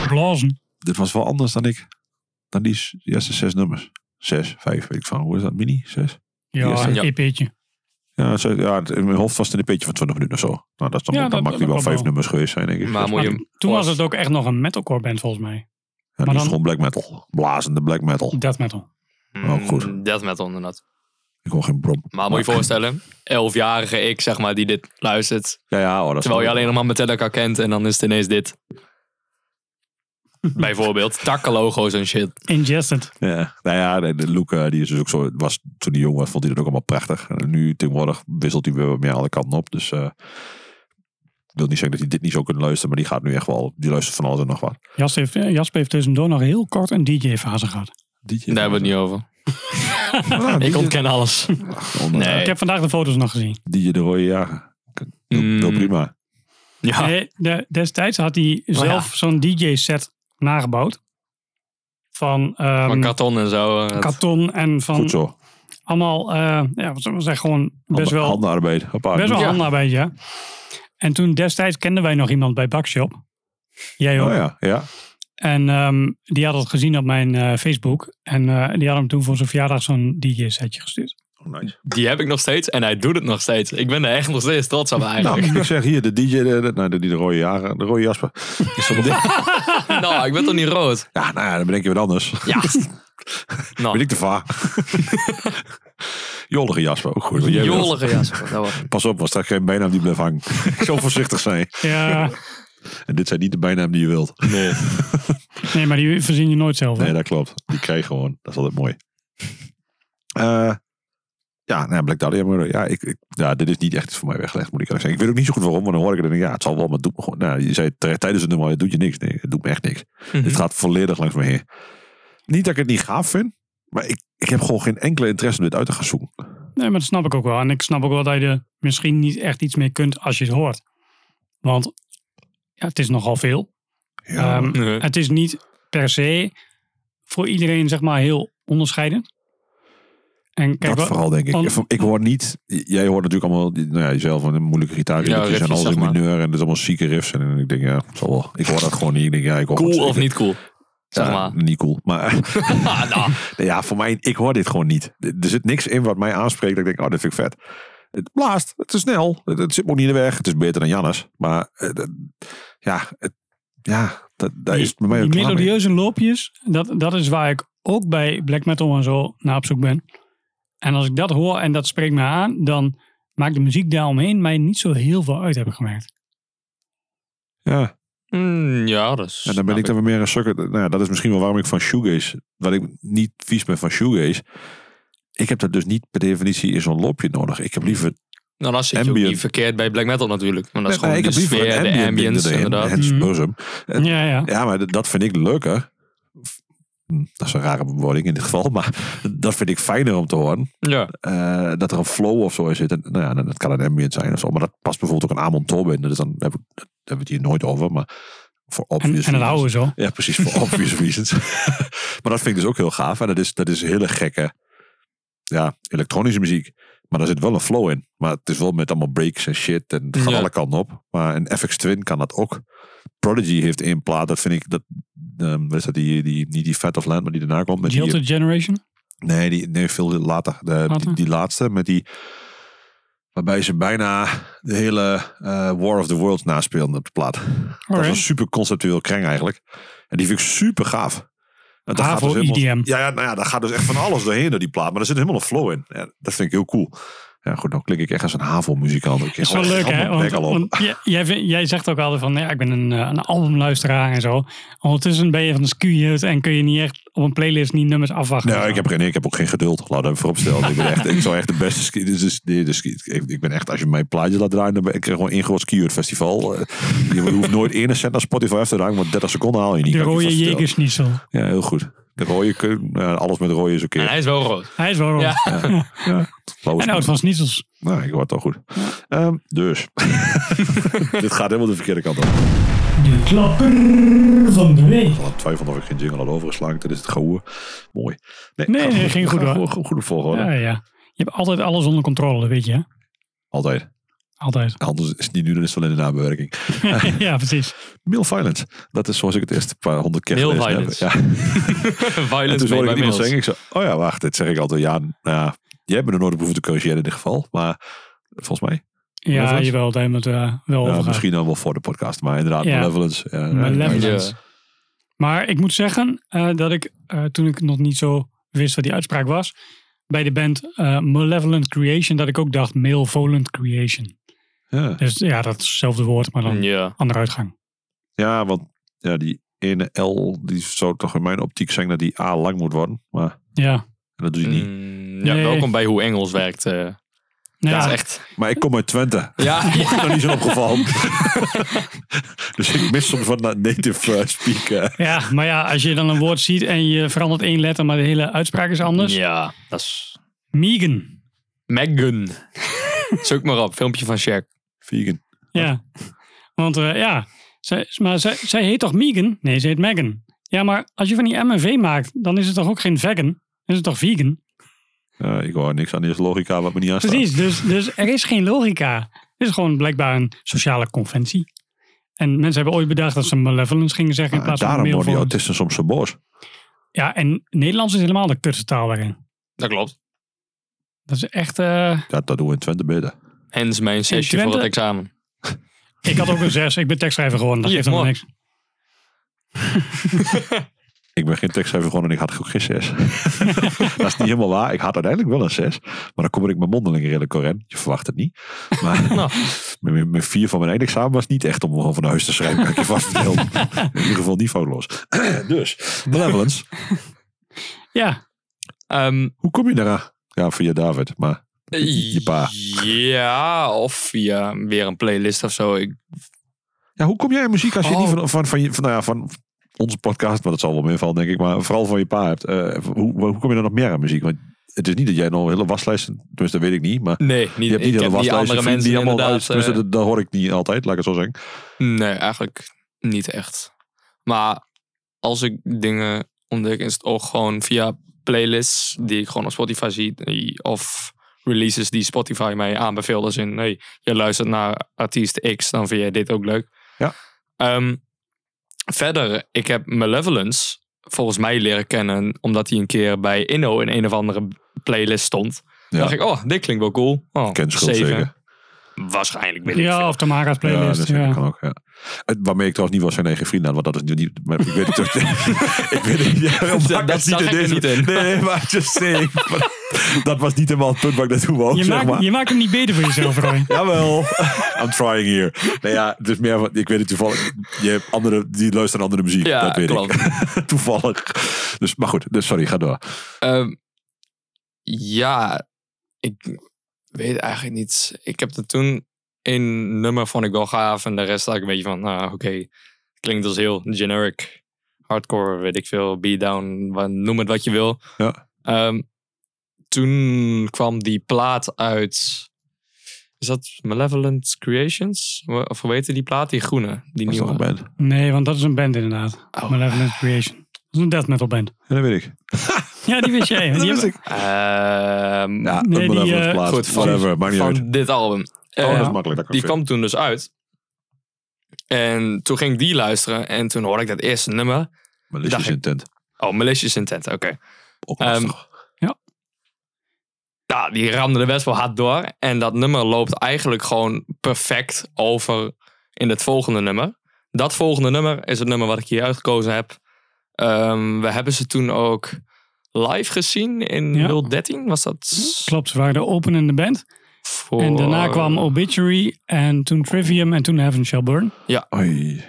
[SPEAKER 2] Blazen.
[SPEAKER 1] Dit was wel anders dan ik. Dan die s- die eerste zes nummers. Zes, vijf, weet ik van. Hoe is dat? Mini? Zes?
[SPEAKER 2] Ja, E
[SPEAKER 1] Eerste.
[SPEAKER 2] een EP'tje.
[SPEAKER 1] Ja, zo- ja, het- in mijn hoofd was het in een beetje van 20 minuten of zo. Nou, dat is dan,
[SPEAKER 2] Ja,
[SPEAKER 1] dan
[SPEAKER 2] dat-
[SPEAKER 1] mag die
[SPEAKER 2] dat
[SPEAKER 1] wel
[SPEAKER 2] klopt
[SPEAKER 1] vijf
[SPEAKER 2] wel.
[SPEAKER 1] nummers geweest zijn, denk ik.
[SPEAKER 3] Maar moet je hem
[SPEAKER 2] Toen was
[SPEAKER 3] pas-
[SPEAKER 2] het ook echt nog een metalcore band volgens mij.
[SPEAKER 1] ja,
[SPEAKER 2] maar
[SPEAKER 1] die is
[SPEAKER 2] dan-
[SPEAKER 1] gewoon black metal. Blazende black metal.
[SPEAKER 2] Death metal.
[SPEAKER 1] Oh, goed.
[SPEAKER 3] Death metal inderdaad.
[SPEAKER 1] Ik hoor geen brom.
[SPEAKER 3] Maar moet je je voorstellen, elfjarige ik zeg maar die dit luistert.
[SPEAKER 1] Ja, ja, oh, dat is
[SPEAKER 3] Terwijl je
[SPEAKER 1] wel-
[SPEAKER 3] alleen nog maar Metallica kent en dan is het ineens dit. Bijvoorbeeld takkenlogo's en shit.
[SPEAKER 2] Ingested.
[SPEAKER 1] Ja, nou ja, de, de look eh, die is dus ook zo, was toen hij jong was, vond hij dat ook allemaal prachtig. En nu tegenwoordig wisselt hij weer wat meer alle kanten op. Dus eh, ik wil niet zeggen dat hij dit niet zo kunt luisteren, maar die gaat nu echt wel, die luistert van alles en nog wat.
[SPEAKER 2] Jas heeft, Jasper heeft tussendoor nog heel kort een DJ-fase gehad.
[SPEAKER 1] DJ,
[SPEAKER 3] Daar hebben we het niet over. ik ontken alles.
[SPEAKER 1] Onder,
[SPEAKER 3] Nee.
[SPEAKER 1] nee.
[SPEAKER 2] Ik heb vandaag de foto's nog gezien.
[SPEAKER 1] DJ de rode jager. Heel, heel
[SPEAKER 3] Mm.
[SPEAKER 1] prima.
[SPEAKER 3] Ja.
[SPEAKER 2] Nee, de- destijds had hij zelf
[SPEAKER 3] Ah. ja.
[SPEAKER 2] zo'n DJ-set nagebouwd. Van, ehm,
[SPEAKER 3] Van karton en zo. eh, het-
[SPEAKER 2] karton en van
[SPEAKER 1] Goed zo.
[SPEAKER 2] allemaal, eh ja, wat zullen we zeggen, gewoon best
[SPEAKER 1] Handen-
[SPEAKER 2] wel,
[SPEAKER 1] Handenarbeid. Hoppa,
[SPEAKER 2] best wel
[SPEAKER 3] Ja.
[SPEAKER 2] handarbeid, ja. En toen destijds kenden wij nog iemand bij Bakshop. Jij ook.
[SPEAKER 1] Oh ja, ja.
[SPEAKER 2] En ehm, die had het gezien op mijn eh, Facebook. En eh, die had hem toen voor zijn verjaardag zo'n DJ-setje gestuurd.
[SPEAKER 1] Oh, nice.
[SPEAKER 3] Die heb ik nog steeds en hij doet het nog steeds. Ik ben er echt nog steeds trots op
[SPEAKER 1] Nou,
[SPEAKER 3] eigenlijk.
[SPEAKER 1] ik zeg hier, de DJ, de, de, nou, de, die de rode jager, de rode jasper. Is dat op dit?
[SPEAKER 3] Nou, ik ben toch niet rood?
[SPEAKER 1] Ja, nou ja, dan bedenk je wat anders.
[SPEAKER 3] Ja. Nou,
[SPEAKER 1] Ben ik te vaag? Jollige Jasper, ook goed. want jij wilt-
[SPEAKER 3] Jollige Jasper. Dat was
[SPEAKER 1] Pas op, was daar geen bijnaam die bleef hangen. Ik zal voorzichtig zijn.
[SPEAKER 2] Ja,
[SPEAKER 1] En dit zijn niet de bijnaam die je wilt. Nee,
[SPEAKER 2] nee, maar die verzin je nooit zelf. hè?
[SPEAKER 1] nee dat klopt. Die krijg je gewoon. Dat is altijd mooi. Eh, ja, nou, Black Dahlia Murder. Ja, ik, ik- ja, dit is niet echt iets voor mij weggelegd, moet ik eerlijk zeggen. Ik weet ook niet zo goed waarom, maar dan hoor ik het en denk ik, ja, het zal wel, maar het doet me gewoon... Nou, je zei terecht tijdens het nummer, het doet je niks. Nee, het doet me echt niks. Het gaat volledig langs me heen. Niet dat ik het niet gaaf vind, maar ik, ik heb gewoon geen enkele interesse om dit uit te gaan zoeken.
[SPEAKER 2] Nee, maar dat snap ik ook wel. En ik snap ook wel dat je er misschien niet echt iets meer kunt als je het hoort. Want ja, het is nogal veel.
[SPEAKER 1] Ja,
[SPEAKER 2] Ehm,
[SPEAKER 3] Nee.
[SPEAKER 2] Het is niet per se voor iedereen zeg maar heel onderscheidend. En kijk,
[SPEAKER 1] dat
[SPEAKER 2] wel-
[SPEAKER 1] vooral denk ik.
[SPEAKER 2] want-
[SPEAKER 1] ik hoor niet, jij hoort natuurlijk allemaal, die- nou ja, jezelf een moeilijke gitaar.
[SPEAKER 3] Ja,
[SPEAKER 1] en
[SPEAKER 3] riffjes,
[SPEAKER 1] alles in
[SPEAKER 3] zeg maar.
[SPEAKER 1] mineur en dat is allemaal zieke riffs. En ik denk, ja, het zal wel. Ik hoor dat gewoon niet. Ik denk, ja, ik hoor
[SPEAKER 3] cool
[SPEAKER 1] het-
[SPEAKER 3] of
[SPEAKER 1] ik-
[SPEAKER 3] niet cool? Zeg
[SPEAKER 1] ja,
[SPEAKER 3] maar.
[SPEAKER 1] Niet cool. Maar
[SPEAKER 3] Ah, nou.
[SPEAKER 1] nou ja, voor mij, ik hoor dit gewoon niet. Er zit niks in wat mij aanspreekt. Dat ik denk, oh, dit vind ik vet. Het blaast, het is snel, het, het zit me ook niet in de weg. Het is beter dan Jannes. Maar eh, dat- ja, het, ja, dat, daar is het bij mij
[SPEAKER 2] die
[SPEAKER 1] ook klaar mee.
[SPEAKER 2] melodieuze loopjes, dat, dat is waar ik ook bij black metal en zo naar op zoek ben. En als ik dat hoor en dat spreekt me aan, dan maakt de muziek daaromheen mij niet zo heel veel uit, heb ik gemerkt.
[SPEAKER 1] Ja,
[SPEAKER 3] Mm, ja, dat is.
[SPEAKER 1] en dan ben ik
[SPEAKER 3] snap
[SPEAKER 1] dan weer meer een sukker. Nou ja, dat is misschien wel waarom ik van shoegaze, wat ik niet vies ben van shoegaze. Ik heb dat dus niet per definitie in zo'n lopje nodig. Ik heb liever
[SPEAKER 3] Nou, dat zit je ook
[SPEAKER 1] ambient.
[SPEAKER 3] niet verkeerd bij black metal natuurlijk. Maar dat is
[SPEAKER 1] Nee,
[SPEAKER 3] gewoon
[SPEAKER 1] nee, ik
[SPEAKER 3] de
[SPEAKER 1] heb liever
[SPEAKER 3] sfeer, de
[SPEAKER 1] ding
[SPEAKER 3] ambience,
[SPEAKER 1] erin.
[SPEAKER 3] inderdaad. Mm.
[SPEAKER 1] Het is
[SPEAKER 2] Mhm.
[SPEAKER 1] buzzum. Het-
[SPEAKER 2] ja, ja.
[SPEAKER 1] Ja, maar d- dat vind ik leuker. Hm, Dat is een rare bewoording in dit geval, maar dat vind ik fijner om te horen.
[SPEAKER 3] Ja.
[SPEAKER 1] Eh, dat er een flow of zo in zit. En, nou ja, dan- dat kan een ambient zijn of zo. Maar dat past bijvoorbeeld ook een Amon Tol binnen. Dus dan heb ik- daar hebben we het hier nooit over. Maar voor
[SPEAKER 2] En,
[SPEAKER 1] obvious
[SPEAKER 2] en dat
[SPEAKER 1] reasons.
[SPEAKER 2] houden we zo.
[SPEAKER 1] Ja, precies, voor obvious reasons. maar dat vind ik dus ook heel gaaf. En dat is, dat is hele gekke, ja, elektronische muziek. Maar daar zit wel een flow in. Maar het is wel met allemaal breaks en shit. En het gaat
[SPEAKER 3] Ja.
[SPEAKER 1] alle kanten op. Maar een FX Twin kan dat ook. Prodigy heeft één plaat, dat vind ik, dat, ehm, wat is dat, die, die, niet die Fat of Land, maar die daarna komt. Met die, eh,
[SPEAKER 2] Jilted Generation.
[SPEAKER 1] Nee, die, nee, veel later. De, Die,
[SPEAKER 2] Later.
[SPEAKER 1] die laatste met die. Waarbij ze bijna de hele eh, War of the Worlds naspeelden op de plaat. Dat is een
[SPEAKER 2] Alright.
[SPEAKER 1] super conceptueel kreng eigenlijk. En die vind ik super gaaf. En dat
[SPEAKER 2] Havo EDM.
[SPEAKER 1] ja, ja, nou ja, daar gaat dus echt van alles doorheen door die plaat. Maar er zit helemaal een flow in. Ja, dat vind ik heel cool. Ja, goed, dan klink ik echt als een HAVO-muzikant. Dat
[SPEAKER 2] Dat is wel leuk, hè? Want, want j- jij, vindt- jij zegt ook altijd van, ja, ik ben een, eh, een albumluisteraar en zo. Ondertussen ben je van de skewed en kun je niet echt op een playlist niet nummers afwachten.
[SPEAKER 1] Nee, Nou, ik heb, geen, ik heb ook geen geduld. Laat dat even vooropstellen. ik, ben echt, ik zou echt de beste ski. Dus, dus, nee, dus, ik, ik ben echt, als je mijn plaatje laat draaien, dan ben ik gewoon één groot skier festival. Eh, Je hoeft nooit één cent naar Spotify af te ruimen, want 30 seconden haal je niet.
[SPEAKER 2] De
[SPEAKER 1] kan ik je
[SPEAKER 2] rode
[SPEAKER 1] vast vertellen.
[SPEAKER 2] jegersniesel.
[SPEAKER 1] Ja, heel goed. De rode kun, ja, alles met rode is oké.
[SPEAKER 3] En hij is wel rood.
[SPEAKER 2] Hij is wel rood.
[SPEAKER 3] Ja.
[SPEAKER 1] Blauwe
[SPEAKER 2] En oud van sniesels.
[SPEAKER 1] Nou, ik hoor het al goed. Ehm, dus. Dit gaat helemaal de verkeerde kant op.
[SPEAKER 2] De klapper van de week.
[SPEAKER 1] Ik had twijfel of ik geen jingle had overgeslagen. Dit is het gehoer. Mooi.
[SPEAKER 2] Nee, nee, ging goed, hoor.
[SPEAKER 1] Goed, goed op volgorde.
[SPEAKER 2] Ja, ja. Je hebt altijd alles onder controle, dat weet je. hè?
[SPEAKER 1] Altijd.
[SPEAKER 2] Altijd.
[SPEAKER 1] Anders is het niet nu, dan is het wel in de nabewerking.
[SPEAKER 2] ja, precies.
[SPEAKER 1] Mail violence. Dat is zoals ik het eerst een paar honderd keer
[SPEAKER 3] Mail
[SPEAKER 1] gelezen heb.
[SPEAKER 3] violence.
[SPEAKER 1] Ja. En toen
[SPEAKER 3] Violence
[SPEAKER 1] hoorde
[SPEAKER 3] made
[SPEAKER 1] ik
[SPEAKER 3] by
[SPEAKER 1] iemand
[SPEAKER 3] males.
[SPEAKER 1] zeggen, ik zo, oh ja, wacht, dit zeg ik altijd. Ja, nou ja, jij bent er nooit op hoeven te corrigeren in dit geval. Maar volgens mij,
[SPEAKER 2] Ja,
[SPEAKER 1] Malevolence?
[SPEAKER 2] jawel, daar hebben we het eh, wel
[SPEAKER 1] ja,
[SPEAKER 2] over gehad.
[SPEAKER 1] misschien dan wel voor de podcast. Maar inderdaad,
[SPEAKER 2] Ja.
[SPEAKER 1] malevolence. eh,
[SPEAKER 2] Malevolence.
[SPEAKER 1] ja,
[SPEAKER 2] Malevolence. Maar ik moet zeggen eh, dat ik, eh, toen ik nog niet zo wist wat die uitspraak was, bij de band eh Malevolent Creation, dat ik ook dacht Malevolent Creation.
[SPEAKER 1] ja.
[SPEAKER 2] Dus ja, dat is hetzelfde woord, maar dan
[SPEAKER 3] Mm, Ja.
[SPEAKER 2] andere uitgang.
[SPEAKER 1] Ja, want ja, die ene L, die zou toch in mijn optiek zijn dat die A lang moet worden. Maar
[SPEAKER 2] Ja.
[SPEAKER 1] dat doe je niet.
[SPEAKER 3] Mm, ja,
[SPEAKER 2] Nee.
[SPEAKER 3] welkom bij hoe Engels werkt. eh.
[SPEAKER 2] Nou
[SPEAKER 3] Dat
[SPEAKER 2] ja,
[SPEAKER 3] is echt...
[SPEAKER 1] Maar ik kom uit Twente.
[SPEAKER 3] Ja,
[SPEAKER 1] Ik ben nog niet zo opgevallen. dus ik mis soms wat native eh, speaker.
[SPEAKER 2] ja, maar ja, als je dan een woord ziet en je verandert één letter, maar de hele uitspraak is anders.
[SPEAKER 3] ja, dat is...
[SPEAKER 2] Megan.
[SPEAKER 3] Megan. Zoek maar op, filmpje van Shaq.
[SPEAKER 1] Vegan.
[SPEAKER 2] Ja. Want eh, ja, zij, maar zij, zij heet toch Megan? Nee, ze heet Megan. Ja, maar als je van die M&V maakt, dan is het toch ook geen vegan? Dan is het toch vegan?
[SPEAKER 1] Ja, ik hoor niks aan deze logica wat me niet aanstaat.
[SPEAKER 2] Precies, dus, dus er is geen logica. Het is gewoon blijkbaar een sociale conventie. En mensen hebben ooit bedacht dat ze malevolence gingen zeggen in
[SPEAKER 1] Ah, en
[SPEAKER 2] plaats van
[SPEAKER 1] daarom worden die
[SPEAKER 2] malevolence.
[SPEAKER 1] autisten soms zo boos.
[SPEAKER 2] Ja, en Nederlands is helemaal de kutste taal daarin.
[SPEAKER 3] Dat klopt.
[SPEAKER 2] Dat is echt... eh,
[SPEAKER 1] Ja, dat doen we in Twente beter.
[SPEAKER 3] Hens mijn sessie
[SPEAKER 2] Twente-
[SPEAKER 3] voor het examen.
[SPEAKER 2] ik had ook een zes, ik ben tekstschrijver geworden. Dat
[SPEAKER 3] Ja,
[SPEAKER 2] geeft helemaal
[SPEAKER 3] mooi.
[SPEAKER 2] niks.
[SPEAKER 1] Ik ben geen tekstschrijver gewoon en ik had ook geen 6. dat is niet helemaal waar. Ik had uiteindelijk wel een 6. Maar dan kom ik mijn mondeling redelijk correct. Je verwacht het niet. Maar
[SPEAKER 3] Nou.
[SPEAKER 1] mijn, mijn vier van mijn eindexamen was niet echt om gewoon van huis te schrijven. Kan ik je vast vertellen. In ieder geval niet foutloos. dus, Malevolence.
[SPEAKER 2] Ja,
[SPEAKER 3] Ehm,
[SPEAKER 1] Hoe kom je daaraan? Ja, via David. Maar je pa.
[SPEAKER 3] Ja, of via weer een playlist of zo. Ik,
[SPEAKER 1] Ja, hoe kom jij aan muziek als je
[SPEAKER 3] Oh.
[SPEAKER 1] niet van, van, van, je- van, nou ja, van onze podcast, maar dat zal wel meevallen denk ik, maar vooral van je pa hebt. Eh, hoe, hoe kom je dan nog meer aan muziek? Want het is niet dat jij nog een hele waslijst, tenminste dat weet ik niet, maar
[SPEAKER 3] nee, niet,
[SPEAKER 1] je hebt niet
[SPEAKER 3] ik
[SPEAKER 1] een hele
[SPEAKER 3] heb die
[SPEAKER 1] waslijst
[SPEAKER 3] andere
[SPEAKER 1] van vrienden
[SPEAKER 3] mensen
[SPEAKER 1] die allemaal
[SPEAKER 3] inderdaad.
[SPEAKER 1] uit, tenminste
[SPEAKER 3] eh,
[SPEAKER 1] dat, dat hoor ik niet altijd, laat ik het zo zeggen.
[SPEAKER 3] nee, eigenlijk niet echt. Maar als ik dingen ontdek, is het ook gewoon via playlists die ik gewoon op Spotify zie. die- Of releases die Spotify mij aanbeveelt. Als in, hey, je luistert naar artiest X, dan vind jij dit ook leuk.
[SPEAKER 1] Ja.
[SPEAKER 3] Ehm, verder, ik heb Malevolence volgens mij leren kennen. Omdat hij een keer bij Inno in een of andere playlist stond.
[SPEAKER 1] Ja.
[SPEAKER 3] dacht ik, oh, dit klinkt wel cool. Oh,
[SPEAKER 1] Ken schuld
[SPEAKER 3] zeven.
[SPEAKER 1] zeker.
[SPEAKER 3] Waarschijnlijk weet ik
[SPEAKER 2] ja
[SPEAKER 3] veel.
[SPEAKER 2] of Tamara's
[SPEAKER 1] Ja,
[SPEAKER 2] playlist.
[SPEAKER 1] dat
[SPEAKER 2] Ja,
[SPEAKER 1] kan ook, ja. Het, waarmee ik trouwens niet was zijn eigen vrienden aan, want dat is nu niet... Maar ik weet het ook ik weet het niet. Ja,
[SPEAKER 3] Dat- dat zag ik er niet in.
[SPEAKER 1] Nee, nee, maar just saying. Maar dat was niet helemaal het punt waar ik naartoe wou,
[SPEAKER 2] Je,
[SPEAKER 1] zeg maar.
[SPEAKER 2] maakt, je maakt hem niet beter voor jezelf, Roy.
[SPEAKER 1] Jawel. I'm trying here. Nou ja, het is meer van, ik weet het toevallig. Je hebt andere, die luisteren andere muziek.
[SPEAKER 3] Ja,
[SPEAKER 1] dat weet ik.
[SPEAKER 3] klopt.
[SPEAKER 1] toevallig. Dus, maar goed, dus sorry, ga door.
[SPEAKER 3] Ehm, ja, ik weet eigenlijk niet. Ik heb er toen één nummer vond ik wel gaaf. En de rest had ik een beetje van, nou oké, klinkt als heel generic. Hardcore, weet ik veel, beatdown, wa- noem het wat je wil.
[SPEAKER 1] Ja.
[SPEAKER 3] Ehm, toen kwam die plaat uit... Is dat Malevolent Creations? Wa- Of hoe heette die plaat? Die groene, die
[SPEAKER 1] Als dat
[SPEAKER 3] nieuwe.
[SPEAKER 1] nog bent. Ja,
[SPEAKER 2] Nee, want dat is een band inderdaad.
[SPEAKER 3] Oh.
[SPEAKER 2] Malevolent Creation. Dat is een death metal band.
[SPEAKER 1] dat weet ik.
[SPEAKER 2] Ja, die wist jij.
[SPEAKER 1] Dat
[SPEAKER 2] Die
[SPEAKER 1] wist
[SPEAKER 2] hebben-
[SPEAKER 1] ik.
[SPEAKER 3] Ehm,
[SPEAKER 1] Ja,
[SPEAKER 2] Nee,
[SPEAKER 1] een
[SPEAKER 2] die,
[SPEAKER 1] malevolent
[SPEAKER 2] eh,
[SPEAKER 1] plaat.
[SPEAKER 3] goed, van-
[SPEAKER 1] Whatever, maakt niet
[SPEAKER 3] van
[SPEAKER 1] uit.
[SPEAKER 3] dit album.
[SPEAKER 1] Oh, dat
[SPEAKER 3] Ehm,
[SPEAKER 1] is makkelijk. Dat kan
[SPEAKER 3] Die
[SPEAKER 1] veel.
[SPEAKER 3] kwam toen dus uit. En toen ging ik die luisteren. En toen hoorde ik dat eerste nummer.
[SPEAKER 1] Malicious
[SPEAKER 3] dacht ik-
[SPEAKER 1] intent.
[SPEAKER 3] Oh, Malicious Intent, oké.
[SPEAKER 1] Ook
[SPEAKER 3] Ehm,
[SPEAKER 1] lastig.
[SPEAKER 3] Nou, die ramde er best wel hard door. En dat nummer loopt eigenlijk gewoon perfect over in het volgende nummer. Dat volgende nummer is het nummer wat ik hier uitgekozen heb. Ehm, we hebben ze toen ook live gezien in
[SPEAKER 2] Ja.
[SPEAKER 3] 013. Was dat
[SPEAKER 2] Klopt, ze waren de openende band.
[SPEAKER 3] voor...
[SPEAKER 2] En daarna kwam Obituary en toen Trivium en toen Heaven Shall Burn.
[SPEAKER 1] Oei.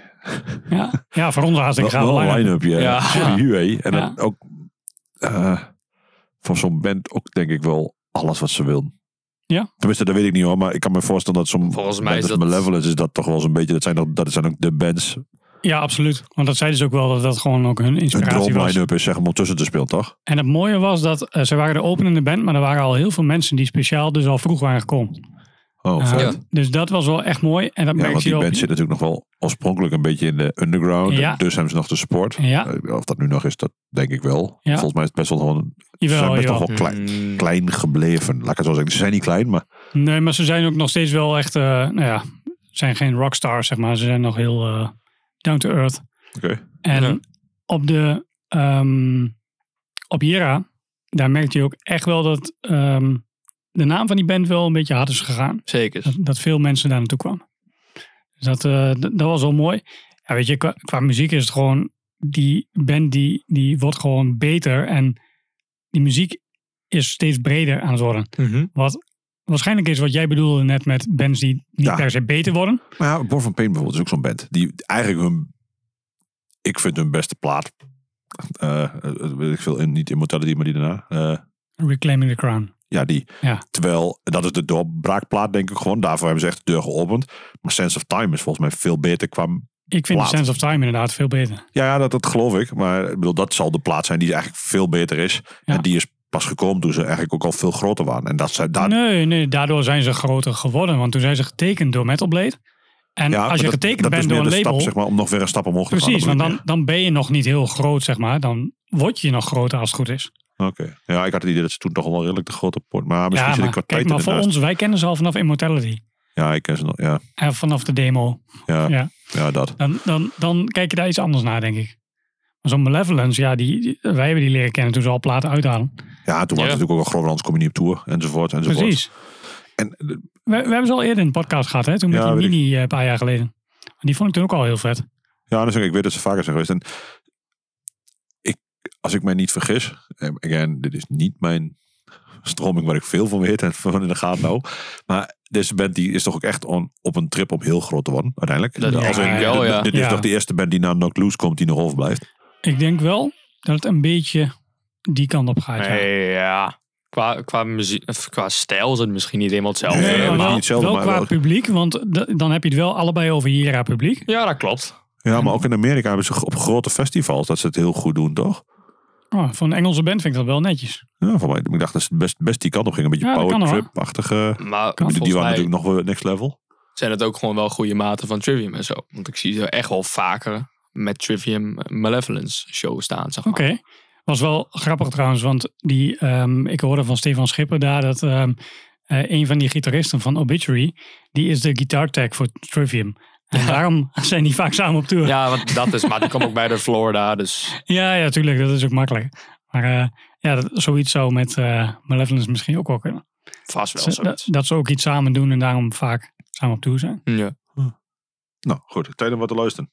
[SPEAKER 2] Ja, ja voor ons was ik
[SPEAKER 1] Wel,
[SPEAKER 2] gaaf.
[SPEAKER 1] wel een line-up, ja.
[SPEAKER 3] Ja.
[SPEAKER 1] Sorry, Huey. En dan
[SPEAKER 2] Ja.
[SPEAKER 1] ook... eh, voor zo'n band ook denk ik wel alles wat ze wil.
[SPEAKER 2] Ja.
[SPEAKER 1] Tenminste, dat weet ik niet hoor. Maar ik kan me voorstellen dat zo'n
[SPEAKER 3] Volgens mij
[SPEAKER 1] band
[SPEAKER 3] is
[SPEAKER 1] als
[SPEAKER 3] dat-
[SPEAKER 1] Malevolence is dat toch wel zo'n beetje... Dat zijn, dan- dat zijn ook de bands
[SPEAKER 2] Ja, absoluut. Want dat zeiden ze ook wel dat dat gewoon ook hun
[SPEAKER 1] een
[SPEAKER 2] inspiratie was.
[SPEAKER 1] droomline-up is zeg maar om tussen te spelen, toch?
[SPEAKER 2] En het mooie was dat eh, ze waren de openende band, maar er waren al heel veel mensen die speciaal dus al vroeg waren gekomen.
[SPEAKER 1] Oh,
[SPEAKER 2] Eh,
[SPEAKER 1] vet.
[SPEAKER 3] ja.
[SPEAKER 2] Dus dat was wel echt mooi. En dat
[SPEAKER 1] Ja,
[SPEAKER 2] merk
[SPEAKER 1] want
[SPEAKER 2] je
[SPEAKER 1] die
[SPEAKER 2] ook.
[SPEAKER 1] band zit natuurlijk nog wel oorspronkelijk een beetje in de underground.
[SPEAKER 2] Ja.
[SPEAKER 1] en Dus hebben ze nog de support.
[SPEAKER 2] Ja,
[SPEAKER 1] Eh, Of dat nu nog is, dat denk ik wel.
[SPEAKER 2] Ja.
[SPEAKER 1] Volgens mij is het best wel gewoon... ze zijn
[SPEAKER 2] jawel,
[SPEAKER 1] best
[SPEAKER 2] jawel.
[SPEAKER 1] nog wel klein,
[SPEAKER 3] Mm,
[SPEAKER 1] klein gebleven. Laat ik het zo zeggen. Ze zijn niet klein, maar...
[SPEAKER 2] Nee, maar ze zijn ook nog steeds wel echt, eh, nou ja, zijn geen rockstars, zeg maar. Ze zijn nog heel eh, down to earth.
[SPEAKER 1] Oké.
[SPEAKER 2] En
[SPEAKER 3] Ja.
[SPEAKER 2] op de, ehm, op Jera, daar merkte je ook echt wel dat ehm, de naam van die band wel een beetje hard is gegaan.
[SPEAKER 3] Zeker.
[SPEAKER 2] Dat, dat veel mensen daar naartoe kwamen. Dus dat, eh, d- dat was wel mooi. Ja, weet je, qua, qua muziek is het gewoon... Die band die, die wordt gewoon beter. En die muziek is steeds breder aan het worden.
[SPEAKER 3] Mhm.
[SPEAKER 2] Wat waarschijnlijk is wat jij bedoelde net met bands die niet
[SPEAKER 1] Ja.
[SPEAKER 2] per se beter worden.
[SPEAKER 1] Maar Nou ja, Born van Pain bijvoorbeeld is ook zo'n band. Die eigenlijk hun... Ik vind hun beste plaat... eh, eh, weet ik veel, in, niet Immortality, maar die daarna. eh,
[SPEAKER 2] Reclaiming the Crown.
[SPEAKER 1] Ja, die.
[SPEAKER 2] Ja.
[SPEAKER 1] Terwijl, dat is de doorbraakplaat denk ik gewoon. Daarvoor hebben ze echt de deur geopend. Maar Sense of Time is volgens mij veel beter qua...
[SPEAKER 2] Ik vind
[SPEAKER 1] Plaat.
[SPEAKER 2] The Sense of Time inderdaad veel beter.
[SPEAKER 1] Ja, ja dat, dat geloof ik. Maar ik bedoel, dat zal de plaat zijn die eigenlijk veel beter is.
[SPEAKER 2] Ja.
[SPEAKER 1] En die is pas gekomen toen ze eigenlijk ook al veel groter waren. En dat zijn daar...
[SPEAKER 2] Nee, nee, daardoor zijn ze groter geworden. Want toen zijn ze getekend door Metal Blade. En
[SPEAKER 1] Ja, maar
[SPEAKER 2] als je
[SPEAKER 1] dat-
[SPEAKER 2] getekend
[SPEAKER 1] dat is
[SPEAKER 2] bent door
[SPEAKER 1] meer
[SPEAKER 2] een
[SPEAKER 1] de
[SPEAKER 2] label...
[SPEAKER 1] Stap, zeg maar, om nog weer een stap omhoog te
[SPEAKER 2] Precies,
[SPEAKER 1] gaan.
[SPEAKER 2] want
[SPEAKER 1] dat
[SPEAKER 2] dan,
[SPEAKER 1] bedoel
[SPEAKER 2] dan ben je nog niet heel groot, zeg maar. Dan word je nog groter als het goed is.
[SPEAKER 1] ik meer. Oké. Ja, ik had het idee dat ze toen toch wel redelijk de grote poort... Maar misschien
[SPEAKER 2] ja,
[SPEAKER 1] zit
[SPEAKER 2] maar,
[SPEAKER 1] ik wat
[SPEAKER 2] kijk,
[SPEAKER 1] tijd
[SPEAKER 2] maar
[SPEAKER 1] in de
[SPEAKER 2] voor
[SPEAKER 1] naast.
[SPEAKER 2] ons, wij kennen ze al vanaf Immortality.
[SPEAKER 1] Ja, ik ken ze nog. Ja,
[SPEAKER 2] En vanaf de demo.
[SPEAKER 1] ja, ja.
[SPEAKER 2] Ja.
[SPEAKER 1] dat.
[SPEAKER 2] Dan, dan, dan kijk je daar iets anders naar, denk ik. Maar zo'n Malevolence, ja, die, die- wij hebben die leren kennen toen ze al platen uithalen.
[SPEAKER 1] Ja, toen was
[SPEAKER 3] Ja.
[SPEAKER 1] het natuurlijk ook wel groot, anders kom je niet op tour. Enzovoort, enzovoort.
[SPEAKER 2] Precies.
[SPEAKER 1] En eh,
[SPEAKER 2] We, we hebben ze al eerder in de podcast gehad, hè? Toen met
[SPEAKER 1] Ja,
[SPEAKER 2] die
[SPEAKER 1] weet ik.
[SPEAKER 2] mini eh, een paar jaar geleden. Die vond ik toen ook al heel vet.
[SPEAKER 1] Ja, dus ik weet dat ze vaker zijn geweest. En ik als ik mij niet vergis, en again, dit is niet mijn stroming waar ik veel van weet en van in de gaten hou. Maar deze band die is toch ook echt on- op een trip op heel groot te worden, uiteindelijk.
[SPEAKER 3] Dat
[SPEAKER 1] Als in,
[SPEAKER 3] denk ik wel,
[SPEAKER 1] dit-
[SPEAKER 3] ja.
[SPEAKER 1] Dit is
[SPEAKER 2] Ja.
[SPEAKER 1] toch de eerste band die na Knock Loose komt die nog overblijft.
[SPEAKER 2] Ik denk wel dat het een beetje die kant op gaat. ja.
[SPEAKER 3] Nee, ja. Qua, qua, muziek, of qua stijl is het misschien niet helemaal hetzelfde.
[SPEAKER 1] Nee,
[SPEAKER 2] maar
[SPEAKER 1] maar
[SPEAKER 2] wel,
[SPEAKER 1] niet hetzelfde,
[SPEAKER 2] wel
[SPEAKER 1] maar
[SPEAKER 2] qua
[SPEAKER 1] wel-
[SPEAKER 2] publiek, want d- dan heb je het wel allebei over Jera publiek.
[SPEAKER 3] Ja, dat klopt.
[SPEAKER 1] Ja, maar ook in Amerika hebben ze op grote festivals dat ze het heel goed doen, toch?
[SPEAKER 2] Oh, voor een Engelse band vind ik dat wel netjes.
[SPEAKER 1] Ja, van mij. Ik dacht dat ze best, best die kant op gingen. Een beetje
[SPEAKER 2] Ja, dat
[SPEAKER 1] power
[SPEAKER 2] kan hoor.
[SPEAKER 1] trip-achtige.
[SPEAKER 3] Maar
[SPEAKER 1] Die
[SPEAKER 3] volgens
[SPEAKER 1] waren
[SPEAKER 3] mij
[SPEAKER 1] natuurlijk nog wel next level.
[SPEAKER 3] zijn het ook gewoon wel goede maten van Trivium en zo. Want ik zie ze echt wel vaker met Trivium eh, Malevolence show staan, zeg maar.
[SPEAKER 2] Oké. Was wel grappig trouwens, want die, ehm, ik hoorde van Stefan Schipper daar dat ehm, eh, een van die gitaristen van Obituary, die is de guitartech voor Trivium. En daarom zijn die vaak samen op tour.
[SPEAKER 3] Ja, want dat is, maar die kwam ook bij de Florida, dus...
[SPEAKER 2] Ja, ja, tuurlijk. Dat is ook makkelijk. Maar eh, ja, dat, zoiets zou met eh Malevolence misschien ook wel kunnen.
[SPEAKER 3] Vast wel
[SPEAKER 2] Ze- dat,
[SPEAKER 3] zoiets.
[SPEAKER 2] dat ze ook iets samen doen en daarom vaak samen op tour zijn.
[SPEAKER 3] Ja.
[SPEAKER 1] Nou, goed. Tijd om wat te luisteren.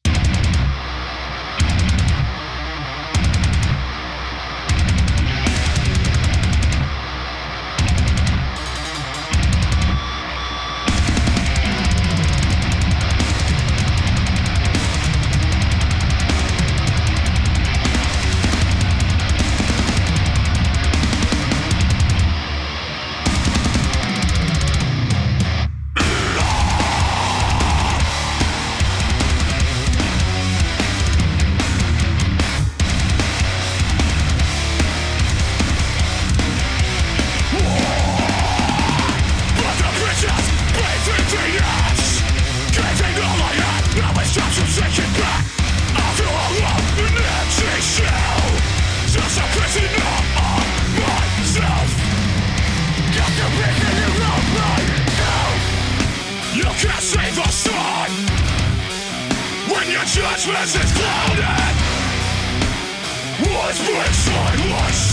[SPEAKER 7] Let the bitches bleed through the years. Giving all I had, now it's time to take it back. I feel alone in an empty shell. Just a prisoner of myself. Got the beating around my health. You can't save the sun when your judgment is clouded. Words bring silence,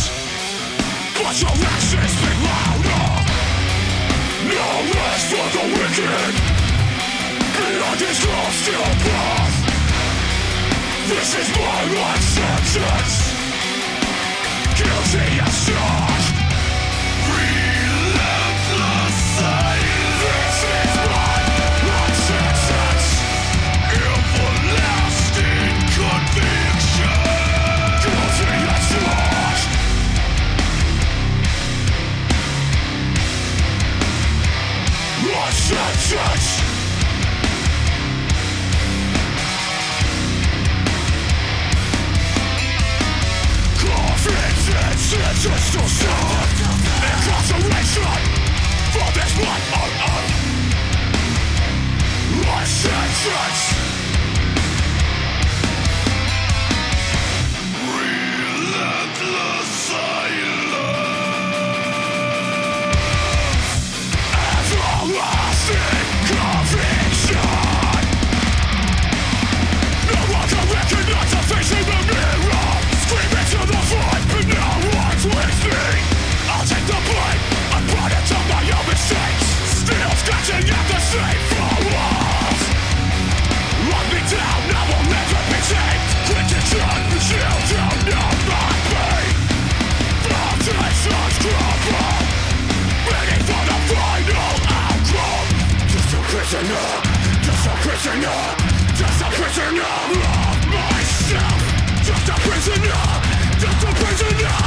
[SPEAKER 7] but your actions speak louder. No rest for the wicked Beyond is lost your path This is my life sentence Guilty as charged Relentless This is my life sentence Everlasting conviction Guilty as charged Life sentence oh, Life sentence Relentless silence Everlasting conviction. No one can recognize the face in the mirror. Screaming to the void, but no one's with me. I'll take the blame and put it on my own mistakes. Still scratching at the same flaws. Lock me down, I will never be tamed. Criticism, you don't know my pain. Foundations crumble. Ready for the final outcome Just a prisoner Just a prisoner Just a prisoner of myself Just a prisoner Just a prisoner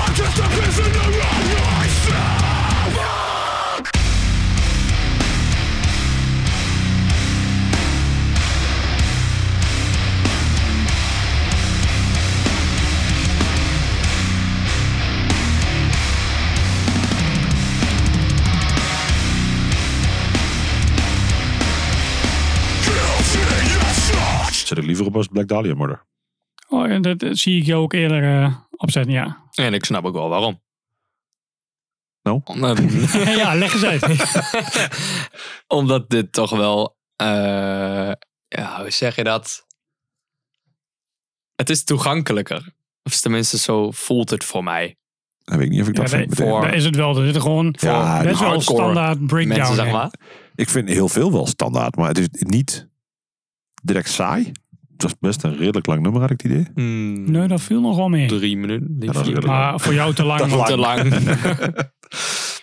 [SPEAKER 7] I'm just a prisoner of myself Guilty as such
[SPEAKER 1] Zet ik liever op als Black Dahlia Murder.
[SPEAKER 2] Oh, en dat eh, zie ik jou ook eerder eh, opzetten, ja.
[SPEAKER 3] En ik snap ook wel waarom.
[SPEAKER 1] Nou?
[SPEAKER 3] Om-
[SPEAKER 2] ja, leg eens uit.
[SPEAKER 3] Omdat dit toch wel. eh, ja, hoe zeg je dat? Het is toegankelijker. Of tenminste, zo voelt het voor mij.
[SPEAKER 1] Dan weet ik niet of ik
[SPEAKER 2] Ja,
[SPEAKER 1] dat
[SPEAKER 2] nee,
[SPEAKER 1] vind meteen.
[SPEAKER 3] voor-
[SPEAKER 2] Daar is het wel. Dat is gewoon
[SPEAKER 1] Ja,
[SPEAKER 2] best wel
[SPEAKER 3] hardcore
[SPEAKER 2] standaard breakdown.
[SPEAKER 3] Mensen, zeg
[SPEAKER 2] in.
[SPEAKER 3] maar.
[SPEAKER 1] Ik vind heel veel wel standaard, maar het is niet direct saai. Het was best een redelijk lang nummer, had ik het idee.
[SPEAKER 3] Hmm,
[SPEAKER 2] Nee, dat viel nog wel mee.
[SPEAKER 3] Drie minuten.
[SPEAKER 1] Ja,
[SPEAKER 3] Niet
[SPEAKER 1] dat is
[SPEAKER 3] vier.
[SPEAKER 1] redelijk
[SPEAKER 2] Maar voor jou te lang. want-
[SPEAKER 3] te lang.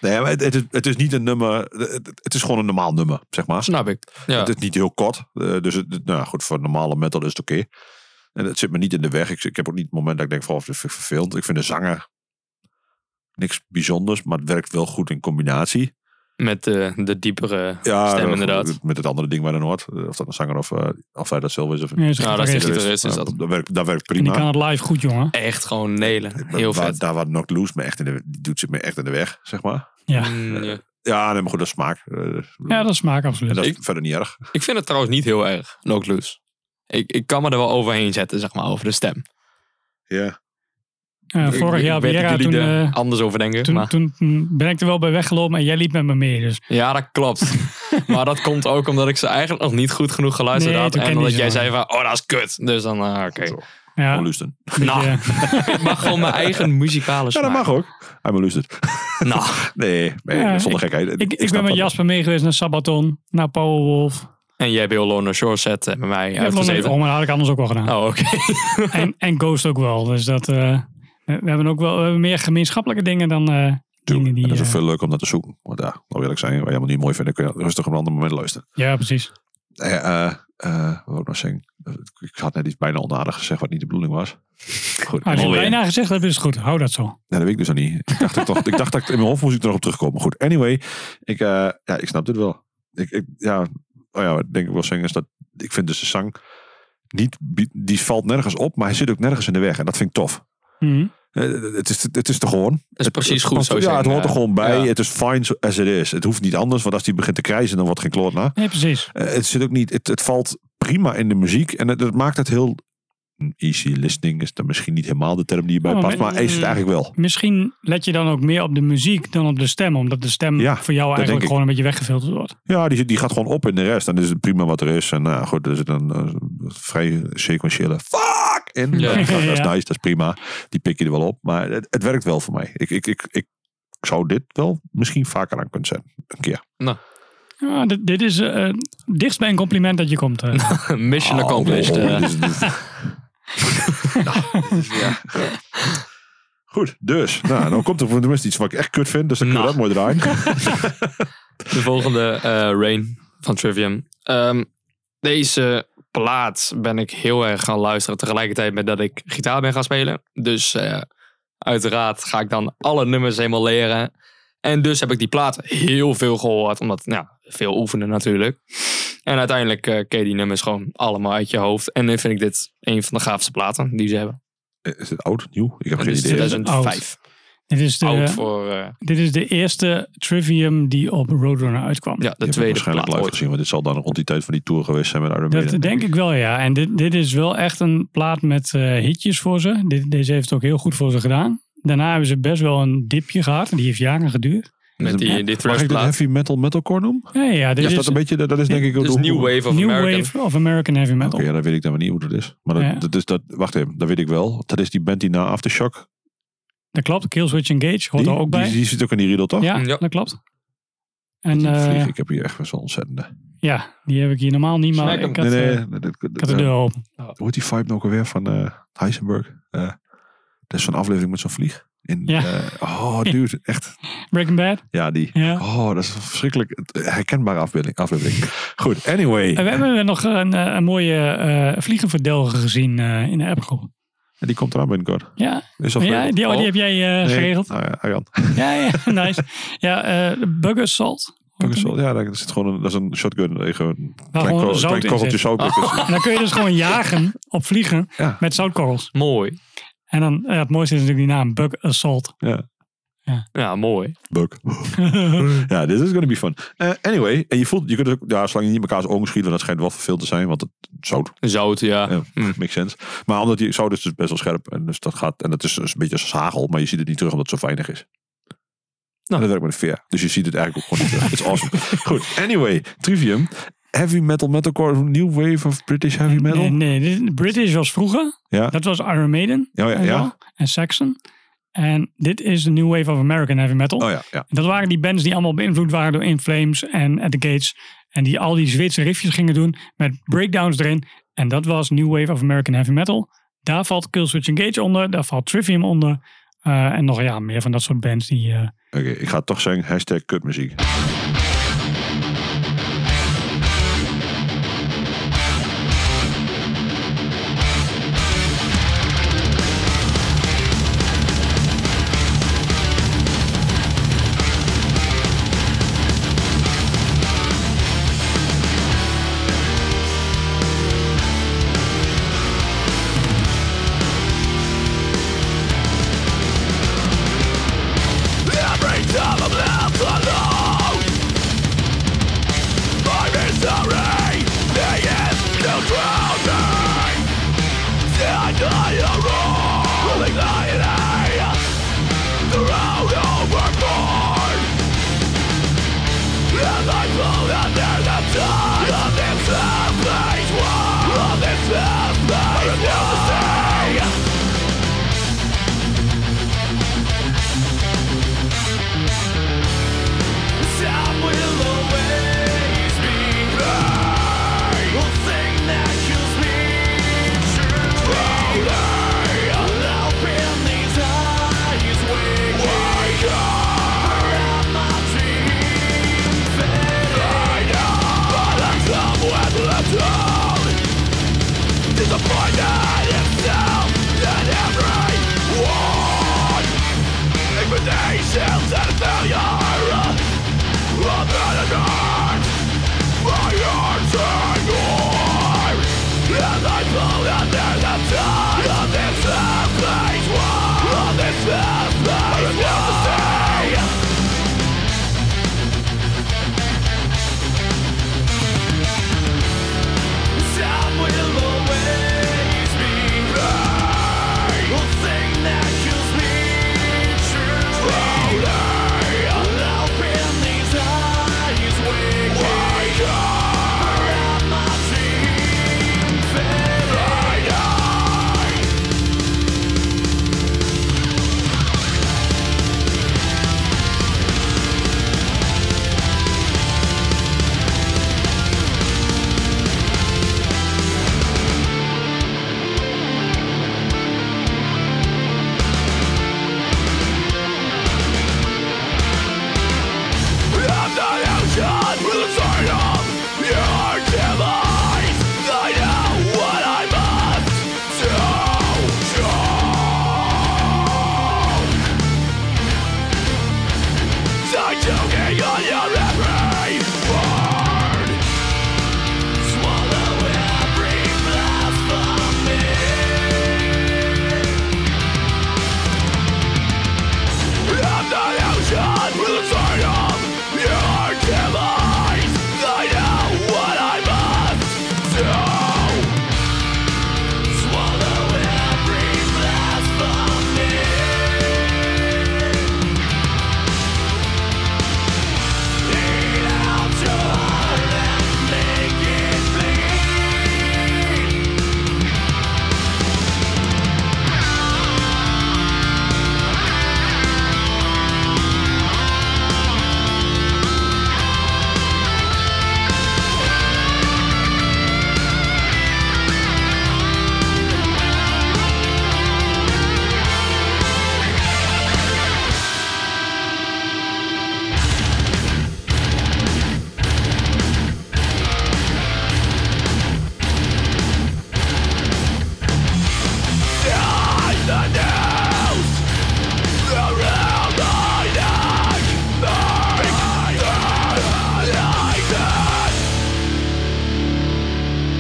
[SPEAKER 1] Nee, maar het, het, is- het is niet een nummer. Het, het is gewoon een normaal nummer, zeg maar.
[SPEAKER 3] Snap ik. Ja.
[SPEAKER 1] Het is niet heel kort. eh, dus het, het- nou ja, goed, voor normale metal is het oké. En het zit me niet in de weg. Ik, ik heb ook niet het moment dat ik denk van, oh, dit vind ik vervelend. Ik vind de zanger niks bijzonders, maar het werkt wel goed in combinatie.
[SPEAKER 3] Met eh, de diepere
[SPEAKER 1] Ja,
[SPEAKER 3] stem
[SPEAKER 1] eh,
[SPEAKER 3] inderdaad.
[SPEAKER 1] Met het andere ding waar dan hoort. Eh, Of dat een zanger of, eh, of hij dat zelf is. Of,
[SPEAKER 2] Nee, is
[SPEAKER 3] Ja,
[SPEAKER 2] goed,
[SPEAKER 3] Nou, dat is
[SPEAKER 2] oké.
[SPEAKER 3] de gitarist, is
[SPEAKER 1] Eh,
[SPEAKER 3] dat.
[SPEAKER 1] dat, werkt, dat werkt
[SPEAKER 2] En die kan
[SPEAKER 1] prima.
[SPEAKER 2] het live goed, jongen.
[SPEAKER 3] Echt gewoon nelen. Heel
[SPEAKER 1] Waar-
[SPEAKER 3] vet.
[SPEAKER 1] Daar waar Knocked Loose me echt in de, die doet zit me echt in de weg, zeg maar.
[SPEAKER 2] Ja.
[SPEAKER 3] Hmm, ja.
[SPEAKER 1] Ja, nee, maar goed, dat is smaak. Eh,
[SPEAKER 2] ja, dat smaakt
[SPEAKER 1] en
[SPEAKER 2] absoluut.
[SPEAKER 1] dat is
[SPEAKER 3] ik-
[SPEAKER 1] verder niet erg.
[SPEAKER 3] Ik vind het trouwens niet heel erg. Knock loose. Ik, ik kan me er wel overheen zetten, zeg maar, over de stem.
[SPEAKER 1] Ja.
[SPEAKER 2] Eh,
[SPEAKER 3] Ik-
[SPEAKER 2] vorig
[SPEAKER 3] ik
[SPEAKER 2] jaar
[SPEAKER 3] weet dat
[SPEAKER 2] Vera,
[SPEAKER 3] jullie
[SPEAKER 2] toen,
[SPEAKER 3] er
[SPEAKER 2] eh,
[SPEAKER 3] anders over denken.
[SPEAKER 2] toen,
[SPEAKER 3] maar-
[SPEAKER 2] toen mm, ben ik er wel bij weggelopen en jij liep met me mee. Dus
[SPEAKER 3] Ja, dat klopt. maar dat komt ook omdat ik ze eigenlijk nog niet goed genoeg geluisterd
[SPEAKER 2] Nee,
[SPEAKER 3] had.
[SPEAKER 2] toen
[SPEAKER 3] En
[SPEAKER 2] kende je
[SPEAKER 3] omdat jij
[SPEAKER 2] ze
[SPEAKER 3] zei van, oh, dat is kut. Dus dan, ah, oké.
[SPEAKER 2] ja, dus, eh,
[SPEAKER 1] I'm Lusten.
[SPEAKER 3] Nou,
[SPEAKER 2] ja.
[SPEAKER 3] ik mag gewoon mijn eigen muzikale
[SPEAKER 1] Ja,
[SPEAKER 3] smaak.
[SPEAKER 1] dat mag ook. I'm Lusten.
[SPEAKER 3] Nou,
[SPEAKER 1] Nee, nee
[SPEAKER 2] Ja,
[SPEAKER 1] zonder gekheid.
[SPEAKER 2] ik, ik
[SPEAKER 1] snap
[SPEAKER 2] ben met
[SPEAKER 1] dat.
[SPEAKER 2] Jasper mee geweest naar Sabaton, naar Powerwolf.
[SPEAKER 3] en jij hebt heel Lone Shore set eh, bij mij
[SPEAKER 2] Ja,
[SPEAKER 3] uitgezeten.
[SPEAKER 2] Oh, maar dat had ik anders ook wel gedaan.
[SPEAKER 3] Oh, oké.
[SPEAKER 2] En, en Ghost ook wel. Dus dat, eh, we hebben ook wel we hebben meer gemeenschappelijke dingen dan eh dingen
[SPEAKER 1] Tuurlijk.
[SPEAKER 2] die...
[SPEAKER 1] en dat is ook
[SPEAKER 2] eh,
[SPEAKER 1] veel leuk om dat te zoeken. Want ja, nou wil ik zijn, wat je helemaal niet mooi vindt, dan kun je rustig op een ander moment luisteren.
[SPEAKER 2] ja, precies.
[SPEAKER 1] Eh, eh, eh, wat wil ik nog zeggen? Ik had net iets bijna onaardig gezegd wat niet de bedoeling was. Goed,
[SPEAKER 2] Als je het
[SPEAKER 1] alweer.
[SPEAKER 2] bijna gezegd hebt, is het goed. Hou dat zo.
[SPEAKER 1] Nee, dat weet ik dus nog niet. Ik dacht, ik, toch, ik dacht dat ik in mijn hoofd moest ik er nog op terugkomen. Maar goed, anyway. Ik, eh, ja, ik snap dit wel. Ik, ik, ja, oh ja, wat ik denk ik wel zeggen is dat ik vind dus de zang niet, bi- die valt nergens op, maar hij zit ook nergens in de weg. En dat vind ik tof.
[SPEAKER 2] Mhm.
[SPEAKER 1] Eh, Het is, het is er gewoon.
[SPEAKER 3] Dat is precies goed
[SPEAKER 1] past-
[SPEAKER 3] zo.
[SPEAKER 1] Ja, het hoort er gewoon bij.
[SPEAKER 3] Ja.
[SPEAKER 1] Het is fine so- as it is. Het hoeft niet anders, want als die begint te krijzen, dan wordt geen kloot na.
[SPEAKER 2] Nee, precies.
[SPEAKER 1] Eh, het zit ook niet, het, het valt prima in de muziek en het, het maakt het heel easy listening is dan misschien niet helemaal de term die je bij
[SPEAKER 2] Oh,
[SPEAKER 1] past,
[SPEAKER 2] maar-
[SPEAKER 1] maar is het eigenlijk wel.
[SPEAKER 2] Misschien let je dan ook meer op de muziek dan op de stem. Omdat de stem
[SPEAKER 1] Ja,
[SPEAKER 2] voor jou
[SPEAKER 1] denk
[SPEAKER 2] eigenlijk
[SPEAKER 1] ik.
[SPEAKER 2] gewoon een beetje weggefilterd wordt.
[SPEAKER 1] Ja, die, zit- die gaat gewoon op in de rest en dan is het prima wat er is. En nou goed, er zit een eh, vrij sequentiële fuck in.
[SPEAKER 3] Ja.
[SPEAKER 1] Dat, is nice,
[SPEAKER 2] Ja.
[SPEAKER 1] dat is prima. Die pik je er wel op, maar het, het werkt wel voor mij. Ik, ik, ik, ik zou dit wel misschien vaker aan kunnen zetten. Een keer.
[SPEAKER 2] Ja, dit, dit is eh, eh, dichtst bij een compliment dat je komt. eh.
[SPEAKER 3] Mission accomplished.
[SPEAKER 1] Oh,
[SPEAKER 3] eh.
[SPEAKER 1] dit is- dit is- Goed, dus. Nou, dan komt er voor de mensen iets wat ik echt kut vind. Dus dan kunnen we
[SPEAKER 3] Nou.
[SPEAKER 1] dat mooi draaien.
[SPEAKER 3] De volgende, eh, Rain van Trivium. Ehm, deze plaat ben ik heel erg gaan luisteren tegelijkertijd met dat ik gitaar ben gaan spelen. Dus eh, uiteraard ga ik dan alle nummers helemaal leren. En dus heb ik die plaat heel veel gehoord, omdat ja, veel oefenen natuurlijk. En uiteindelijk eh, ken je die nummers gewoon allemaal uit je hoofd. En dan vind ik dit een van de gaafste platen die ze hebben.
[SPEAKER 1] Eh, Is het oud, nieuw? Ik heb
[SPEAKER 3] Het
[SPEAKER 1] geen
[SPEAKER 3] is
[SPEAKER 1] idee.
[SPEAKER 3] 2005.
[SPEAKER 2] dit, is de,
[SPEAKER 3] Oud voor eh,
[SPEAKER 2] dit is de eerste Trivium die op Roadrunner uitkwam.
[SPEAKER 3] ja, de
[SPEAKER 1] Die heb ik
[SPEAKER 3] tweede
[SPEAKER 1] waarschijnlijk
[SPEAKER 3] plaat
[SPEAKER 1] live
[SPEAKER 3] ooit.
[SPEAKER 1] gezien, want dit zal dan rond die tijd van die tour geweest zijn met Iron
[SPEAKER 2] Dat
[SPEAKER 1] Maiden.
[SPEAKER 2] denk ik wel, ja. En dit, dit is wel echt een plaat met eh, hitjes voor ze. Dit, deze heeft het ook heel goed voor ze gedaan. Daarna hebben ze best wel een dipje gehad. Die heeft jaren geduurd.
[SPEAKER 3] Met die, die
[SPEAKER 1] Mag ik dit
[SPEAKER 3] plaat.
[SPEAKER 1] heavy metal metalcore noemen?
[SPEAKER 2] Ja, ja, dit
[SPEAKER 1] Is
[SPEAKER 2] is,
[SPEAKER 1] dat een beetje, dat is denk ik...
[SPEAKER 3] Dus
[SPEAKER 1] hoe-
[SPEAKER 3] New
[SPEAKER 1] hoe-
[SPEAKER 3] Wave of
[SPEAKER 2] New
[SPEAKER 3] American.
[SPEAKER 2] Wave of American Heavy
[SPEAKER 1] Oké,
[SPEAKER 2] Metal.
[SPEAKER 1] ja, dan weet ik dan maar niet hoe dat is. Maar dat,
[SPEAKER 2] Ja.
[SPEAKER 1] dat is dat... Wacht even, dat weet ik wel. Dat is die band die na Aftershock...
[SPEAKER 2] Dat klopt. Killswitch Engage hoort
[SPEAKER 1] die,
[SPEAKER 2] er ook
[SPEAKER 1] die,
[SPEAKER 2] bij.
[SPEAKER 1] die zit ook in die riddle, toch?
[SPEAKER 2] ja,
[SPEAKER 3] Ja.
[SPEAKER 2] dat klopt. En
[SPEAKER 1] Die
[SPEAKER 2] eh,
[SPEAKER 1] vlieg, ik heb hier echt wel zo'n ontzettende...
[SPEAKER 2] ja, die heb ik hier normaal niet, maar
[SPEAKER 3] Smack hem.
[SPEAKER 2] ik had,
[SPEAKER 1] nee,
[SPEAKER 2] eh,
[SPEAKER 1] nee. dat- dat-
[SPEAKER 2] ik had de deur open.
[SPEAKER 1] Hoe heet die vibe nou ook alweer van eh, Heisenberg? Eh, dat is zo'n aflevering met zo'n vlieg. In,
[SPEAKER 2] Ja.
[SPEAKER 1] eh, oh, dude, echt.
[SPEAKER 2] Breaking Bad.
[SPEAKER 1] Ja, die.
[SPEAKER 2] Ja.
[SPEAKER 1] Oh, dat is een verschrikkelijk herkenbare afbeelding, aflevering. Goed, anyway.
[SPEAKER 2] En we hebben nog een, eh, een mooie eh vliegenverdelger gezien eh, in de appgroep.
[SPEAKER 1] En die komt eraan binnenkort.
[SPEAKER 2] Ja,
[SPEAKER 1] Is dat
[SPEAKER 2] ja
[SPEAKER 1] leuk?
[SPEAKER 2] die, oh, die heb jij eh,
[SPEAKER 1] Nee.
[SPEAKER 2] geregeld. Oh,
[SPEAKER 1] Ah, ja, Arjan.
[SPEAKER 2] Ja, ja, nice. Ja, eh Bugger Salt.
[SPEAKER 1] Ja, daar zit gewoon een, dat is een shotgun. Tegen een
[SPEAKER 2] Waar
[SPEAKER 1] klein,
[SPEAKER 2] gewoon
[SPEAKER 1] ko-
[SPEAKER 2] zout
[SPEAKER 1] klein
[SPEAKER 2] in
[SPEAKER 1] korreltje zout.
[SPEAKER 2] En dan kun je dus gewoon jagen op vliegen
[SPEAKER 1] Ja.
[SPEAKER 2] met zoutkorrels.
[SPEAKER 3] Mooi.
[SPEAKER 2] En dan, ja, het mooiste is natuurlijk die naam, Bug Assault.
[SPEAKER 3] Ja, mooi.
[SPEAKER 1] Buk. Ja, dit is gonna be fun. Eh, anyway, en je voelt, je kunt dus ook, ja, zolang je niet mekaar's ogen schiet, want dat schijnt wel verveeld te zijn, want het zout
[SPEAKER 3] Zout, ja.
[SPEAKER 1] Ja.
[SPEAKER 3] Mm.
[SPEAKER 1] Makes sense. Maar omdat die zout is dus best wel scherp. En dus dat gaat. En dat is dus een beetje als hagel, maar je ziet het niet terug omdat het zo weinig is. Nou, dat werkt met een veer. Dus je ziet het eigenlijk ook gewoon niet terug. It's awesome. Goed, anyway, Trivium. Heavy metal, metalcore, new wave of British heavy metal. Oh
[SPEAKER 2] Nee, nee dit, British was vroeger.
[SPEAKER 1] Ja.
[SPEAKER 2] Dat was Iron Maiden.
[SPEAKER 1] Oh ja,
[SPEAKER 2] en, zo,
[SPEAKER 1] ja.
[SPEAKER 2] en Saxon. En dit is de New Wave of American Heavy Metal.
[SPEAKER 1] Oh ja, ja.
[SPEAKER 2] Dat waren die bands die allemaal beïnvloed waren door In Flames en At The Gates. En die al die Zweedse riffjes gingen doen met breakdowns erin. En dat was New Wave of American Heavy Metal. Daar valt Killswitch Engage onder. Daar valt Trivium onder. eh, en nog ja, meer van dat soort bands die... eh,
[SPEAKER 1] Oké, ik ga toch zeggen hashtag kutmuziek.
[SPEAKER 7] Every time I'm left alone My misery begins to drown me Stand on your own Rolling lightning Thrown overboard And I float under the tide Of this helpless world Of this helpless world Time will always be right. One thing that kills me surely. Open these eyes, wake, wake up. Around my dream fading. I know, but I'm somewhere left out. Disappointed itself that every one. Invitations and failure.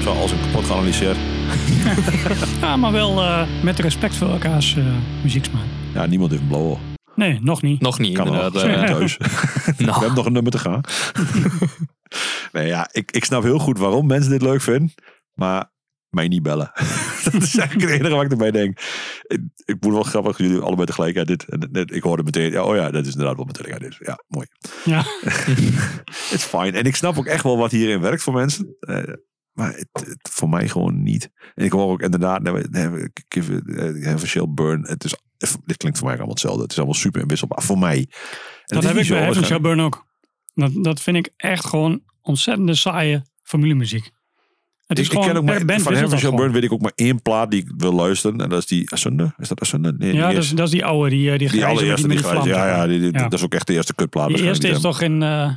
[SPEAKER 7] Zo, als ik kapot geanalyseerd.
[SPEAKER 2] ja, maar wel eh, met respect voor elkaars eh, muzieksmaak.
[SPEAKER 1] Ja, niemand heeft een blow
[SPEAKER 2] Nee, nog niet.
[SPEAKER 3] Nog niet,
[SPEAKER 1] Kan wel.
[SPEAKER 3] inderdaad.
[SPEAKER 1] Dat is
[SPEAKER 3] eh,
[SPEAKER 1] niet thuis. We
[SPEAKER 3] nou,
[SPEAKER 1] hebben nog een nummer te gaan. nee, ja, ik, ik snap heel goed waarom mensen dit leuk vinden. Maar mij niet bellen. dat is eigenlijk het enige wat ik erbij denk. Ik, ik moet wel grappig, jullie allebei tegelijk. Ja, dit, en, dit- ik hoorde meteen, ja, oh ja, dat is inderdaad wel meteen. Ja, dit, ja mooi.
[SPEAKER 2] Ja.
[SPEAKER 1] It's fine. En ik snap ook echt wel wat hierin werkt voor mensen. Eh, maar het, het voor mij gewoon niet. En ik hoor ook inderdaad, nee, we- nee, we- give it, eh, have a shell burn. Het is, dit klinkt voor mij allemaal hetzelfde. Het is allemaal super inwisselbaar. Voor mij. En het
[SPEAKER 2] Dat
[SPEAKER 1] is
[SPEAKER 2] heb
[SPEAKER 1] niet
[SPEAKER 2] ik
[SPEAKER 1] zo,
[SPEAKER 2] bij Heaven
[SPEAKER 1] waarschijnlijk.
[SPEAKER 2] Shall Burn ook. Dat, dat vind ik echt gewoon ontzettende saaie formulemuziek. Het is
[SPEAKER 1] ik, ik
[SPEAKER 2] gewoon
[SPEAKER 1] ken ook maar,
[SPEAKER 2] per band
[SPEAKER 1] van
[SPEAKER 2] wisselt
[SPEAKER 1] Herman Michel
[SPEAKER 2] dat gewoon.
[SPEAKER 1] Burn weet ik ook maar één plaat die ik wil luisteren. En dat is die Assunde. Is dat Assunde? Nee,
[SPEAKER 2] Ja,
[SPEAKER 1] die,
[SPEAKER 2] dat is,
[SPEAKER 1] eerste.
[SPEAKER 2] dat is die oude, die, eh,
[SPEAKER 1] die
[SPEAKER 2] die, grijze, met
[SPEAKER 1] allereerste die
[SPEAKER 2] met
[SPEAKER 1] grijze.
[SPEAKER 2] vlam,
[SPEAKER 1] Ja,
[SPEAKER 2] zeg maar.
[SPEAKER 1] ja, die, die-
[SPEAKER 2] Ja.
[SPEAKER 1] dat is ook echt de eerste kutplaat.
[SPEAKER 2] Die
[SPEAKER 1] waarschijnlijk
[SPEAKER 2] eerste
[SPEAKER 1] die
[SPEAKER 2] is
[SPEAKER 1] ze
[SPEAKER 2] toch in... eh,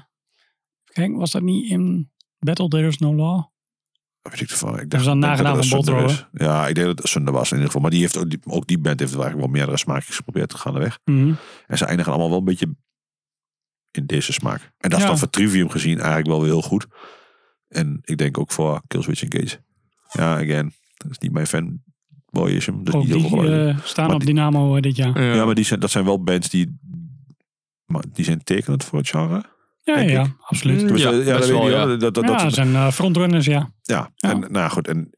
[SPEAKER 2] kijk, was dat niet in Battle There Is No Law?
[SPEAKER 1] hebben. Weet ik ervan. Ik
[SPEAKER 2] is een
[SPEAKER 1] ik denk
[SPEAKER 2] nagenaam
[SPEAKER 1] dat
[SPEAKER 2] van
[SPEAKER 1] het Assunde
[SPEAKER 2] Boltro,
[SPEAKER 1] is. Ja, ik denk dat het Assunde was in ieder geval. Maar die heeft ook, die, ook die band heeft eigenlijk wel meerdere smaakjes geprobeerd te gaan de weg.
[SPEAKER 2] Mhm.
[SPEAKER 1] En ze eindigen allemaal wel een beetje in deze smaak. En dat is
[SPEAKER 2] Ja.
[SPEAKER 1] dan voor Trivium gezien eigenlijk wel weer heel goed. En ik denk ook voor Killswitch Engage. Ja, again. Dat is niet mijn fanboyism. Dus
[SPEAKER 2] Ook
[SPEAKER 1] niet heel
[SPEAKER 2] die
[SPEAKER 1] veel geluid.
[SPEAKER 2] eh, staan
[SPEAKER 1] Maar
[SPEAKER 2] op
[SPEAKER 1] die-
[SPEAKER 2] Dynamo eh, dit jaar.
[SPEAKER 1] Ja, maar die zijn, dat zijn wel bands die, maar die zijn tekenend voor het genre.
[SPEAKER 2] Ja,
[SPEAKER 1] denk
[SPEAKER 2] ja,
[SPEAKER 1] ik.
[SPEAKER 2] absoluut.
[SPEAKER 1] Tenminste,
[SPEAKER 3] ja,
[SPEAKER 1] dat
[SPEAKER 3] best
[SPEAKER 1] weet ik
[SPEAKER 3] wel,
[SPEAKER 1] niet,
[SPEAKER 3] ja.
[SPEAKER 1] hoor. Dat, dat,
[SPEAKER 2] ja,
[SPEAKER 1] dat,
[SPEAKER 2] dat zijn eh, frontrunners, ja.
[SPEAKER 1] ja. en nou goed, en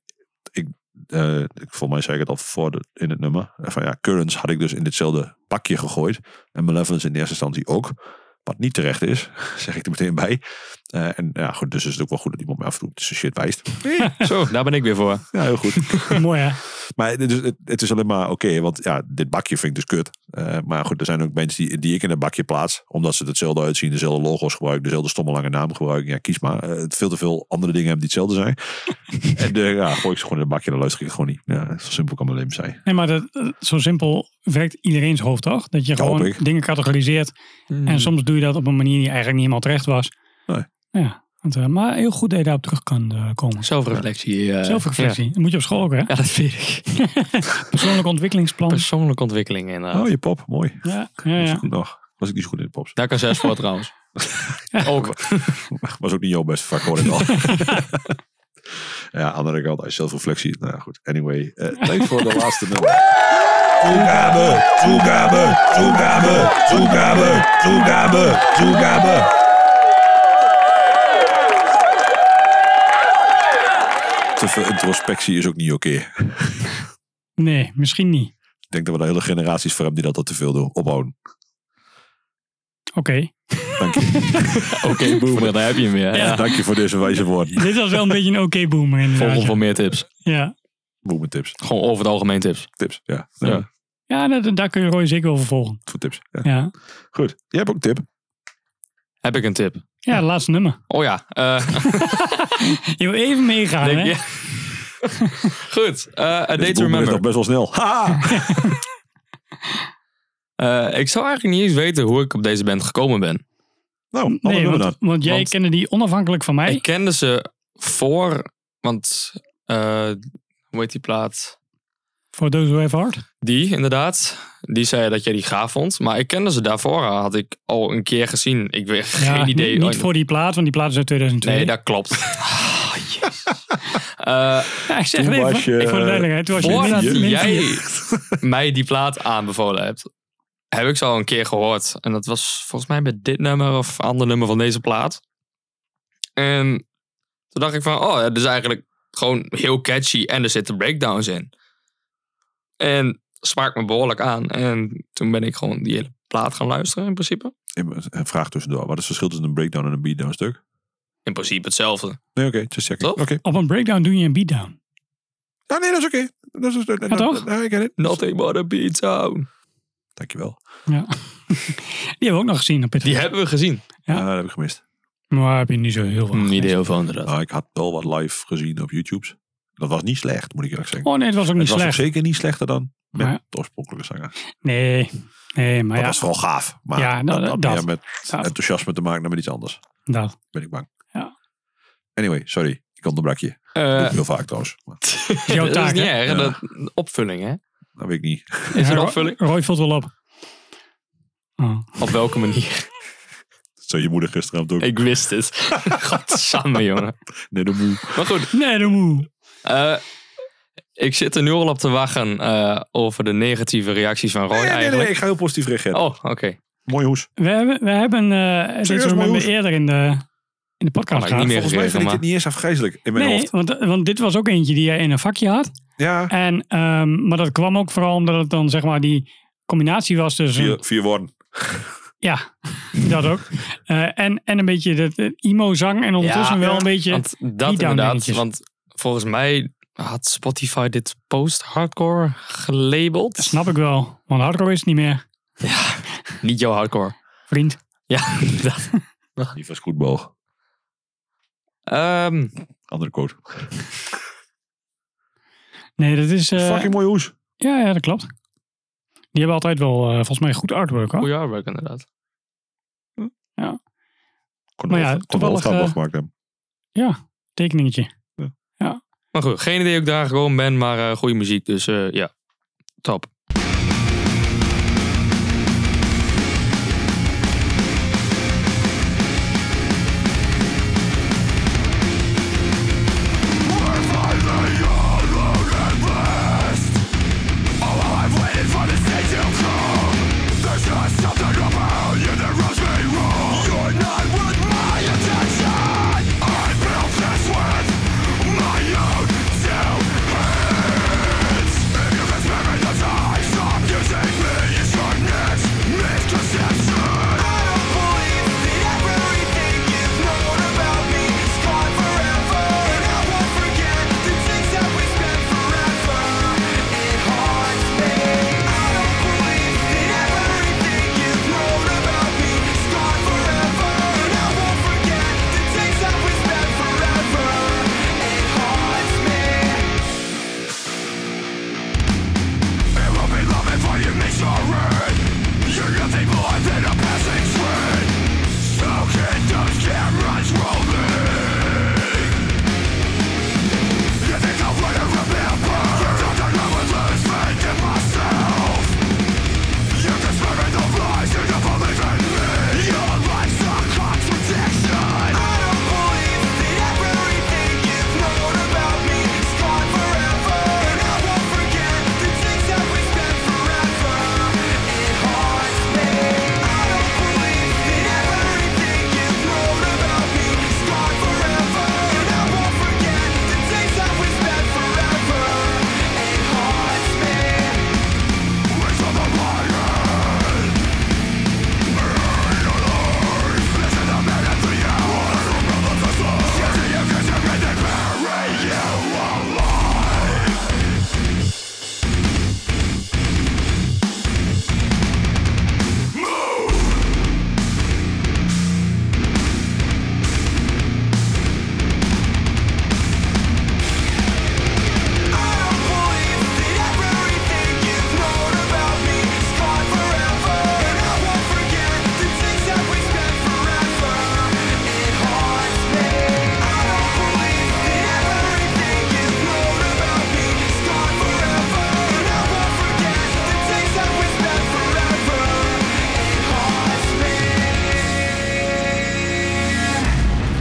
[SPEAKER 1] ik, eh ik volgens mij zei ik het al voor de- in het nummer. eh, Van ja, Currents had ik dus in ditzelfde pakje gegooid. En Malevolence in eerste instantie ook. Wat niet terecht is, zeg ik er meteen bij. Eh, en ja, goed, dus is het ook wel goed dat iemand me af en toe op zijn shit wijst.
[SPEAKER 3] Zo, daar ben ik weer voor.
[SPEAKER 1] Ja, heel goed.
[SPEAKER 2] Mooi, hè?
[SPEAKER 1] Maar het is, het, het is alleen maar oké, want ja, dit bakje vind ik dus kut. Eh, maar goed, er zijn ook mensen die, die ik in dat bakje plaats. Omdat ze het hetzelfde uitzien, dezelfde logo's gebruiken, dezelfde stomme lange naam gebruiken. Ja, kies maar. Eh, het veel te veel andere dingen hebben die hetzelfde zijn. en eh, ja, gooi ik ze gewoon in een bakje, dan luister ik het gewoon niet. Ja, zo simpel kan mijn leven zijn.
[SPEAKER 2] Nee, maar dat, eh, zo simpel werkt iedereen's hoofd toch? Dat je
[SPEAKER 1] Dat hoop
[SPEAKER 2] gewoon
[SPEAKER 1] ik. Hmm.
[SPEAKER 2] dingen categoriseert. En soms doe je dat op een manier die eigenlijk niet helemaal terecht was.
[SPEAKER 1] Nee.
[SPEAKER 2] Ja, want, eh, maar heel goed dat je daarop terug kan eh, komen.
[SPEAKER 3] Zelfreflectie. eh,
[SPEAKER 2] Zelfreflectie. Dat moet je op school ook, hè?
[SPEAKER 3] Ja. Ja, dat weet ik.
[SPEAKER 2] Persoonlijk ontwikkelingsplan.
[SPEAKER 3] Persoonlijke ontwikkeling inderdaad.
[SPEAKER 1] Oh, je pop, mooi.
[SPEAKER 2] ja, ja,
[SPEAKER 1] Was ik
[SPEAKER 2] ja.
[SPEAKER 1] goed nog. Was ik niet zo goed in de pops.
[SPEAKER 3] Daar kan zes voor trouwens. Ook.
[SPEAKER 1] Was ook niet jouw beste vak, hoor ik al. ja, andere kant, als zelfreflectie. Nou ja, goed, anyway. eh, tijd voor de laatste nummer.
[SPEAKER 5] Toegabe, toegabe, toegabe, toegabe, toegabe, toegabe.
[SPEAKER 1] Te veel introspectie is ook niet oké.
[SPEAKER 2] Nee, misschien niet.
[SPEAKER 1] Ik denk dat we daar hele generaties voor hebben die dat al te veel doen. Ophouden.
[SPEAKER 2] Oké.
[SPEAKER 3] Oké, boomer, daar heb je hem weer. Ja.
[SPEAKER 1] Dank je voor deze wijze woorden.
[SPEAKER 2] Dit was wel een beetje een oké boomer
[SPEAKER 3] Volg
[SPEAKER 2] inderdaad.
[SPEAKER 3] ons
[SPEAKER 2] ja.
[SPEAKER 3] voor meer tips.
[SPEAKER 2] Ja,
[SPEAKER 1] Boemen tips.
[SPEAKER 3] Gewoon over het algemeen tips.
[SPEAKER 1] Tips. Ja.
[SPEAKER 3] Ja.
[SPEAKER 1] ja.
[SPEAKER 2] ja dat, daar kun je Roy zeker over volgen.
[SPEAKER 1] Voor tips. Ja.
[SPEAKER 2] Ja,
[SPEAKER 1] Goed. Jij hebt ook een tip.
[SPEAKER 3] Heb ik een tip?
[SPEAKER 2] ja het laatste nummer.
[SPEAKER 3] Oh ja. eh,
[SPEAKER 2] Je wil even meegaan,
[SPEAKER 3] denk-
[SPEAKER 2] hè?
[SPEAKER 3] ja. Goed. eh, A Day to
[SPEAKER 1] Boemen is
[SPEAKER 3] Remember.
[SPEAKER 1] nog best wel snel. Ha!
[SPEAKER 3] Eh, ik zou eigenlijk niet eens weten hoe ik op deze band gekomen ben.
[SPEAKER 1] Nou, wat
[SPEAKER 2] Nee,
[SPEAKER 1] hebben we
[SPEAKER 2] want,
[SPEAKER 1] dan?
[SPEAKER 2] want jij
[SPEAKER 3] Want-
[SPEAKER 2] kende die onafhankelijk van mij.
[SPEAKER 3] Ik kende ze voor, want eh, hoe heet die plaat?
[SPEAKER 2] Voor Those Who Have Heart.
[SPEAKER 3] Die inderdaad. Die zei dat jij die gaaf vond. Maar ik kende ze daarvoor. eh, Had ik al een keer gezien. Ik weet geen
[SPEAKER 2] Ja,
[SPEAKER 3] idee.
[SPEAKER 2] Niet,
[SPEAKER 3] Oh,
[SPEAKER 2] niet voor die plaat, want die plaat is uit 2002.
[SPEAKER 3] Nee, dat klopt. Ah, jezus. Eh,
[SPEAKER 2] Ja, ik zeg
[SPEAKER 1] Toen
[SPEAKER 2] het even.
[SPEAKER 1] was je-
[SPEAKER 2] ik voor de duidelijkheid. Toen was je
[SPEAKER 3] Voordat
[SPEAKER 2] min- min
[SPEAKER 3] jij
[SPEAKER 2] vier.
[SPEAKER 3] mij die plaat aanbevolen hebt, heb ik ze al een keer gehoord. En dat was volgens mij bij dit nummer of ander nummer van deze plaat. En toen dacht ik van, oh, het is eigenlijk gewoon heel catchy en er zitten breakdowns in. En smaakt me behoorlijk aan. En toen ben ik gewoon die hele plaat gaan luisteren in principe.
[SPEAKER 1] Een vraag tussendoor. Wat is het verschil tussen een breakdown en een beatdown stuk?
[SPEAKER 3] In principe hetzelfde.
[SPEAKER 1] Nee, oké. just checking.
[SPEAKER 3] Toch?
[SPEAKER 1] Oké.
[SPEAKER 2] Op een breakdown doe je een beatdown.
[SPEAKER 1] Ah, nee, dat is oké. Dat is... dat- dat-
[SPEAKER 2] toch?
[SPEAKER 1] Ja, ik ken het.
[SPEAKER 3] Nothing but a beatdown.
[SPEAKER 1] Dus- Dankjewel.
[SPEAKER 2] Ja. Die hebben we ook nog gezien op
[SPEAKER 3] Die
[SPEAKER 2] Pitfall.
[SPEAKER 3] hebben we gezien.
[SPEAKER 1] Ja.
[SPEAKER 2] Ja.
[SPEAKER 1] Ah, dat heb ik gemist.
[SPEAKER 2] Maar heb je niet zo heel
[SPEAKER 3] Mm,
[SPEAKER 2] veel. gezien.
[SPEAKER 3] heel veel inderdaad.
[SPEAKER 1] Nou, ik had wel wat live gezien op YouTube's. Dat was niet slecht, moet ik eerlijk zeggen.
[SPEAKER 2] Oh nee, het was ook niet
[SPEAKER 1] het was ook
[SPEAKER 2] slecht.
[SPEAKER 1] zeker niet slechter dan met
[SPEAKER 2] Maar-
[SPEAKER 1] de oorspronkelijke zanger.
[SPEAKER 2] Nee, nee, maar
[SPEAKER 1] Dat
[SPEAKER 2] ja,
[SPEAKER 1] was vooral gaaf. Maar
[SPEAKER 2] Ja,
[SPEAKER 1] dat,
[SPEAKER 2] nou,
[SPEAKER 1] had
[SPEAKER 2] dat-
[SPEAKER 1] meer met
[SPEAKER 2] dat.
[SPEAKER 1] enthousiasme te maken dan met iets anders.
[SPEAKER 2] dat.
[SPEAKER 1] ben ik bang.
[SPEAKER 2] Ja. Eh.
[SPEAKER 1] Anyway, sorry. Ik onderbrak je. Dat doe ik heel vaak trouwens. Maar,
[SPEAKER 2] is jouw
[SPEAKER 3] Eh, dat is
[SPEAKER 2] taak,
[SPEAKER 3] niet
[SPEAKER 2] hè?
[SPEAKER 3] erg.
[SPEAKER 1] Ja.
[SPEAKER 3] Dat, opvulling, hè?
[SPEAKER 1] dat weet ik niet.
[SPEAKER 3] Is
[SPEAKER 2] Ja,
[SPEAKER 3] er
[SPEAKER 2] Roy-
[SPEAKER 3] opvulling?
[SPEAKER 2] Roy vult wel op. Oh.
[SPEAKER 3] Op welke manier?
[SPEAKER 1] Dat zei je moeder gisteravond ook.
[SPEAKER 3] Ik wist het. Godsamme, jongen.
[SPEAKER 1] Nee, dat moe.
[SPEAKER 3] Maar goed,
[SPEAKER 2] Nee, de moe.
[SPEAKER 3] eh, ik zit er nu al op te wachten eh, over de negatieve reacties van Roy
[SPEAKER 1] Nee, nee, nee,
[SPEAKER 3] eigenlijk.
[SPEAKER 1] Ik ga heel positief reageren.
[SPEAKER 3] Oh, oké.
[SPEAKER 1] Mooi hoes.
[SPEAKER 2] We hebben, we hebben eh dit
[SPEAKER 1] Serieus,
[SPEAKER 2] nummer
[SPEAKER 1] Marloes?
[SPEAKER 2] eerder in de, in de podcast
[SPEAKER 3] Kan
[SPEAKER 2] gehad.
[SPEAKER 3] ik niet meer.
[SPEAKER 1] Volgens mij
[SPEAKER 3] gegeven,
[SPEAKER 1] vind ik
[SPEAKER 3] maar-
[SPEAKER 1] dit niet eens afgrijzelijk in mijn
[SPEAKER 2] Nee,
[SPEAKER 1] hoofd.
[SPEAKER 2] want, want dit was ook eentje die jij in een vakje had.
[SPEAKER 1] Ja,
[SPEAKER 2] En, ehm, maar dat kwam ook vooral omdat het dan zeg maar die combinatie was tussen...
[SPEAKER 1] vier, vier woorden.
[SPEAKER 2] Ja, dat ook. Eh, en, en een beetje dat eh, emo-zang en ondertussen
[SPEAKER 3] Ja,
[SPEAKER 2] wel een beetje...
[SPEAKER 3] Want dat
[SPEAKER 2] down
[SPEAKER 3] inderdaad,
[SPEAKER 2] dingetjes.
[SPEAKER 3] want volgens mij had Spotify dit post-hardcore gelabeld.
[SPEAKER 2] Snap ik wel, want hardcore is het niet meer,
[SPEAKER 3] Niet jouw hardcore.
[SPEAKER 2] vriend.
[SPEAKER 3] Ja, dat.
[SPEAKER 1] Die was goed boog.
[SPEAKER 7] Ehm,
[SPEAKER 1] Andere quote.
[SPEAKER 2] Nee, dat is... eh,
[SPEAKER 1] Fucking mooie hoes.
[SPEAKER 2] ja, ja, dat klopt. Die hebben altijd wel, eh, volgens mij, goed artwork. Hoor.
[SPEAKER 7] goeie artwork inderdaad.
[SPEAKER 1] Kon
[SPEAKER 2] Maar ja,
[SPEAKER 1] kon wel
[SPEAKER 2] toevallig,
[SPEAKER 1] grappig
[SPEAKER 2] eh,
[SPEAKER 1] gemaakt hebben.
[SPEAKER 2] Tekeningetje.
[SPEAKER 1] Oh.
[SPEAKER 7] Maar goed, geen idee hoe ik daar gekomen ben, maar eh, goede muziek. Dus eh, ja, top.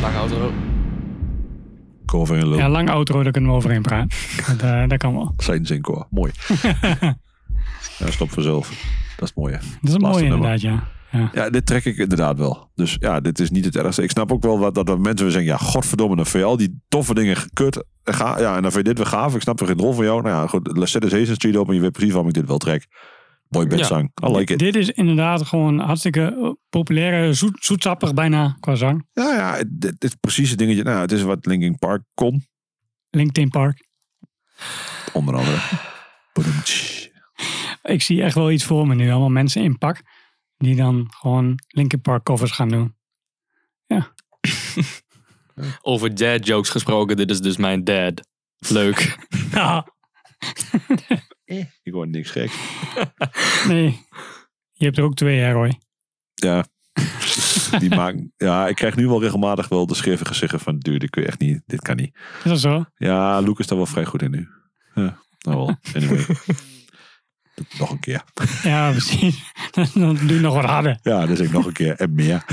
[SPEAKER 7] Lange auto.
[SPEAKER 1] Cover in loop.
[SPEAKER 2] Ja, lang outro, daar kunnen we overheen praten. dat, eh, dat kan wel.
[SPEAKER 1] Zijn zinkoor. Mooi. ja, stop vanzelf. Dat is het mooie.
[SPEAKER 2] Dat is een
[SPEAKER 1] Laatste
[SPEAKER 2] mooie
[SPEAKER 1] nummer.
[SPEAKER 2] inderdaad, ja.
[SPEAKER 1] Ja, dit trek ik inderdaad wel. Dus ja, dit is niet het ergste. Ik snap ook wel wat, dat er mensen weer zeggen... Ja, godverdomme, dan vind je al die toffe dingen gekut. En Ga, ja, en dan vind je dit weer gaaf. Ik snap er geen rol van jou. Nou ja, goed. Zet eens Hazen Street op en je weet precies waarom ik dit wel trek. Boy band
[SPEAKER 7] Ja.
[SPEAKER 1] song. I like it.
[SPEAKER 2] Dit is inderdaad gewoon hartstikke eh, populaire, zoet, zoetsappig bijna qua zang.
[SPEAKER 1] Ja, ja, dit, dit is precies het dingetje. Nou, het is wat Linkin Park kon.
[SPEAKER 2] LinkedIn Park.
[SPEAKER 1] Onder andere. Boedoemtsch.
[SPEAKER 2] Ik zie echt wel iets voor me nu. Allemaal mensen in pak. Die dan gewoon Linkin Park covers gaan doen.
[SPEAKER 7] Over dad jokes gesproken, dit is dus mijn dad. Leuk.
[SPEAKER 2] Ja.
[SPEAKER 1] Ik hoor niks gek.
[SPEAKER 2] Nee. Je hebt er ook twee, hè Roy?
[SPEAKER 1] Ja. die maken, ja, ik krijg nu wel regelmatig wel de scheve gezichten van... Duur, dit kun je echt niet. Dit kan niet.
[SPEAKER 2] Is dat zo?
[SPEAKER 1] Ja, Luke is daar wel vrij goed in nu. Ja, nou wel. Anyway. Dat- nog een keer.
[SPEAKER 2] Ja, precies. dan doe je nog wat harder.
[SPEAKER 1] Ja, dus ik nog een keer en meer.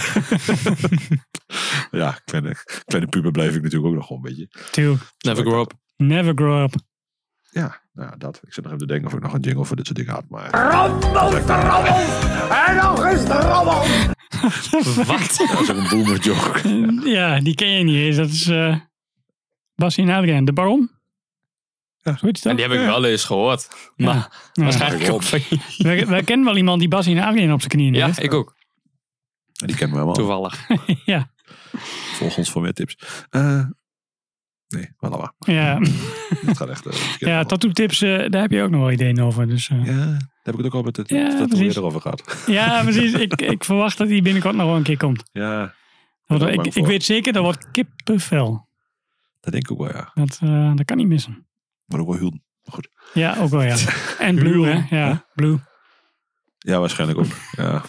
[SPEAKER 1] ja, kleine, kleine puber blijf ik natuurlijk ook nog wel een beetje.
[SPEAKER 2] Two.
[SPEAKER 7] Never grow up.
[SPEAKER 2] Never grow up.
[SPEAKER 1] Ja, nou, dat. Ik zit nog even te denken of ik nog een jingle voor dit soort dingen had. Maar dat is ook een boomer joke.
[SPEAKER 2] Ja, die ken je niet eens. Dat is eh Bassie en Adriaan. De Baron?
[SPEAKER 1] Ja.
[SPEAKER 2] Zo heet die
[SPEAKER 7] En
[SPEAKER 2] toch?
[SPEAKER 7] die heb ik wel eens gehoord. Maar
[SPEAKER 2] Ja.
[SPEAKER 7] waarschijnlijk ook van je.
[SPEAKER 2] Wij, wij kennen wel iemand die Bassie en Adriaan op zijn knieën
[SPEAKER 7] Ja,
[SPEAKER 2] heeft.
[SPEAKER 7] ik ook.
[SPEAKER 3] Oh.
[SPEAKER 1] En die kennen we helemaal.
[SPEAKER 7] Toevallig.
[SPEAKER 2] Ja.
[SPEAKER 1] Volg ons voor meer tips. Eh, nee, maar laat maar.
[SPEAKER 2] Ja,
[SPEAKER 1] Dit gaat echt... eh, verkeerd
[SPEAKER 2] ja
[SPEAKER 1] allemaal.
[SPEAKER 2] tattoo tips, eh, daar heb je ook nog wel ideeën over. Dus, eh. ja.
[SPEAKER 1] Ja, daar heb ik het ook al met het
[SPEAKER 2] Ja,
[SPEAKER 1] ja,
[SPEAKER 2] precies.
[SPEAKER 1] erover gehad.
[SPEAKER 2] precies. Ik, ik verwacht dat die binnenkort nog wel een keer komt.
[SPEAKER 1] Ja, ben er ook
[SPEAKER 2] ik,
[SPEAKER 1] bang
[SPEAKER 2] ik
[SPEAKER 1] voor.
[SPEAKER 2] weet zeker, dat wordt kippenvel.
[SPEAKER 1] Dat denk ik ook wel, ja.
[SPEAKER 2] Dat, eh, dat kan niet missen.
[SPEAKER 1] Maar ook wel Hulden. Maar Goed.
[SPEAKER 2] Ja, ook wel ja. En blue, hè? Ja, blue.
[SPEAKER 1] Ja, waarschijnlijk ook. Ja.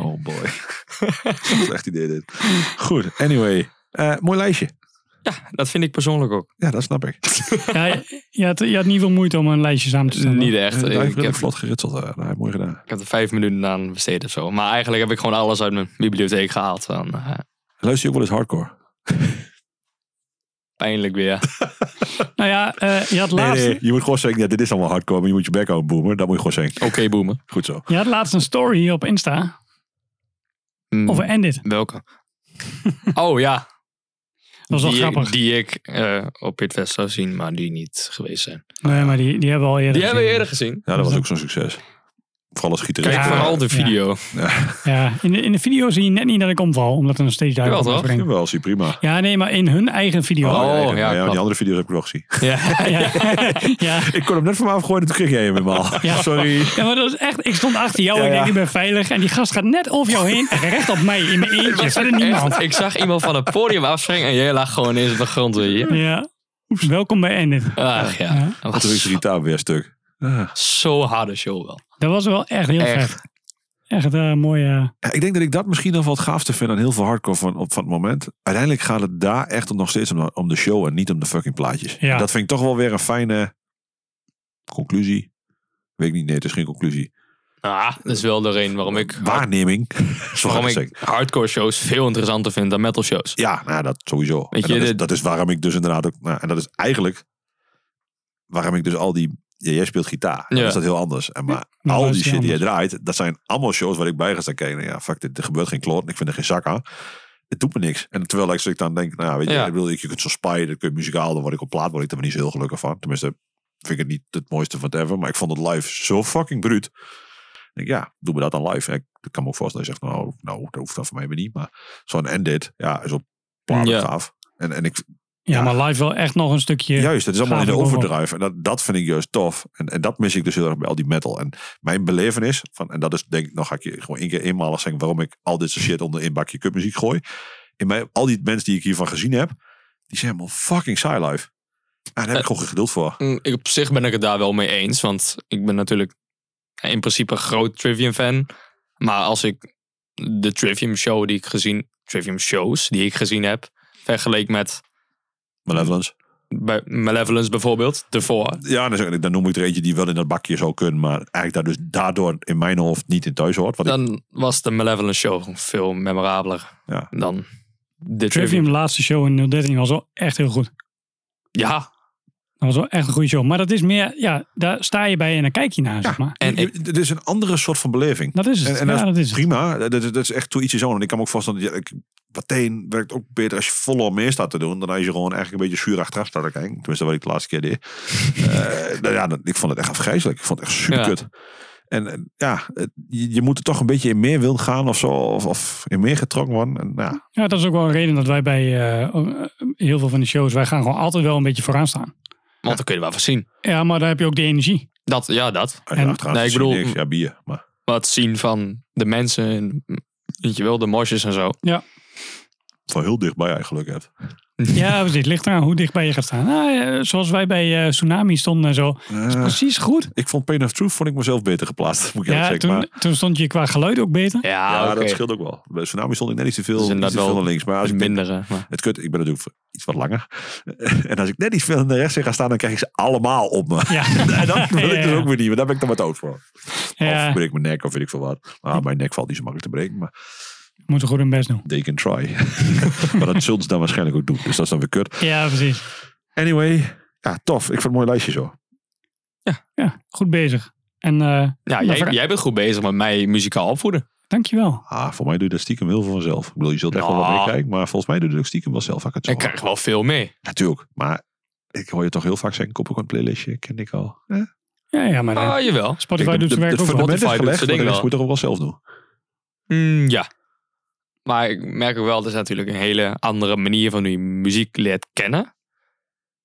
[SPEAKER 1] Oh boy. Slecht idee dit. Goed, anyway. Eh, mooi lijstje.
[SPEAKER 3] Dat vind ik persoonlijk ook.
[SPEAKER 1] Ja, dat snap ik.
[SPEAKER 2] Ja, je, had, je had niet veel moeite om een lijstje samen te stellen.
[SPEAKER 3] Niet echt.
[SPEAKER 1] Eh,
[SPEAKER 3] eh,
[SPEAKER 1] Daar
[SPEAKER 3] Ik
[SPEAKER 1] heb ik
[SPEAKER 3] heb,
[SPEAKER 1] vlot geritseld. eh, dat heb ik mooi gedaan.
[SPEAKER 3] ik heb er vijf minuten aan besteed of zo. Maar eigenlijk heb ik gewoon alles uit mijn bibliotheek gehaald. Dan, eh,
[SPEAKER 1] Luister je ook wel eens hardcore?
[SPEAKER 3] pijnlijk weer.
[SPEAKER 2] Nou ja, eh, je had
[SPEAKER 1] Nee,
[SPEAKER 2] laatst,
[SPEAKER 1] nee, je moet gewoon zeggen, ja, dit is allemaal hardcore, maar je moet je bek houden, boomer. Dat moet je gewoon zeggen.
[SPEAKER 3] Oké, boemen.
[SPEAKER 1] Goed zo.
[SPEAKER 2] Je had laatst een story hier op Insta
[SPEAKER 3] Mm,
[SPEAKER 2] over Endit. Dat
[SPEAKER 3] welke? oh ja.
[SPEAKER 2] was wel
[SPEAKER 3] die,
[SPEAKER 2] grappig.
[SPEAKER 3] Die ik eh, op Pitfest zou zien, maar die niet geweest zijn.
[SPEAKER 2] nee, maar die, die hebben we al eerder
[SPEAKER 3] Die hebben we
[SPEAKER 2] gezien.
[SPEAKER 3] eerder gezien.
[SPEAKER 1] Ja, dat was ook zo'n succes. Vooral als gitarist.
[SPEAKER 3] Kijk
[SPEAKER 2] Ja.
[SPEAKER 3] vooral de
[SPEAKER 2] Ja.
[SPEAKER 3] video.
[SPEAKER 2] Ja, in de, in de video zie je net niet dat ik omval, omdat er nog steeds duidelijk
[SPEAKER 3] Jawel,
[SPEAKER 2] is.
[SPEAKER 3] toch?
[SPEAKER 1] Jawel, zie je prima.
[SPEAKER 2] Ja, nee, maar in hun eigen video.
[SPEAKER 3] Oh,
[SPEAKER 1] ja,
[SPEAKER 3] ja,
[SPEAKER 1] maar ja,
[SPEAKER 3] klopt.
[SPEAKER 1] die andere video's heb ik nog gezien.
[SPEAKER 3] Ja.
[SPEAKER 2] Ja. ja.
[SPEAKER 1] Ik kon hem net van me afgooien en toen kreeg jij hem helemaal.
[SPEAKER 2] Ja.
[SPEAKER 1] Sorry.
[SPEAKER 2] Ja, maar dat is echt, ik stond achter jou
[SPEAKER 1] Ja,
[SPEAKER 2] en ik denk,
[SPEAKER 1] ja.
[SPEAKER 2] ik ben veilig. En die gast gaat net over jou heen, en recht op mij, in mijn eentje, verder niemand.
[SPEAKER 3] Echt, ik zag iemand van het podium afspringen en jij lag gewoon eens op de grond. weet je.
[SPEAKER 2] Ja. Oeps, welkom bij Endit.
[SPEAKER 3] Ach ja.
[SPEAKER 2] Ja.
[SPEAKER 3] Dat
[SPEAKER 1] En toen is
[SPEAKER 3] was
[SPEAKER 1] de gitaar weer stuk. Ah.
[SPEAKER 3] zo'n harde show wel.
[SPEAKER 2] Dat was wel echt heel
[SPEAKER 3] Echt.
[SPEAKER 2] vet. Echt een mooie...
[SPEAKER 1] Ja, Ik denk dat ik dat misschien nog wel het gaafste vind aan heel veel hardcore van, op, van het moment. Uiteindelijk gaat het daar echt om, nog steeds om, de- om de show en niet om de fucking plaatjes.
[SPEAKER 2] Ja.
[SPEAKER 1] En Dat vind ik toch wel weer een fijne conclusie. Weet ik niet, nee, het is geen conclusie.
[SPEAKER 3] Ah, dat is wel de reden waarom ik,
[SPEAKER 1] Waarneming. Zo
[SPEAKER 3] waarom
[SPEAKER 1] ga ik
[SPEAKER 3] ik
[SPEAKER 1] zeggen.
[SPEAKER 3] hardcore shows veel interessanter vind dan metal shows.
[SPEAKER 1] Ja, nou, dat sowieso.
[SPEAKER 3] Weet
[SPEAKER 1] En
[SPEAKER 3] je,
[SPEAKER 1] dat, is,
[SPEAKER 3] dit-
[SPEAKER 1] dat is waarom ik dus inderdaad ook... Nou, en dat is eigenlijk waarom ik dus al die... Ja, jij speelt gitaar. Dan
[SPEAKER 3] Ja.
[SPEAKER 1] is dat heel anders. En maar
[SPEAKER 2] Nou,
[SPEAKER 1] al
[SPEAKER 2] dat
[SPEAKER 1] die
[SPEAKER 2] is heel
[SPEAKER 1] shit die je
[SPEAKER 2] anders.
[SPEAKER 1] draait, dat zijn allemaal shows waar ik bij ga staan kijken. Ja, fuck, dit, er gebeurt geen kloot. en Ik vind er geen zak aan. Het doet me niks. En terwijl ik, als ik dan denk, nou, weet je,
[SPEAKER 3] Ja.
[SPEAKER 1] ik bedoel, je kunt zo spy, dan kun je muzikaal, dan word ik op plaat, word ik daar niet zo heel gelukkig van. Tenminste, vind ik het niet het mooiste van het ever. Maar ik vond het live zo fucking bruut. Ik denk, ja, doen we dat dan live. Ik, ik kan me ook voorstellen dat je zegt, nou, nou, dat hoeft dan voor mij weer niet. Maar zo'n edit, ja, is op plaat
[SPEAKER 3] Ja.
[SPEAKER 1] gaaf. En, en ik,
[SPEAKER 2] Ja,
[SPEAKER 1] Ja.
[SPEAKER 2] maar live wel echt nog een stukje...
[SPEAKER 1] Juist, het is allemaal in
[SPEAKER 2] gaaf
[SPEAKER 1] de
[SPEAKER 2] erbovenop.
[SPEAKER 1] overdrive. En dat, dat vind ik juist tof. En, en dat mis ik dus heel erg bij al die metal. En mijn belevenis, van, en dat is denk ik, nog ga ik je gewoon één keer eenmalig zeggen waarom ik al dit soort shit onder één bakje cupmuziek gooi. In mij, al die mensen die ik hiervan gezien heb, die zijn helemaal fucking saai live. En daar heb ik gewoon geen geduld voor.
[SPEAKER 3] Mm, Ik, op zich ben ik het daar wel mee eens, want ik ben natuurlijk in principe een groot Trivium fan. Maar als ik de Trivium show die ik gezien, Trivium shows die ik gezien heb, vergeleek met
[SPEAKER 1] Malevolence.
[SPEAKER 3] bij Malevolence bijvoorbeeld, daarvoor.
[SPEAKER 1] Ja, dan, dan noem ik er eentje die wel in dat bakje zou kunnen, maar eigenlijk daar dus daardoor in mijn hoofd niet in thuis hoort. Wat ik,
[SPEAKER 3] Dan was de Malevolence show veel memorabeler
[SPEAKER 1] Ja.
[SPEAKER 3] dan de Trivium.
[SPEAKER 2] Trivium laatste show in 013 was wel echt heel goed.
[SPEAKER 3] Ja,
[SPEAKER 2] Dat was wel echt een goede show. Maar dat is meer, ja, daar sta je bij en dan kijk je naar, zeg maar.
[SPEAKER 3] en ik,
[SPEAKER 1] Je- het is een andere soort van beleving.
[SPEAKER 2] Nou, Dat is het.
[SPEAKER 1] En, en dat
[SPEAKER 2] ja, dat
[SPEAKER 1] is
[SPEAKER 2] is het.
[SPEAKER 1] prima. Dat, dat- dat is echt toe ietsje zo. En ik kan me ook voorstellen, dat je- ik, meteen werkt ook beter als je volop meer staat te doen. Dan als je gewoon eigenlijk een beetje zuur achteraf staat te kijken. Tenminste, wat ik de laatste keer deed. Eh, nou ja, dat- ik vond het echt afgrijzelijk. Ik vond het echt super kut. En eh, ja, het- je, je moet er toch een beetje in meer wil gaan of zo. Of, of in meer getrokken worden. En, nou, ja,
[SPEAKER 2] Ja, dat is ook wel een reden dat wij bij eh, heel veel van de shows, wij gaan gewoon altijd wel een beetje vooraan staan.
[SPEAKER 3] want dan kun je wel van zien.
[SPEAKER 2] Ja, maar daar heb je ook die energie.
[SPEAKER 3] Dat, ja, dat.
[SPEAKER 1] als je
[SPEAKER 2] En-
[SPEAKER 1] achteraan
[SPEAKER 3] nee,
[SPEAKER 1] zit,
[SPEAKER 3] ik
[SPEAKER 1] zie je
[SPEAKER 3] bedoel-
[SPEAKER 1] niks. Ja, bier. Maar
[SPEAKER 3] Wat zien van de mensen en weet je wel, de mosjes en zo.
[SPEAKER 1] van heel dichtbij eigenlijk hebt.
[SPEAKER 2] Ja, precies. Ligt eraan hoe dichtbij je gaat staan. Nou, eh, zoals wij bij eh, Tsunami stonden en zo. Dat is
[SPEAKER 1] Eh,
[SPEAKER 2] precies goed.
[SPEAKER 1] ik vond Pain of Truth vond ik mezelf beter geplaatst. Moet ik eerlijk
[SPEAKER 2] Ja,
[SPEAKER 1] zeggen. Maar-
[SPEAKER 2] toen, toen stond je qua geluid ook beter.
[SPEAKER 3] Ja,
[SPEAKER 1] ja,
[SPEAKER 3] Ah, oké.
[SPEAKER 1] dat scheelt ook wel. Bij Tsunami stond ik net iets te
[SPEAKER 3] Dat
[SPEAKER 1] veel,
[SPEAKER 3] is
[SPEAKER 1] iets te
[SPEAKER 3] inderdaad
[SPEAKER 1] veel
[SPEAKER 3] wel
[SPEAKER 1] naar links. Maar als ik denk-
[SPEAKER 3] Mindere, maar-
[SPEAKER 1] Het kut, ik ben natuurlijk iets wat langer. En als ik net iets veel naar rechts in ga staan, dan krijg ik ze allemaal op me.
[SPEAKER 2] Ja.
[SPEAKER 3] Nou,
[SPEAKER 1] En dat wil ik
[SPEAKER 2] Ja,
[SPEAKER 1] dus
[SPEAKER 2] ja.
[SPEAKER 1] ook weer niet, want daar ben ik dan wat oud voor.
[SPEAKER 2] Ja,
[SPEAKER 1] Of breek mijn nek, of weet ik veel wat. Nou, mijn nek valt niet zo makkelijk te breken, maar
[SPEAKER 2] moeten goed hun best doen.
[SPEAKER 1] they can try. maar dat zullen ze dan waarschijnlijk ook doen, dus dat is dan weer kut.
[SPEAKER 2] Ja, precies.
[SPEAKER 1] Anyway, ja, tof. Ik vind het een mooi lijstje zo.
[SPEAKER 2] Ja, goed bezig. En eh
[SPEAKER 3] Ja,
[SPEAKER 2] Maar
[SPEAKER 3] jij,
[SPEAKER 2] verder-
[SPEAKER 3] jij bent goed bezig met mij muzikaal opvoeden.
[SPEAKER 2] dankjewel.
[SPEAKER 1] Ah, voor mij doe je dat stiekem heel veel vanzelf. Ik bedoel, je zult echt wel wat
[SPEAKER 3] Nou.
[SPEAKER 1] meekijken, maar volgens mij doe je dat ook stiekem wel zelf. als Ik het zo
[SPEAKER 3] Ik
[SPEAKER 1] hoor.
[SPEAKER 3] krijg wel veel mee.
[SPEAKER 1] Natuurlijk, maar ik hoor je toch heel vaak zeggen, koppel een playlistje, ken ik al. Eh?
[SPEAKER 2] Ja, ja maar eh,
[SPEAKER 3] Ah, jawel.
[SPEAKER 2] Spotify
[SPEAKER 1] Ik-
[SPEAKER 2] doet zijn
[SPEAKER 1] de-
[SPEAKER 2] werk
[SPEAKER 1] de
[SPEAKER 2] ook wel.
[SPEAKER 1] fundament is
[SPEAKER 3] Spotify doet
[SPEAKER 1] gelegd, maar
[SPEAKER 3] zijn ding
[SPEAKER 1] de rest moet dus
[SPEAKER 3] wel.
[SPEAKER 1] je toch ook wel zelf doen.
[SPEAKER 3] Mm, ja. Maar ik merk ook wel, er is natuurlijk een hele andere manier van hoe je muziek leert kennen.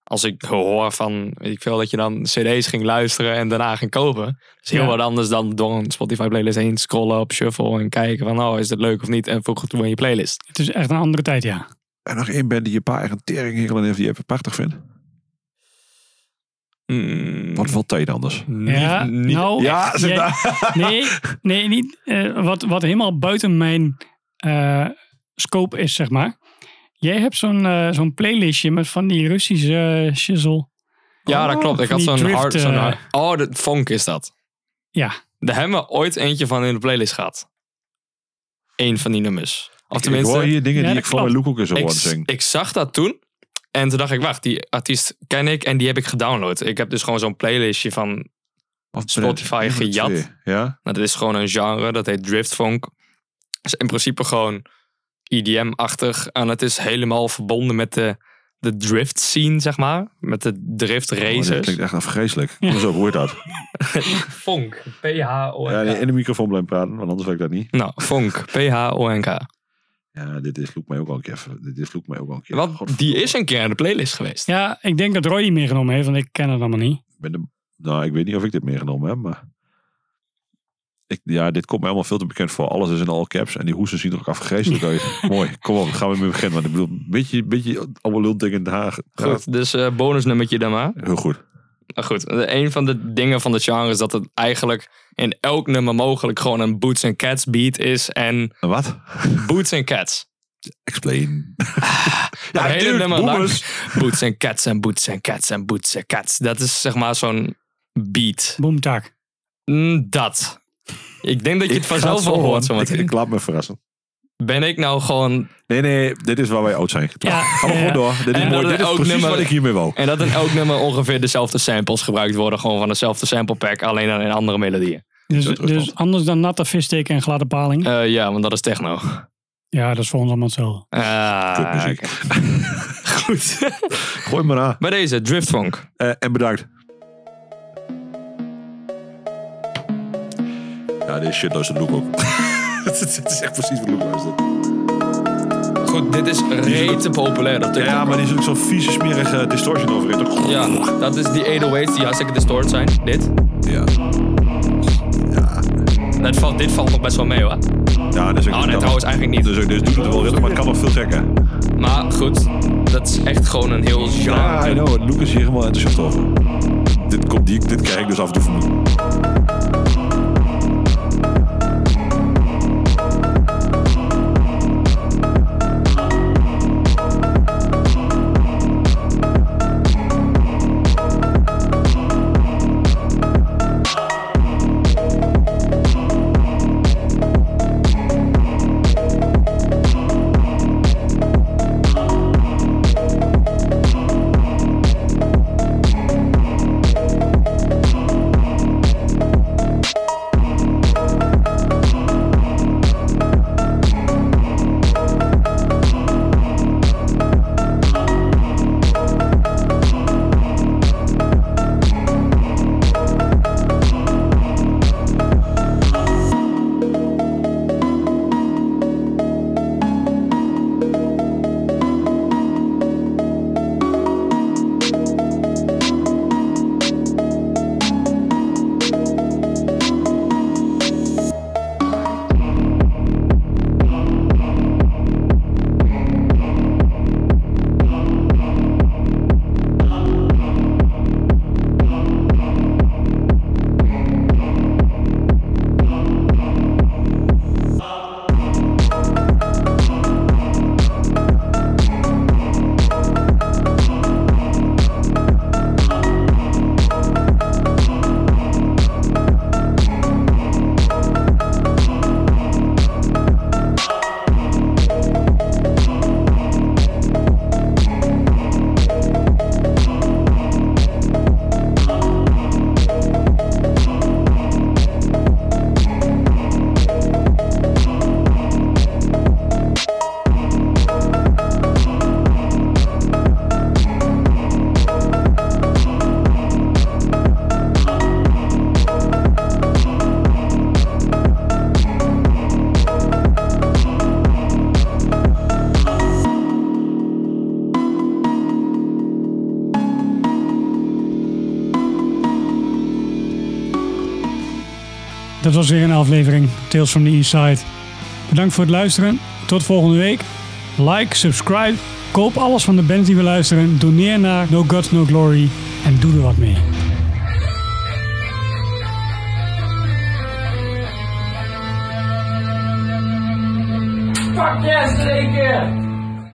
[SPEAKER 3] als ik hoor van, weet ik veel, dat je dan cd's ging luisteren en daarna ging kopen. Dat is heel
[SPEAKER 2] Ja.
[SPEAKER 3] wat anders dan door een Spotify playlist heen scrollen op shuffle en kijken van, oh, is dit leuk of niet? En voeg het toe aan je playlist.
[SPEAKER 2] Het is echt een andere tijd, ja.
[SPEAKER 1] En nog één band die je pa echt een teringhekel aan heeft die je even prachtig vindt.
[SPEAKER 3] Mm,
[SPEAKER 1] Wat valt tijd anders?
[SPEAKER 3] niet-
[SPEAKER 2] Ja,
[SPEAKER 3] niet-
[SPEAKER 2] nou,
[SPEAKER 1] Ja, zit
[SPEAKER 2] jij- nee, nee, niet. eh, wat, wat helemaal buiten mijn eh, scope is, zeg maar. Jij hebt zo'n eh, zo'n playlistje met van die Russische eh, shizzle. Oh,
[SPEAKER 3] ja, dat klopt. Ik
[SPEAKER 2] van
[SPEAKER 3] had
[SPEAKER 2] die
[SPEAKER 3] zo'n
[SPEAKER 2] drift,
[SPEAKER 3] hard, zo'n
[SPEAKER 2] eh,
[SPEAKER 3] hard- Oh, de funk is dat.
[SPEAKER 2] Ja,
[SPEAKER 3] Daar hebben we ooit eentje van in de playlist gehad. Eén van die nummers. Of
[SPEAKER 1] ik hoor
[SPEAKER 3] tenminste,
[SPEAKER 1] hier dingen
[SPEAKER 2] Ja,
[SPEAKER 1] die
[SPEAKER 2] dat
[SPEAKER 1] ik voor mijn
[SPEAKER 2] klopt.
[SPEAKER 1] Luke ook eens hoor
[SPEAKER 3] ik,
[SPEAKER 1] zingen.
[SPEAKER 3] ik zag dat toen. En toen dacht ik, wacht, die artiest ken ik en die heb ik gedownload. Ik heb dus gewoon zo'n playlistje van, nou,
[SPEAKER 1] Of
[SPEAKER 3] Spotify
[SPEAKER 1] Blend,
[SPEAKER 3] gejat.
[SPEAKER 1] nummer twee. Ja?
[SPEAKER 3] dat is gewoon een genre, dat heet driftfunk. is in principe gewoon EDM-achtig. En het is helemaal verbonden met de, de drift scene, zeg maar. Met de drift
[SPEAKER 1] Oh, dat
[SPEAKER 3] races.
[SPEAKER 1] klinkt echt afgrijzelijk. Kom eens op, hoor dat.
[SPEAKER 3] funk, P-H-O-N-K.
[SPEAKER 1] Ja, nee, in de microfoon blijven praten, want anders weet ik dat niet.
[SPEAKER 3] Nou, funk, P-H-O-N-K.
[SPEAKER 1] Ja, dit is Loek mij ook al een keer. ver- Dit is Loek mij ook al een keer.
[SPEAKER 3] Want die
[SPEAKER 1] Godverdomme.
[SPEAKER 3] is een keer in de playlist geweest.
[SPEAKER 2] ja, ik denk dat Roy die meegenomen heeft, want ik ken het allemaal niet.
[SPEAKER 1] Ik ben de- nou, ik weet niet of ik dit meegenomen heb, maar... Ik, ja, dit komt mij allemaal veel te bekend voor. Alles is in all caps en die hoesen zien er ook afgrijzelijk uit. Mooi, kom op, gaan we mee beginnen. Want ik bedoel, een beetje, beetje allemaal lul dingen in Den Haag.
[SPEAKER 3] Goed, dus eh bonusnummertje dan maar.
[SPEAKER 1] Ja, heel goed.
[SPEAKER 3] Maar goed, de- een van de dingen van de genre is dat het eigenlijk in elk nummer mogelijk gewoon een Boots and Cats beat is. En
[SPEAKER 1] En wat?
[SPEAKER 3] Boots and Cats.
[SPEAKER 1] Explain.
[SPEAKER 3] Ja, hele
[SPEAKER 1] tuurlijk,
[SPEAKER 3] nummer lang.
[SPEAKER 1] boomers.
[SPEAKER 3] Boots and Cats en Boots and Cats en Boots and Cats. Dat is zeg maar zo'n beat.
[SPEAKER 2] Boomtak.
[SPEAKER 3] Mm, Dat. Ik denk dat je het vanzelf al hoort
[SPEAKER 1] Ik,
[SPEAKER 3] zometeen.
[SPEAKER 1] ik laat me verrassen.
[SPEAKER 3] Ben ik nou gewoon...
[SPEAKER 1] Nee, nee, dit is waar wij oud zijn.
[SPEAKER 2] Ja, eh,
[SPEAKER 1] Ga maar
[SPEAKER 2] ja,
[SPEAKER 1] gewoon
[SPEAKER 2] ja.
[SPEAKER 1] door. Dit is,
[SPEAKER 3] En
[SPEAKER 1] mooi.
[SPEAKER 3] dat
[SPEAKER 1] Dit
[SPEAKER 3] er
[SPEAKER 1] is
[SPEAKER 3] ook
[SPEAKER 1] precies wat
[SPEAKER 3] nummer-
[SPEAKER 1] ik hiermee wou.
[SPEAKER 3] En dat in elk nummer ongeveer dezelfde samples gebruikt worden. Gewoon van dezelfde sample pack, alleen dan in andere melodieën.
[SPEAKER 2] Dus,
[SPEAKER 1] dat Rusland.
[SPEAKER 2] dus anders dan natte vissteken en gladde paling.
[SPEAKER 3] Eh, ja, want dat is techno.
[SPEAKER 2] Ja, dat is voor ons allemaal hetzelfde.
[SPEAKER 3] Ah,
[SPEAKER 1] Kutmuziek.
[SPEAKER 3] oké. Goed.
[SPEAKER 1] Gooi maar aan.
[SPEAKER 3] Bij deze, Driftfunk.
[SPEAKER 1] Eh, en bedankt. Ja, deze shit luistert Loek ook. Het is echt precies wat Loek luistert.
[SPEAKER 3] Goed, dit is rete populair op TikTok.
[SPEAKER 1] Ja, maar die is ook zo'n vieze, smerige distortion overheen.
[SPEAKER 3] Ja, dat is die 808's die hartstikke distort zijn. Dit.
[SPEAKER 1] Ja.
[SPEAKER 3] Dat valt, dit valt nog best wel mee hoor.
[SPEAKER 1] Ja, dus ook
[SPEAKER 3] Oh nee, trouwens eigenlijk niet.
[SPEAKER 1] Dus ook, dit doet het wel redelijk, maar het kan nog veel gekker.
[SPEAKER 3] Maar goed, dat is echt gewoon een heel
[SPEAKER 1] Ja, I
[SPEAKER 3] genre.
[SPEAKER 1] know. Loek is hier helemaal enthousiast over. Dit, komt, die, dit krijg ik dus af en toe van Loek.
[SPEAKER 2] Dat was weer een aflevering Tales from the East Side. Bedankt voor het luisteren. Tot volgende week. Like, subscribe, koop alles van de band die we luisteren. Doneer naar No Gods No Glory en doe er wat mee.
[SPEAKER 8] Fuck yes, they did.